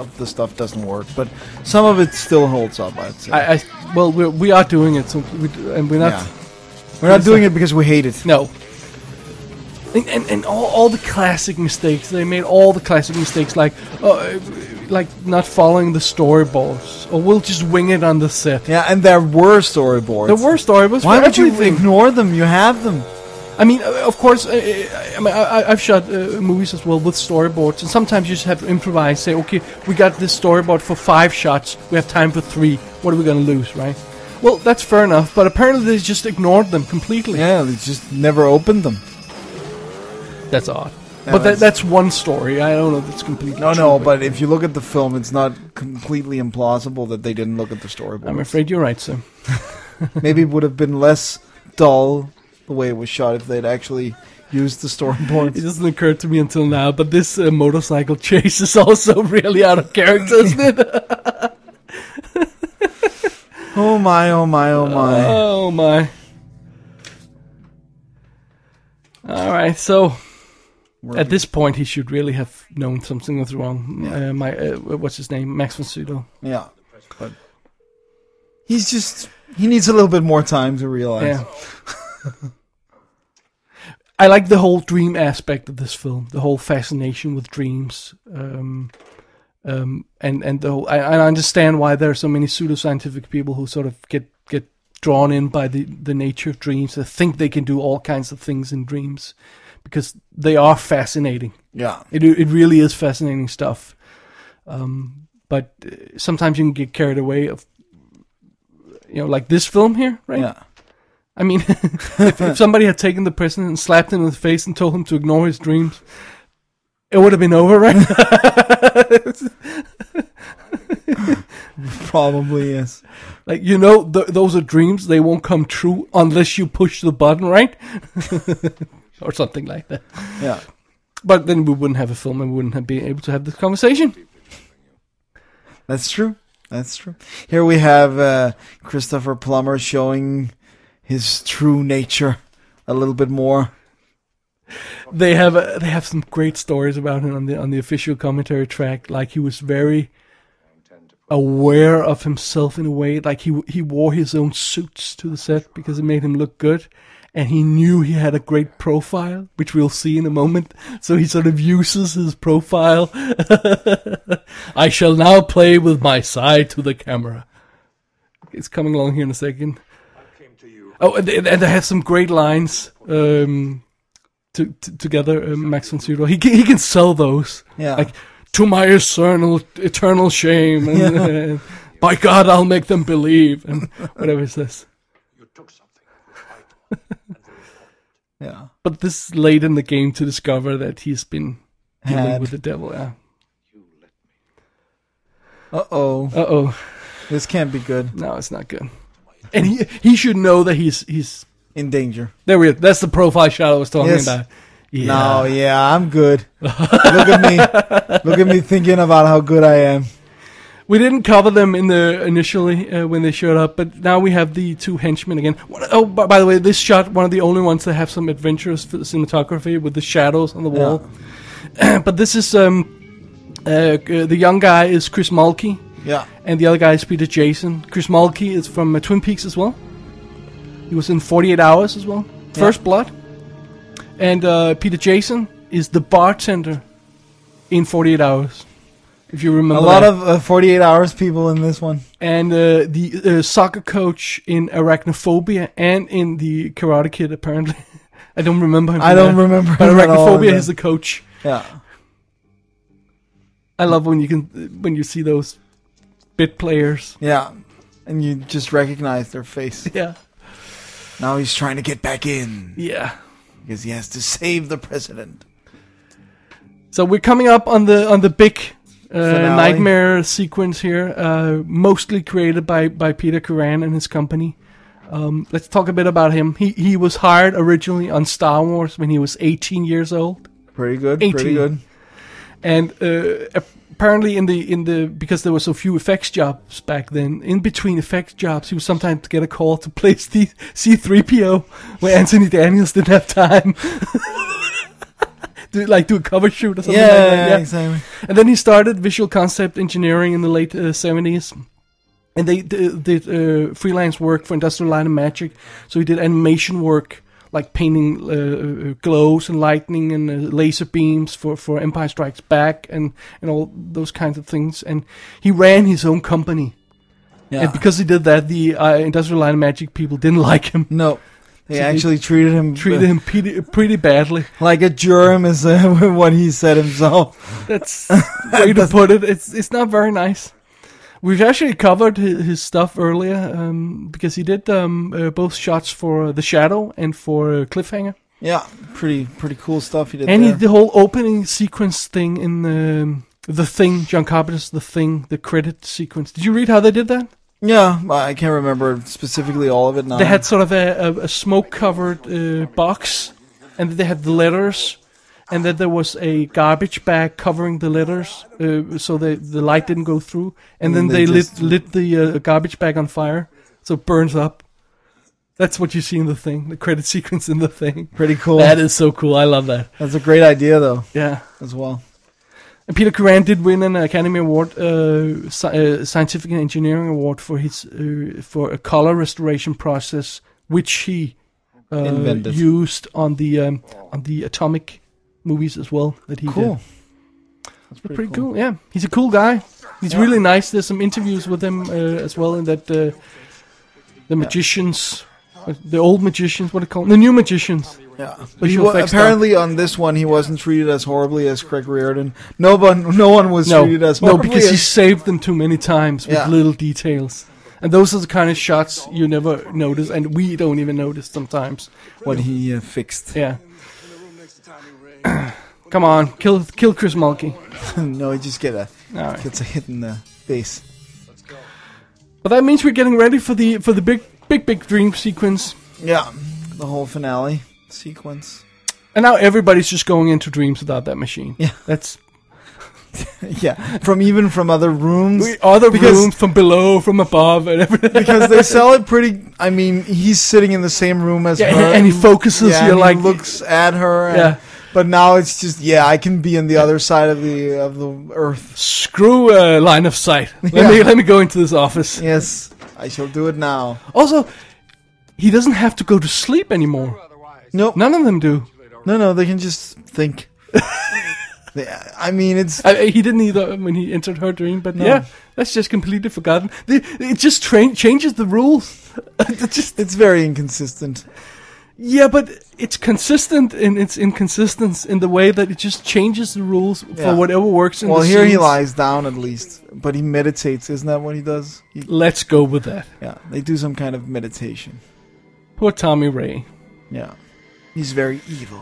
Speaker 1: of the stuff doesn't work, but some of it still holds up. I'd say.
Speaker 2: I, I well we're, we are doing it, so we, do- and we're not.
Speaker 1: yeah. We're not doing it because we hate it.
Speaker 2: No. And, and, and all, all the classic mistakes they made all the classic mistakes like uh, like not following the storyboards or we'll just wing it on the set.
Speaker 1: Yeah, and there were storyboards.
Speaker 2: There were storyboards.
Speaker 1: Why
Speaker 2: for
Speaker 1: would you
Speaker 2: everything.
Speaker 1: ignore them? You have them.
Speaker 2: I mean, uh, of course, uh, uh, I mean, I, I- I've shot uh, movies as well with storyboards, and sometimes you just have to improvise. Say, okay, we got this storyboard for five shots. We have time for three. What are we going to lose, right? Well, that's fair enough, but apparently they just ignored them completely.
Speaker 1: Yeah, they just never opened them.
Speaker 2: That's odd.
Speaker 1: Yeah,
Speaker 2: but that,
Speaker 1: that's-
Speaker 2: that's one story. I don't know if it's completely
Speaker 1: No,
Speaker 2: true,
Speaker 1: no, but if you look at the film, it's not completely implausible that they didn't look at the storyboard.
Speaker 2: I'm afraid you're right, sir.
Speaker 1: Maybe it would have been less dull the way it was shot if they'd actually used the
Speaker 2: It
Speaker 1: storyboards.
Speaker 2: doesn't occur to me until now, but this uh, motorcycle *laughs* chase is also really out of character, isn't it?
Speaker 1: oh my, oh my, oh my.
Speaker 2: Oh my. Alright, so at this point he should really have known something was wrong. Uh, my uh, what's his name? Max von Sydow.
Speaker 1: yeah. But he's just he needs a little bit more time to realize.
Speaker 2: Yeah. *laughs* I like the whole dream aspect of this film, the whole fascination with dreams, um, um, and and the whole, I, I understand why there are so many pseudoscientific people who sort of get get drawn in by the the nature of dreams. They think they can do all kinds of things in dreams because they are fascinating.
Speaker 1: Yeah.
Speaker 2: It it really is fascinating stuff. Um, but uh, sometimes you can get carried away of you know like this film here, right?
Speaker 1: Yeah.
Speaker 2: I mean, *laughs* if, if somebody had taken the president and slapped him in the face and told him to ignore his dreams, it would have been over, right?
Speaker 1: Probably is.
Speaker 2: like you know, th- those are dreams; they won't come true unless you push the button, right? *laughs* or something like that.
Speaker 1: Yeah.
Speaker 2: But then we wouldn't have a film, and we wouldn't have been able to have this conversation.
Speaker 1: That's true. That's true. Here we have uh, Christopher Plummer showing his true nature a little bit more.
Speaker 2: They have uh they have some great stories about him on the on the official commentary track. Like he was very aware of himself in a way. Like he he wore his own suits to the set because it made him look good, and he knew he had a great profile, which we'll see in a moment. So he sort of uses his profile. *laughs* I shall now play with my side to the camera. It's coming along here in a second. Oh, and, and and they have some great lines um, to, to, together. Um, Max von Sydow, he can, he can sell those.
Speaker 1: Yeah.
Speaker 2: like to my eternal eternal shame, *laughs* and uh, by God, I'll make them believe, and whatever it says.
Speaker 4: You took something.
Speaker 1: Yeah.
Speaker 2: But this is late in the game to discover that he's been dealing
Speaker 1: Had.
Speaker 2: with the devil. Yeah.
Speaker 1: Uh oh.
Speaker 2: Uh oh,
Speaker 1: This can't be good.
Speaker 2: no, it's not good. And he he should know that he's he's
Speaker 1: In danger.
Speaker 2: there. We are. that's the profile shot I was talking
Speaker 1: Yes.
Speaker 2: about. Yeah.
Speaker 1: No, yeah, I'm good. Look at me. Look at me thinking about how good I am.
Speaker 2: We didn't cover them in the initially uh, when they showed up, but now we have the two henchmen again. What, oh, by, by the way, this shot one of the only ones that have some adventurous f- cinematography with the shadows on the *clears throat* wall. but this is um, uh, g- the young guy is Chris Mulkey,
Speaker 1: Yeah.
Speaker 2: and the other guy is Peter Jason. Chris Mulkey is from uh, Twin Peaks as well. He was in 48 Hours as well. First Blood. And uh, Peter Jason is the bartender in 48 Hours. If you remember
Speaker 1: A lot
Speaker 2: that.
Speaker 1: of uh, 48 hours people in this one.
Speaker 2: and uh, the uh, soccer coach in Arachnophobia and in the Karate Kid. Apparently, *laughs* I don't *laughs* remember. Him
Speaker 1: I
Speaker 2: from
Speaker 1: don't
Speaker 2: that,
Speaker 1: remember
Speaker 2: But
Speaker 1: him at all in
Speaker 2: Arachnophobia
Speaker 1: that.
Speaker 2: is the coach.
Speaker 1: Yeah.
Speaker 2: I love when you can when you see those
Speaker 1: *laughs*
Speaker 2: bit players.
Speaker 1: Yeah. And you just recognize their face.
Speaker 2: Yeah,
Speaker 1: Now he's trying to get back in
Speaker 2: yeah.
Speaker 1: because he has to save the president.
Speaker 2: So we're coming up on the on the big uh,
Speaker 1: Finale.
Speaker 2: nightmare sequence here, uh, mostly created by by Peter Curran and his company. Um, let's talk a bit about him. He he was hired originally on Star Wars when he was 18 years old.
Speaker 1: Pretty good.
Speaker 2: 18.
Speaker 1: Pretty good.
Speaker 2: and uh, apparently in the in the because there were so few effects jobs back then in between effects jobs he would sometimes get a call to place the c3po where anthony daniels didn't have time *laughs* do like do a cover shoot or something
Speaker 1: Yeah,
Speaker 2: like that
Speaker 1: yeah, exactly.
Speaker 2: and then he started visual concept engineering in the late uh, 70s and they d- did uh, freelance work for industrial light and magic so he did animation work like painting uh, uh, glows and lightning and uh, laser beams for, for empire strikes back and, and all those kinds of things and he ran his own company
Speaker 1: Yeah.
Speaker 2: and because he did that the uh, industrial light and magic people didn't *laughs* like him
Speaker 1: no. They
Speaker 2: So they
Speaker 1: actually treated him
Speaker 2: treated him pretty, pretty badly
Speaker 1: like a germ is uh, *laughs* what he said himself.
Speaker 2: That's the way to put it. It's it's not very nice. We've actually covered his, his stuff earlier um, because he did um, uh, both shots for The Shadow and for uh, Cliffhanger,
Speaker 1: Yeah, pretty pretty cool stuff he did
Speaker 2: and he
Speaker 1: there.
Speaker 2: did the whole opening sequence thing in um, the Thing, John Carpenter's The Thing, the credit sequence. Did you read how they did that?
Speaker 1: yeah, I I can't remember specifically all of it now.
Speaker 2: They had sort of a, a, a smoke-covered uh, box, and they had the letters, and then there was a garbage bag covering the letters, uh, so the the light didn't go through. And, then they,
Speaker 1: they
Speaker 2: lit
Speaker 1: just-
Speaker 2: lit the uh, garbage bag on fire, so it burns up. That's what you see in the thing, the credit *laughs* sequence in the thing.
Speaker 1: pretty cool.
Speaker 2: That is so cool. I love that.
Speaker 1: That's a great idea though,
Speaker 2: Yeah.
Speaker 1: as well.
Speaker 2: And Peter Curran did win an Academy Award, uh, sci- uh, Scientific and Engineering Award for his uh, for a color restoration process, which he uh,
Speaker 1: Invented.
Speaker 2: used on the um, on the Atomic movies as well that he
Speaker 1: Cool.
Speaker 2: did. Pretty, pretty cool. Yeah, he's a cool guy. He's really nice. There's some interviews with him uh, as well in that uh, the magicians, uh, the old magicians, what are they called? The new magicians.
Speaker 1: Yeah. He
Speaker 2: Visual
Speaker 1: wa-
Speaker 2: effects
Speaker 1: apparently on this one he wasn't treated as horribly as Craig Reardon. No one no one was
Speaker 2: No,
Speaker 1: treated as
Speaker 2: no,
Speaker 1: horribly
Speaker 2: because he
Speaker 1: as,
Speaker 2: saved them too many times with
Speaker 1: Yeah.
Speaker 2: little details. And those are the kind of shots you never notice, and we don't even notice sometimes.
Speaker 1: what he uh, fixed.
Speaker 2: Yeah. *clears throat* Come on, kill kill Chris Mulkey.
Speaker 1: *laughs* no, he just get a
Speaker 2: Alright.
Speaker 1: gets a hit in the face.
Speaker 2: But that means we're getting ready for the for the big big big dream sequence.
Speaker 1: Yeah. The whole finale sequence. *laughs*
Speaker 2: And now everybody's just going into dreams without that machine.
Speaker 1: Yeah. *laughs*
Speaker 2: That's
Speaker 1: yeah. From even from other rooms.
Speaker 2: we *laughs* other
Speaker 1: Because-
Speaker 2: rooms from below, from above, and everything.
Speaker 1: because they sell it pretty. I mean, he's sitting in the same room as
Speaker 2: Yeah,
Speaker 1: her,
Speaker 2: and, and he focuses.
Speaker 1: yeah,
Speaker 2: you're
Speaker 1: and
Speaker 2: like
Speaker 1: he looks at her. and-
Speaker 2: Yeah.
Speaker 1: but now it's just yeah, I can be on the other side of the of the earth.
Speaker 2: screw uh, line of sight. Let
Speaker 1: *laughs*
Speaker 2: me
Speaker 1: Yeah.
Speaker 2: let me go into this office.
Speaker 1: Yes, I shall do it now.
Speaker 2: Also, he doesn't have to go to sleep anymore.
Speaker 1: No, no,
Speaker 2: None of them do.
Speaker 1: no, they can just think. They- I mean, it's
Speaker 2: I, I- he didn't either when he entered her dream, but
Speaker 1: No.
Speaker 2: yeah, that's just completely forgotten. The- It just tra- changes the rules. It *laughs* just
Speaker 1: it's very inconsistent.
Speaker 2: yeah, but it's consistent in its inconsistence in the way that it just changes the rules for
Speaker 1: Yeah.
Speaker 2: whatever works. In
Speaker 1: Well,
Speaker 2: the
Speaker 1: here he
Speaker 2: scenes.
Speaker 1: lies down at least, but he meditates. Isn't that what he does? He,
Speaker 2: Let's go with that.
Speaker 1: yeah, they do some kind of meditation.
Speaker 2: Poor Tommy Ray.
Speaker 1: Yeah, he's very evil.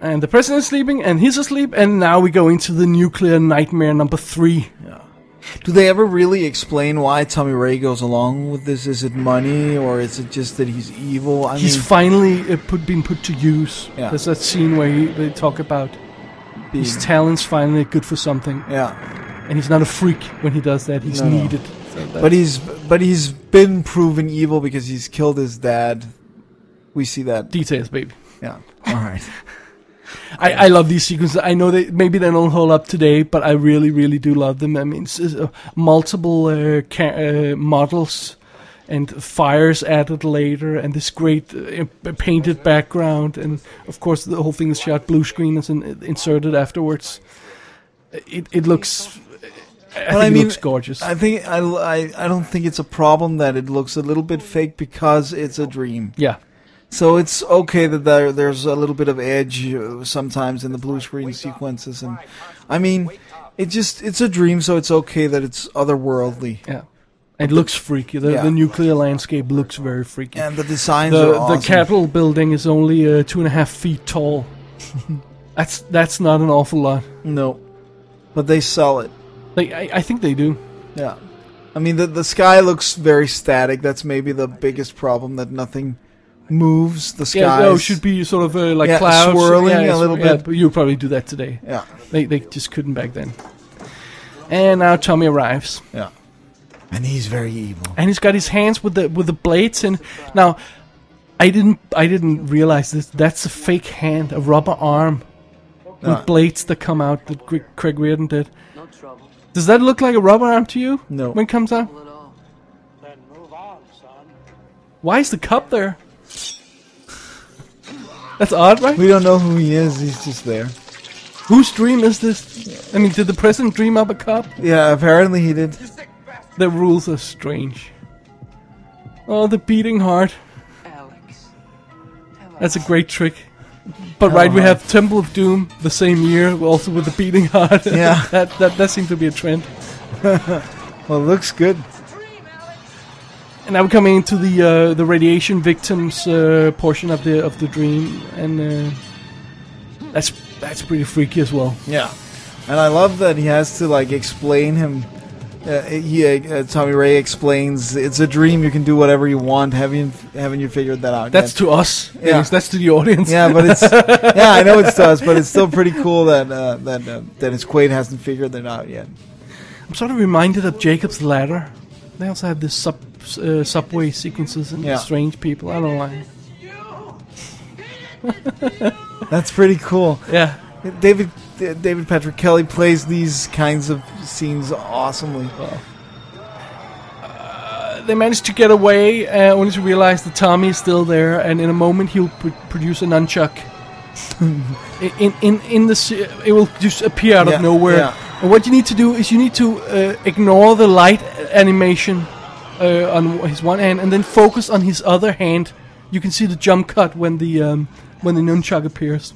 Speaker 2: And the president's sleeping, and he's asleep, and now we go into the nuclear nightmare number three.
Speaker 1: Do they ever really explain why Tommy Ray goes along with this? Is it money or is it just that he's evil? I
Speaker 2: He's
Speaker 1: mean,
Speaker 2: finally uh, put, been put to use.
Speaker 1: Yeah.
Speaker 2: There's that scene where he, they talk about
Speaker 1: being-
Speaker 2: his talent's finally good for something,
Speaker 1: yeah,
Speaker 2: and he's not a freak when he does that. He's
Speaker 1: No, no.
Speaker 2: needed. So that-
Speaker 1: but he's but he's been proven evil because he's killed his dad. We see that.
Speaker 2: details, baby.
Speaker 1: Yeah. All right.
Speaker 2: I, I love these sequences. I know they maybe they don't hold up today, but I really really do love them. I mean, it's, it's, uh, multiple uh, ca- uh, models and fires added later, and this great uh, uh, painted background, and of course the whole thing is shot blue screen and in, inserted afterwards. It it looks. I think
Speaker 1: I
Speaker 2: it
Speaker 1: mean,
Speaker 2: looks gorgeous.
Speaker 1: I think I, I, I don't think it's a problem that it looks a little bit fake because it's a dream.
Speaker 2: yeah.
Speaker 1: So it's okay that there, there's a little bit of edge uh, sometimes in the blue screen sequences, and I mean, it just it's a dream, so it's okay that it's otherworldly.
Speaker 2: Yeah. It looks freaky. The,
Speaker 1: Yeah.
Speaker 2: the nuclear landscape looks very freaky.
Speaker 1: And the designs
Speaker 2: the
Speaker 1: are awesome.
Speaker 2: the Capitol building is only uh, two and a half feet tall.
Speaker 1: *laughs*
Speaker 2: that's that's not an awful lot.
Speaker 1: no, but they sell it.
Speaker 2: Like I, I think they do.
Speaker 1: Yeah, I mean the the sky looks very static. That's maybe the biggest problem that nothing moves. The sky.
Speaker 2: Yeah, no, should be sort of uh, like
Speaker 1: Yeah,
Speaker 2: clouds
Speaker 1: swirling
Speaker 2: yeah,
Speaker 1: a
Speaker 2: it's-
Speaker 1: little
Speaker 2: yeah,
Speaker 1: bit.
Speaker 2: But you probably do that today.
Speaker 1: Yeah,
Speaker 2: They they just couldn't back then. And now Tommy arrives,
Speaker 1: yeah. And he's very evil.
Speaker 2: and he's got his hands with the with the blades. And now, I didn't I didn't realize this. That's a fake hand, a rubber arm
Speaker 1: No,
Speaker 2: with blades that come out that Greg, Craig Reardon did.
Speaker 3: No trouble
Speaker 2: Does that look like a rubber arm to you?
Speaker 1: No.
Speaker 2: When it comes out?
Speaker 3: at all.
Speaker 6: Then move on, son.
Speaker 2: Why is the cup there? That's odd, right?
Speaker 1: we don't know who he is. He's just there.
Speaker 2: Whose dream is this? I mean, did the president dream up a cup?
Speaker 1: Yeah, apparently he did.
Speaker 2: The rules are strange. Oh, the beating heart.
Speaker 3: Alex. Hello.
Speaker 2: That's a great trick. But right, we have Temple of Doom the same year, also with the beating heart.
Speaker 1: Yeah.
Speaker 2: *laughs* that, that that seemed to be a trend.
Speaker 1: Well, looks good.
Speaker 2: And now we're coming into the uh, the radiation victims uh, portion of the of the dream, and uh, that's that's pretty freaky as well.
Speaker 1: Yeah, and I love that he has to like explain him. Uh, he, uh, Tommy Ray explains it's a dream. You can do whatever you want. Haven't haven't you figured that out?
Speaker 2: That's
Speaker 1: yet?
Speaker 2: to us.
Speaker 1: Yeah.
Speaker 2: Dennis, That's to the audience.
Speaker 1: yeah, but *laughs* it's yeah. I know it's us, but it's still pretty cool that uh, that uh, Dennis Quaid hasn't figured that out yet.
Speaker 2: I'm sort of reminded of Jacob's Ladder. They also have this sub uh, subway sequences and
Speaker 1: Yeah.
Speaker 2: strange people. I don't like.
Speaker 1: That's pretty cool.
Speaker 2: Yeah.
Speaker 1: David D- David Patrick Kelly plays these kinds of scenes awesomely.
Speaker 2: They manage to get away, uh, only to realize that Tommy is still there, and in a moment he'll pr- produce
Speaker 1: *laughs*
Speaker 2: a nunchuck. I- in in in the se- it will just appear out of
Speaker 1: Yeah,
Speaker 2: nowhere.
Speaker 1: yeah.
Speaker 2: And what you need to do is you need to uh, ignore the light animation uh, on his one hand, and then focus on his other hand. You can see the jump cut when the um, when the nunchuck appears.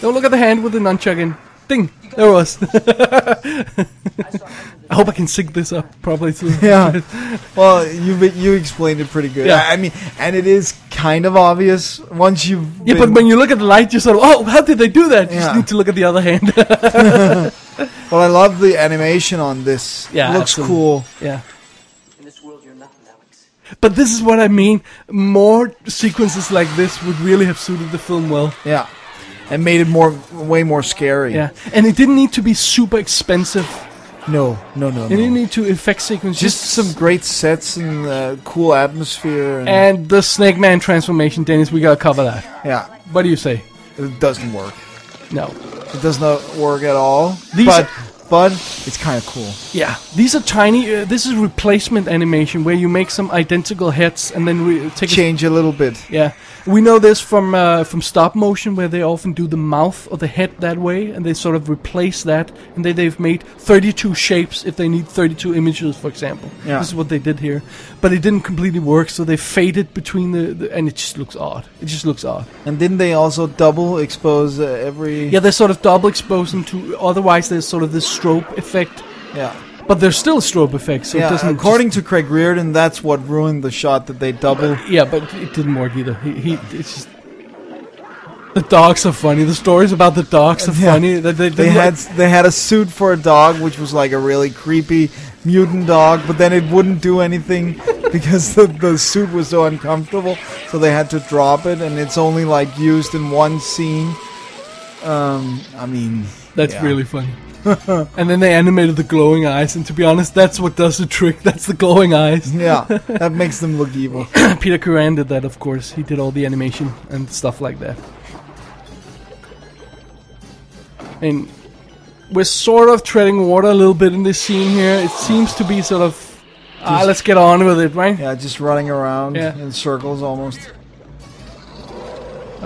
Speaker 2: Don't look at the hand with the nunchuck in. Ding! There it was. *laughs* I hope I can sync this up properly too. *laughs*
Speaker 1: Yeah. *laughs* Well, you you explained it pretty good.
Speaker 2: Yeah.
Speaker 1: I, I mean, and it is kind of obvious once you've
Speaker 2: Yeah, but
Speaker 1: been-
Speaker 2: when you look at the light, you sort of, oh, how did they do that? You just
Speaker 1: Yeah.
Speaker 2: need to look at the other hand. *laughs*
Speaker 1: Well, I love the animation on this.
Speaker 2: Yeah,
Speaker 1: looks
Speaker 2: absolutely.
Speaker 1: cool.
Speaker 2: yeah.
Speaker 3: In this world, you're nothing, Alex.
Speaker 2: But this is what I mean. More sequences like this would really have suited the film well.
Speaker 1: Yeah, and made it more, way more scary.
Speaker 2: Yeah. And it didn't need to be super expensive.
Speaker 1: No, no, no.
Speaker 2: It
Speaker 1: no.
Speaker 2: didn't need to effect sequences.
Speaker 1: Just some great sets and uh, cool atmosphere. And,
Speaker 2: And the Snake Man transformation, Dennis, we gotta cover that.
Speaker 1: yeah,
Speaker 2: What do you say?
Speaker 1: it doesn't work.
Speaker 2: No.
Speaker 1: It does not work at all.
Speaker 2: These
Speaker 1: but
Speaker 2: are-
Speaker 1: but it's kind of cool.
Speaker 2: Yeah, these are tiny. Uh, this is replacement animation where you make some identical heads and then re- take. a-
Speaker 1: Change a little bit.
Speaker 2: yeah, we know this from uh, from stop motion where they often do the mouth or the head that way, and they sort of replace that, and then they've made 32 shapes if they need 32 images, for example.
Speaker 1: Yeah.
Speaker 2: This is what they did here, but it didn't completely work, so they faded between the, the and it just looks odd. It just looks odd.
Speaker 1: And didn't they also double expose uh, every?
Speaker 2: Yeah, they're sort of double exposing to. Otherwise, there's sort of this strobe effect,
Speaker 1: yeah.
Speaker 2: but there's still a strobe effect, so it
Speaker 1: Yeah,
Speaker 2: doesn't. just-
Speaker 1: according to Craig Reardon, that's what ruined the shot that they
Speaker 2: *laughs*
Speaker 1: double.
Speaker 2: Yeah, but it didn't work either. He, he it's just the dogs are funny. The stories about the dogs are
Speaker 1: Yeah.
Speaker 2: funny. They, they,
Speaker 1: They had they had a suit for a dog, which was like a really creepy mutant dog, but then it wouldn't do anything *laughs* because the, the suit was so uncomfortable. So they had to drop it, and it's only like used in one scene. Um, I mean,
Speaker 2: that's
Speaker 1: yeah.
Speaker 2: really funny.
Speaker 1: *laughs*
Speaker 2: and then they animated the glowing eyes, and to be honest, that's what does the trick. *laughs* That's the glowing
Speaker 1: *laughs*
Speaker 2: eyes. *laughs*
Speaker 1: yeah, that makes them look evil.
Speaker 2: Peter Curran did that, of course. He did all the animation and stuff like that. And we're sort of treading water a little bit in this scene here. It seems to be sort of, ah, let's get on with it, right?
Speaker 1: Yeah, just running around
Speaker 2: Yeah.
Speaker 1: in circles almost.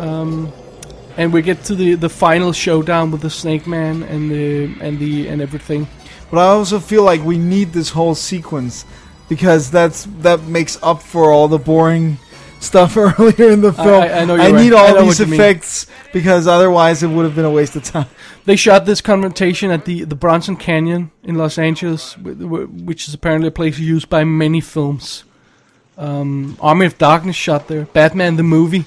Speaker 2: And we get to the, the final showdown with the Snake Man and the and the and everything.
Speaker 1: But I also feel like we need this whole sequence because that's that makes up for all the boring stuff *laughs* earlier in the film.
Speaker 2: I- I know you're
Speaker 1: need
Speaker 2: right. I
Speaker 1: all
Speaker 2: know
Speaker 1: these
Speaker 2: what you mean.
Speaker 1: effects because otherwise it would have been a waste of time. *laughs*
Speaker 2: They shot this confrontation at the, the Bronson Canyon in Los Angeles, wh- wh- which is apparently a place used by many films. Um, Army of Darkness shot there, Batman the movie,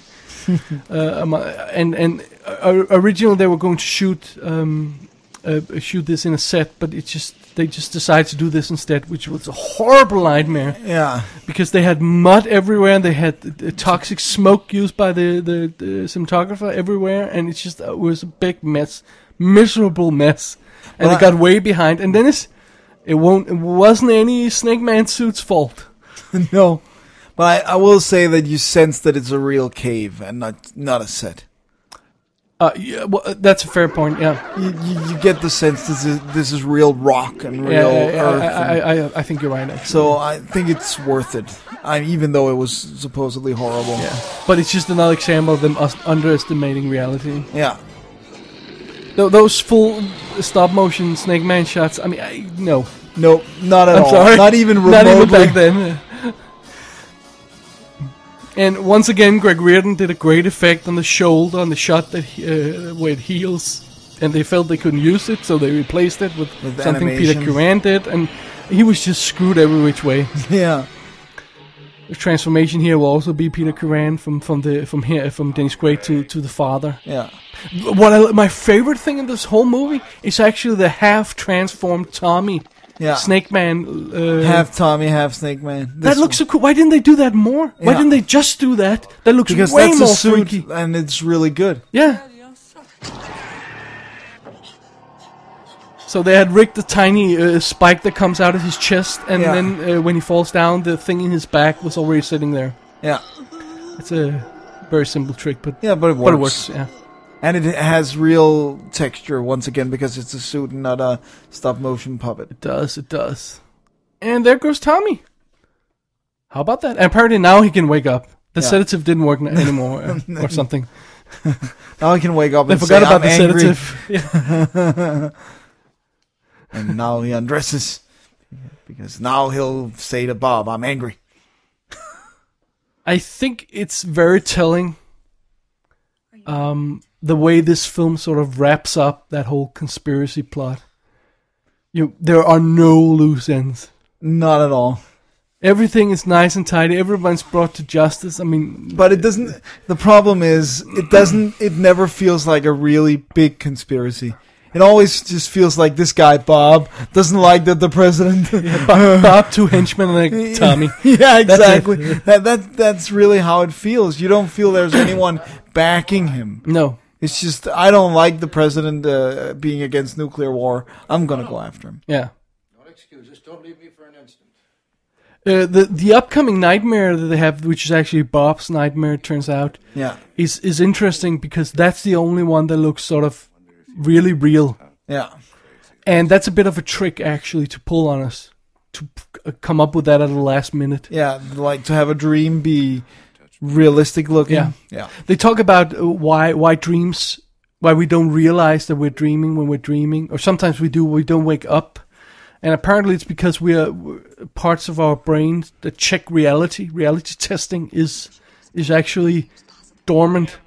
Speaker 2: uh, um, uh, and and uh, originally they were going to shoot um, uh, shoot this in a set, but it just they just decided to do this instead, which was a horrible nightmare
Speaker 1: Yeah,
Speaker 2: because they had mud everywhere and they had uh, toxic smoke used by the, the, the cinematographer everywhere and it's just it was a big mess miserable mess and
Speaker 1: Well,
Speaker 2: it got way behind and then it's, it won't it wasn't any snake man suit's fault
Speaker 1: *laughs* no. But I, I will say that you sense that it's a real cave and not not a set.
Speaker 2: uh, yeah, well, uh, that's a fair point yeah
Speaker 1: You, you, you get the sense this is this is real rock and
Speaker 2: yeah,
Speaker 1: real
Speaker 2: yeah, yeah,
Speaker 1: earth.
Speaker 2: I,
Speaker 1: and-
Speaker 2: I, I, I think you're right actually.
Speaker 1: so I think it's worth it, I, even though it was supposedly horrible.
Speaker 2: yeah but it's just another example of them us- underestimating reality
Speaker 1: yeah.
Speaker 2: Th- those full stop motion snake man shots i mean I, no
Speaker 1: Nope, not at
Speaker 2: I'm
Speaker 1: all.
Speaker 2: sorry.
Speaker 1: Not even remotely.
Speaker 2: *laughs* Not even back then. and once again, Greg Reardon did a great effect on the shoulder on the shot that he- uh, where it heals, and they felt they couldn't use it, so they replaced it with,
Speaker 1: With
Speaker 2: something
Speaker 1: animation.
Speaker 2: Peter Curran did, and he was just screwed every which way.
Speaker 1: Yeah.
Speaker 2: the transformation here will also be Peter Curran from from the from here from Dennis Quaid to to the father.
Speaker 1: Yeah.
Speaker 2: What I, my favorite thing in this whole movie is actually the half transformed Tommy.
Speaker 1: Yeah.
Speaker 2: Snake Man. Uh,
Speaker 1: Half Tommy, half Snake Man. This
Speaker 2: that looks so cool. Why didn't they do that more? Why
Speaker 1: Yeah.
Speaker 2: didn't they just do that? That looks
Speaker 1: because
Speaker 2: way
Speaker 1: that's
Speaker 2: more
Speaker 1: a suit
Speaker 2: freaky.
Speaker 1: and it's really good.
Speaker 2: Yeah. So they had rigged the tiny uh, spike that comes out of his chest, and
Speaker 1: Yeah.
Speaker 2: then uh, when he falls down, the thing in his back was already sitting there.
Speaker 1: Yeah.
Speaker 2: It's a very simple trick, but
Speaker 1: Yeah, but it works.
Speaker 2: but it works. Yeah.
Speaker 1: And it has real texture once again because it's a suit and not a stop motion puppet.
Speaker 2: does, it does. And there goes Tommy. How about that? And apparently now he can wake up. The
Speaker 1: Yeah.
Speaker 2: sedative didn't work n-
Speaker 1: *laughs*
Speaker 2: anymore, uh, or something.
Speaker 1: Now I can wake up
Speaker 2: They
Speaker 1: and
Speaker 2: forgot
Speaker 1: say,
Speaker 2: about
Speaker 1: I'm
Speaker 2: the
Speaker 1: angry.
Speaker 2: sedative.
Speaker 1: *laughs* And now he undresses. Because now he'll say to Bob, I'm angry.
Speaker 2: I think it's very telling. Um, the way this film sort of wraps up that whole conspiracy plot. You, there are no loose ends.
Speaker 1: Not at all.
Speaker 2: Everything is nice and tidy. Everyone's brought to justice. I
Speaker 1: *laughs*
Speaker 2: mean,
Speaker 1: But it doesn't. The problem is, it doesn't. It never feels like a really big conspiracy. It always just feels like this guy Bob doesn't like that the
Speaker 2: *laughs*
Speaker 1: president.
Speaker 2: Bob, Bob two henchmen and a Tommy.
Speaker 1: *laughs* yeah,
Speaker 2: That's it.
Speaker 1: exactly. that, that that's really how it feels. You don't feel there's anyone backing him.
Speaker 2: No,
Speaker 1: It's just I don't like the president uh, being against nuclear war. I'm gonna go after him.
Speaker 2: yeah.
Speaker 7: No excuses. Don't leave me for an instant.
Speaker 2: Uh, the the upcoming nightmare that they have, which is actually Bob's nightmare, it turns out,
Speaker 1: Yeah,
Speaker 2: is is interesting because that's the only one that looks sort of really real,
Speaker 1: yeah,
Speaker 2: and that's a bit of a trick actually to pull on us to p- uh, come up with that at the last minute.
Speaker 1: yeah. Like to have a dream be realistic looking.
Speaker 2: Yeah.
Speaker 1: yeah,
Speaker 2: They talk about uh, why why dreams, why we don't realize that we're dreaming when we're dreaming, or sometimes we do, we don't wake up, and apparently it's because we are w- parts of our brains that check reality. Reality testing is is actually dormant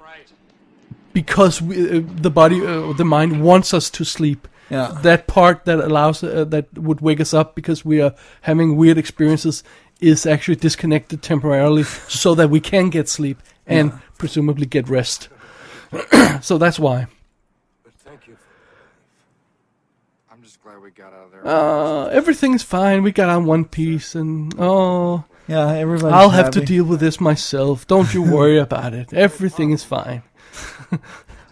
Speaker 2: because we, uh, the body, uh, the mind wants us to sleep.
Speaker 1: yeah.
Speaker 2: That part that allows uh, that would wake us up because we are having weird experiences is actually disconnected *laughs* temporarily so that we can get sleep and presumably get rest. *clears throat* so that's why.
Speaker 5: I'm just glad we got out of there.
Speaker 2: Uh, everything's fine. We got on one piece, and oh,
Speaker 1: Yeah, everybody.
Speaker 2: I'll have to deal with this myself. Don't
Speaker 1: *laughs*
Speaker 2: you worry about it. Everything is fine.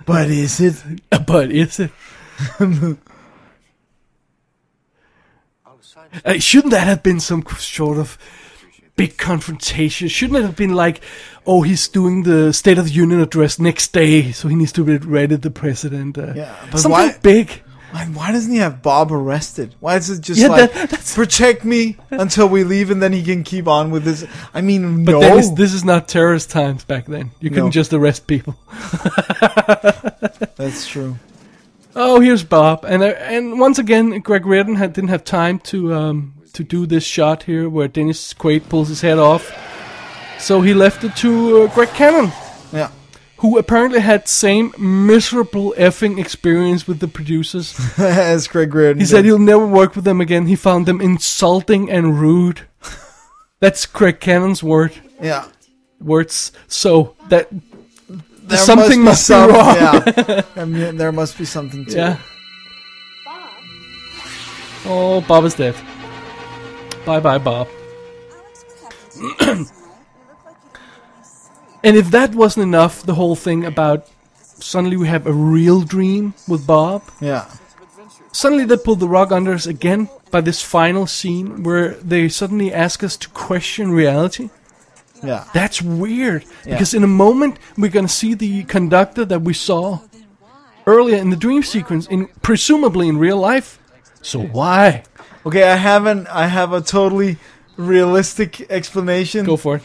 Speaker 1: But is it?
Speaker 2: But is it?
Speaker 7: I'll assign
Speaker 2: Uh, shouldn't that have been some sort of big confrontation. Shouldn't it have been like, oh, he's doing the State of the Union address next day, so he needs to be ready the president. Uh,
Speaker 1: Yeah, but
Speaker 2: something
Speaker 1: why-
Speaker 2: big.
Speaker 1: And why doesn't he have Bob arrested? Why is it just
Speaker 2: Yeah,
Speaker 1: like
Speaker 2: that- that's-
Speaker 1: protect me until we leave, and then he can keep on with this? I mean,
Speaker 2: But
Speaker 1: no.
Speaker 2: then it's, this is not terrorist times back then. You couldn't
Speaker 1: No.
Speaker 2: just arrest people.
Speaker 1: That's true.
Speaker 2: Oh, here's Bob, and uh, and once again, Greg Reardon had, didn't have time to um, to do this shot here where Dennis Quaid pulls his head off, so he left it to uh, Greg Cannon,
Speaker 1: Yeah. *laughs*
Speaker 2: who apparently had same miserable effing experience with the producers.
Speaker 1: As Greg Reardon.
Speaker 2: He said
Speaker 1: did.
Speaker 2: he'll never work with them again. He found them insulting and rude. *laughs* That's Greg Cannon's word
Speaker 1: Yeah.
Speaker 2: words. So that
Speaker 1: There
Speaker 2: Something must be
Speaker 1: some-
Speaker 2: wrong.
Speaker 1: Yeah.
Speaker 2: *laughs*
Speaker 1: I mean, there must be something to
Speaker 2: yeah.
Speaker 1: it.
Speaker 8: Bob,
Speaker 2: Oh, Bob is dead. Bye bye, Bob.
Speaker 8: Alex, what happened to you last night? You look like you didn't get any sleep.
Speaker 2: And if that wasn't enough, the whole thing about suddenly we have a real dream with Bob.
Speaker 1: Yeah.
Speaker 2: Suddenly they pull the rug under us again by this final scene where they suddenly ask us to question reality.
Speaker 1: Yeah.
Speaker 2: That's weird. Because in a moment we're gonna see the conductor that we saw earlier in the dream sequence in presumably in real life. So why?
Speaker 1: Okay, I haven't. I have a totally realistic explanation.
Speaker 2: Go for it.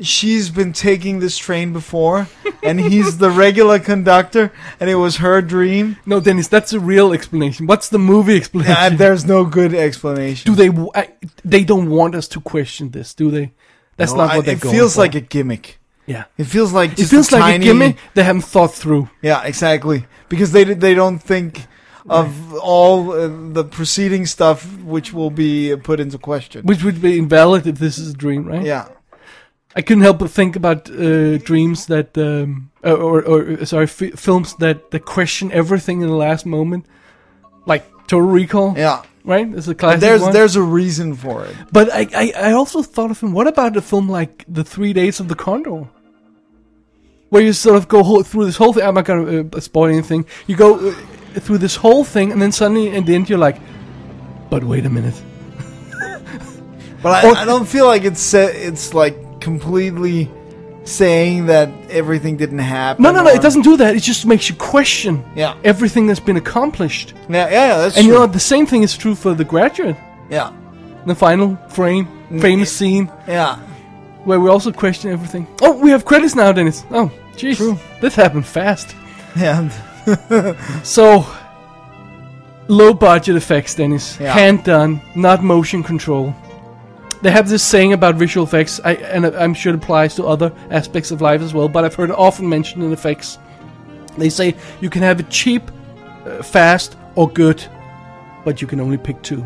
Speaker 1: She's been taking this train before, and he's the regular conductor, and it was her dream.
Speaker 2: No, Dennis, that's a real explanation. What's the movie explanation?
Speaker 1: Uh, there's no good explanation.
Speaker 2: do they? w I they don't want us to question this, do they? That's
Speaker 1: No,
Speaker 2: not
Speaker 1: I-
Speaker 2: what they're
Speaker 1: it
Speaker 2: going
Speaker 1: feels
Speaker 2: for.
Speaker 1: like a gimmick.
Speaker 2: yeah.
Speaker 1: It feels like
Speaker 2: It
Speaker 1: just
Speaker 2: feels
Speaker 1: a
Speaker 2: like
Speaker 1: tiny,
Speaker 2: a gimmick they haven't thought through.
Speaker 1: Yeah, exactly. Because they they don't think of all uh, the preceding stuff, which will be uh, put into question.
Speaker 2: Which would be invalid if this is a dream, right?
Speaker 1: Yeah,
Speaker 2: I couldn't help but think about uh, dreams that, um, uh, or, or, sorry, f- films that, that question everything in the last moment, like Total Recall.
Speaker 1: yeah.
Speaker 2: Right? It's a classic
Speaker 1: There's
Speaker 2: one.
Speaker 1: there's a reason for it.
Speaker 2: But I, I, I also thought of him. What about a film like The Three Days of the Condor? Where you sort of go whole, through this whole thing. I'm not going to uh, spoil anything. You go uh, through this whole thing, and then suddenly at the end, you're like, but wait a minute.
Speaker 1: But I,
Speaker 2: Or-
Speaker 1: I don't feel like it's sa- it's like completely saying that everything didn't happen.
Speaker 2: No, no, no,
Speaker 1: or-
Speaker 2: it doesn't do that. It just makes you question
Speaker 1: Yeah.
Speaker 2: everything that's been accomplished.
Speaker 1: Yeah, yeah, yeah that's
Speaker 2: And you
Speaker 1: true.
Speaker 2: know, what? the same thing is true for The Graduate.
Speaker 1: yeah,
Speaker 2: The final frame, famous scene,
Speaker 1: yeah. *laughs*
Speaker 2: where we also question everything. Oh, we have credits now, Dennis. Oh, jeez. This happened fast.
Speaker 1: And
Speaker 2: So, low budget effects, Dennis.
Speaker 1: Yeah.
Speaker 2: Hand done, not motion control. They have this saying about visual effects, I, and I'm sure it applies to other aspects of life as well, but I've heard it often mentioned in effects. They say you can have it cheap, uh, fast, or good, but you can only pick two.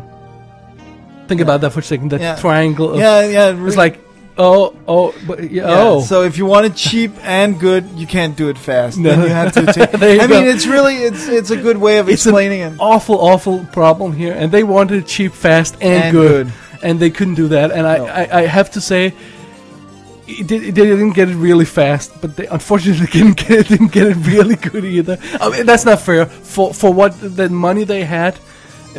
Speaker 2: Think about that for a second, that
Speaker 1: Yeah.
Speaker 2: triangle of.
Speaker 1: yeah, yeah. re-
Speaker 2: It's like, oh, oh, but, yeah,
Speaker 1: Yeah,
Speaker 2: oh.
Speaker 1: So if you want it
Speaker 2: *laughs*
Speaker 1: cheap and good, you can't do it fast.
Speaker 2: No.
Speaker 1: Then you have
Speaker 2: *laughs*
Speaker 1: to take.
Speaker 2: There you
Speaker 1: I
Speaker 2: go.
Speaker 1: mean, it's really it's it's a good way of
Speaker 2: It's an
Speaker 1: explaining it.
Speaker 2: awful, awful problem here, and they wanted it cheap, fast, and,
Speaker 1: And
Speaker 2: good.
Speaker 1: good.
Speaker 2: and they couldn't do that. And I,
Speaker 1: No.
Speaker 2: I, I have to say, it did, it- they didn't get it really fast, but they unfortunately *laughs* didn't get it, didn't get it really good either. I mean, that's not fair for for what the money they had.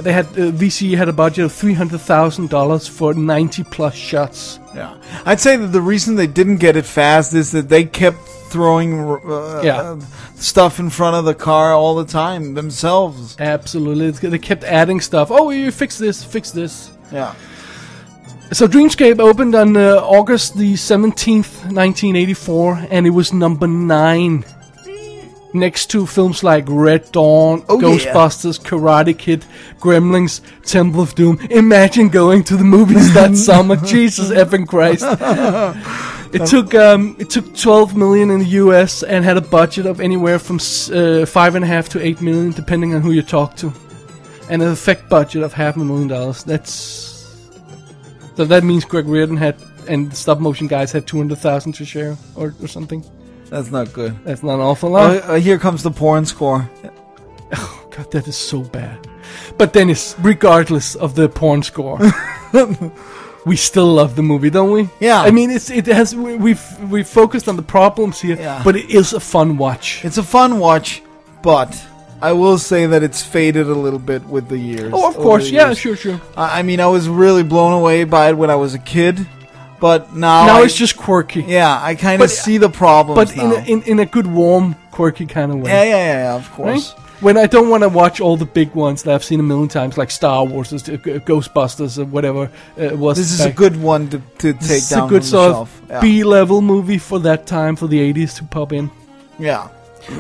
Speaker 2: They had uh, VCE had a budget of three hundred thousand dollars for ninety plus shots.
Speaker 1: Yeah, I'd say that the reason they didn't get it fast is that they kept throwing uh,
Speaker 2: Yeah.
Speaker 1: stuff in front of the car all the time themselves.
Speaker 2: Absolutely, It's- they kept adding stuff. Oh, you fix this, fix this.
Speaker 1: Yeah,
Speaker 2: So Dreamscape opened on uh, August the 17th, 1984, and it was number 9 next to films like Red Dawn,
Speaker 1: Oh, yeah.
Speaker 2: Ghostbusters, Karate Kid, Gremlins, Temple of Doom. Imagine going to the movies
Speaker 1: *laughs*
Speaker 2: that summer. Jesus effing Christ. It took um, it took 12 million in the U.S. and had a budget of anywhere from s- uh, five and a half to eight million, depending on who you talk to, and an effect budget of half a million dollars. That's so that means Greg Reardon had and the stop motion guys had 200,000 to share or, or something.
Speaker 1: that's not good.
Speaker 2: That's not an awful
Speaker 1: Oh,
Speaker 2: lot.
Speaker 1: uh, here comes the porn score.
Speaker 2: God, that is so bad. But Dennis, regardless of the porn
Speaker 1: *laughs*
Speaker 2: score, we still love the movie, don't we?
Speaker 1: Yeah.
Speaker 2: I mean, it's it has we, we've we've focused on the problems here,
Speaker 1: Yeah.
Speaker 2: but it is a fun watch.
Speaker 1: It's a fun watch, but I will say that it's faded a little bit with the years.
Speaker 2: oh, of
Speaker 1: over
Speaker 2: course,
Speaker 1: the
Speaker 2: yeah,
Speaker 1: years.
Speaker 2: sure, sure.
Speaker 1: I I mean, I was really blown away by it when I was a kid. But now,
Speaker 2: now
Speaker 1: Oh, I-
Speaker 2: it's just quirky.
Speaker 1: yeah, I kind of
Speaker 2: But- uh,
Speaker 1: see the problems
Speaker 2: but in
Speaker 1: now.
Speaker 2: a, in, in a good, warm, quirky kind of way.
Speaker 1: yeah, yeah, yeah, yeah, of
Speaker 2: right?
Speaker 1: course.
Speaker 2: When I don't want to watch all the big ones that I've seen a million times, like Star Wars, or St- uh, Ghostbusters, or whatever uh, it was.
Speaker 1: This is a
Speaker 2: back-
Speaker 1: good one to, to take
Speaker 2: this is
Speaker 1: down
Speaker 2: a good
Speaker 1: from
Speaker 2: sort
Speaker 1: the shelf.
Speaker 2: of
Speaker 1: Yeah.
Speaker 2: B-level movie for that time, for the 80s to pop in.
Speaker 1: Yeah.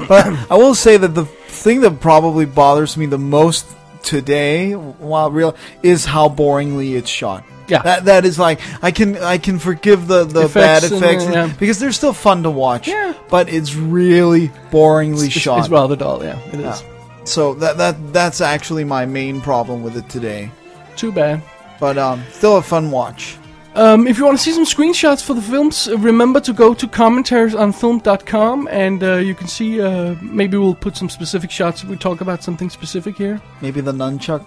Speaker 1: But I will say that the thing that probably bothers me the most today while real is how boringly it's shot.
Speaker 2: Yeah.
Speaker 1: That that is like I can I can forgive the, the bad
Speaker 2: Effects and,
Speaker 1: effects
Speaker 2: uh, yeah.
Speaker 1: because they're still fun to watch.
Speaker 2: Yeah.
Speaker 1: But it's really boringly
Speaker 2: It's,
Speaker 1: shot.
Speaker 2: it's rather dull, yeah, it is.
Speaker 1: Yeah. So that that that's actually my main problem with it today.
Speaker 2: Too bad.
Speaker 1: But um still a fun watch.
Speaker 2: Um, if you want to see some screenshots for the films, uh, remember to go to commentariesonfilm.com and uh, you can see. Uh, maybe we'll put some specific shots if we talk about something specific here.
Speaker 1: Maybe the nunchuck.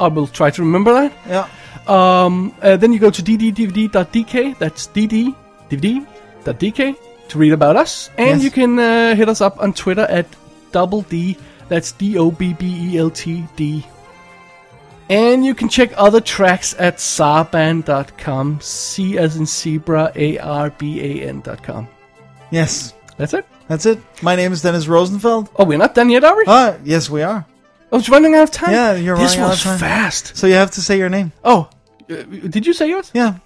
Speaker 2: I will try to remember that.
Speaker 1: Yeah.
Speaker 2: Um, uh, then you go to dddvd.dk, that's dddvd.dk, to read about us. And
Speaker 1: Yes.
Speaker 2: you can uh, hit us up on Twitter at double D, that's D O B B E L T D. And you can check other tracks at sarban.com, C as in zebra, A R B A N.com.
Speaker 1: Yes.
Speaker 2: That's it.
Speaker 1: That's it. My name is Dennis Rosenfeld.
Speaker 2: Oh, we're not done yet, are we?
Speaker 1: Ah, yes we are.
Speaker 2: I was running out of time.
Speaker 1: Yeah, you're
Speaker 2: this
Speaker 1: running out
Speaker 2: was
Speaker 1: of time.
Speaker 2: fast.
Speaker 1: So you have to say your name.
Speaker 2: Oh, uh, did you say yours?
Speaker 1: Yeah.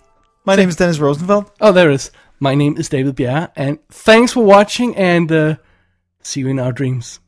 Speaker 1: My name is Dennis Rosenfeld.
Speaker 2: Oh, there it is. My name is David Bjerre, and thanks for watching, and uh, see you in our dreams.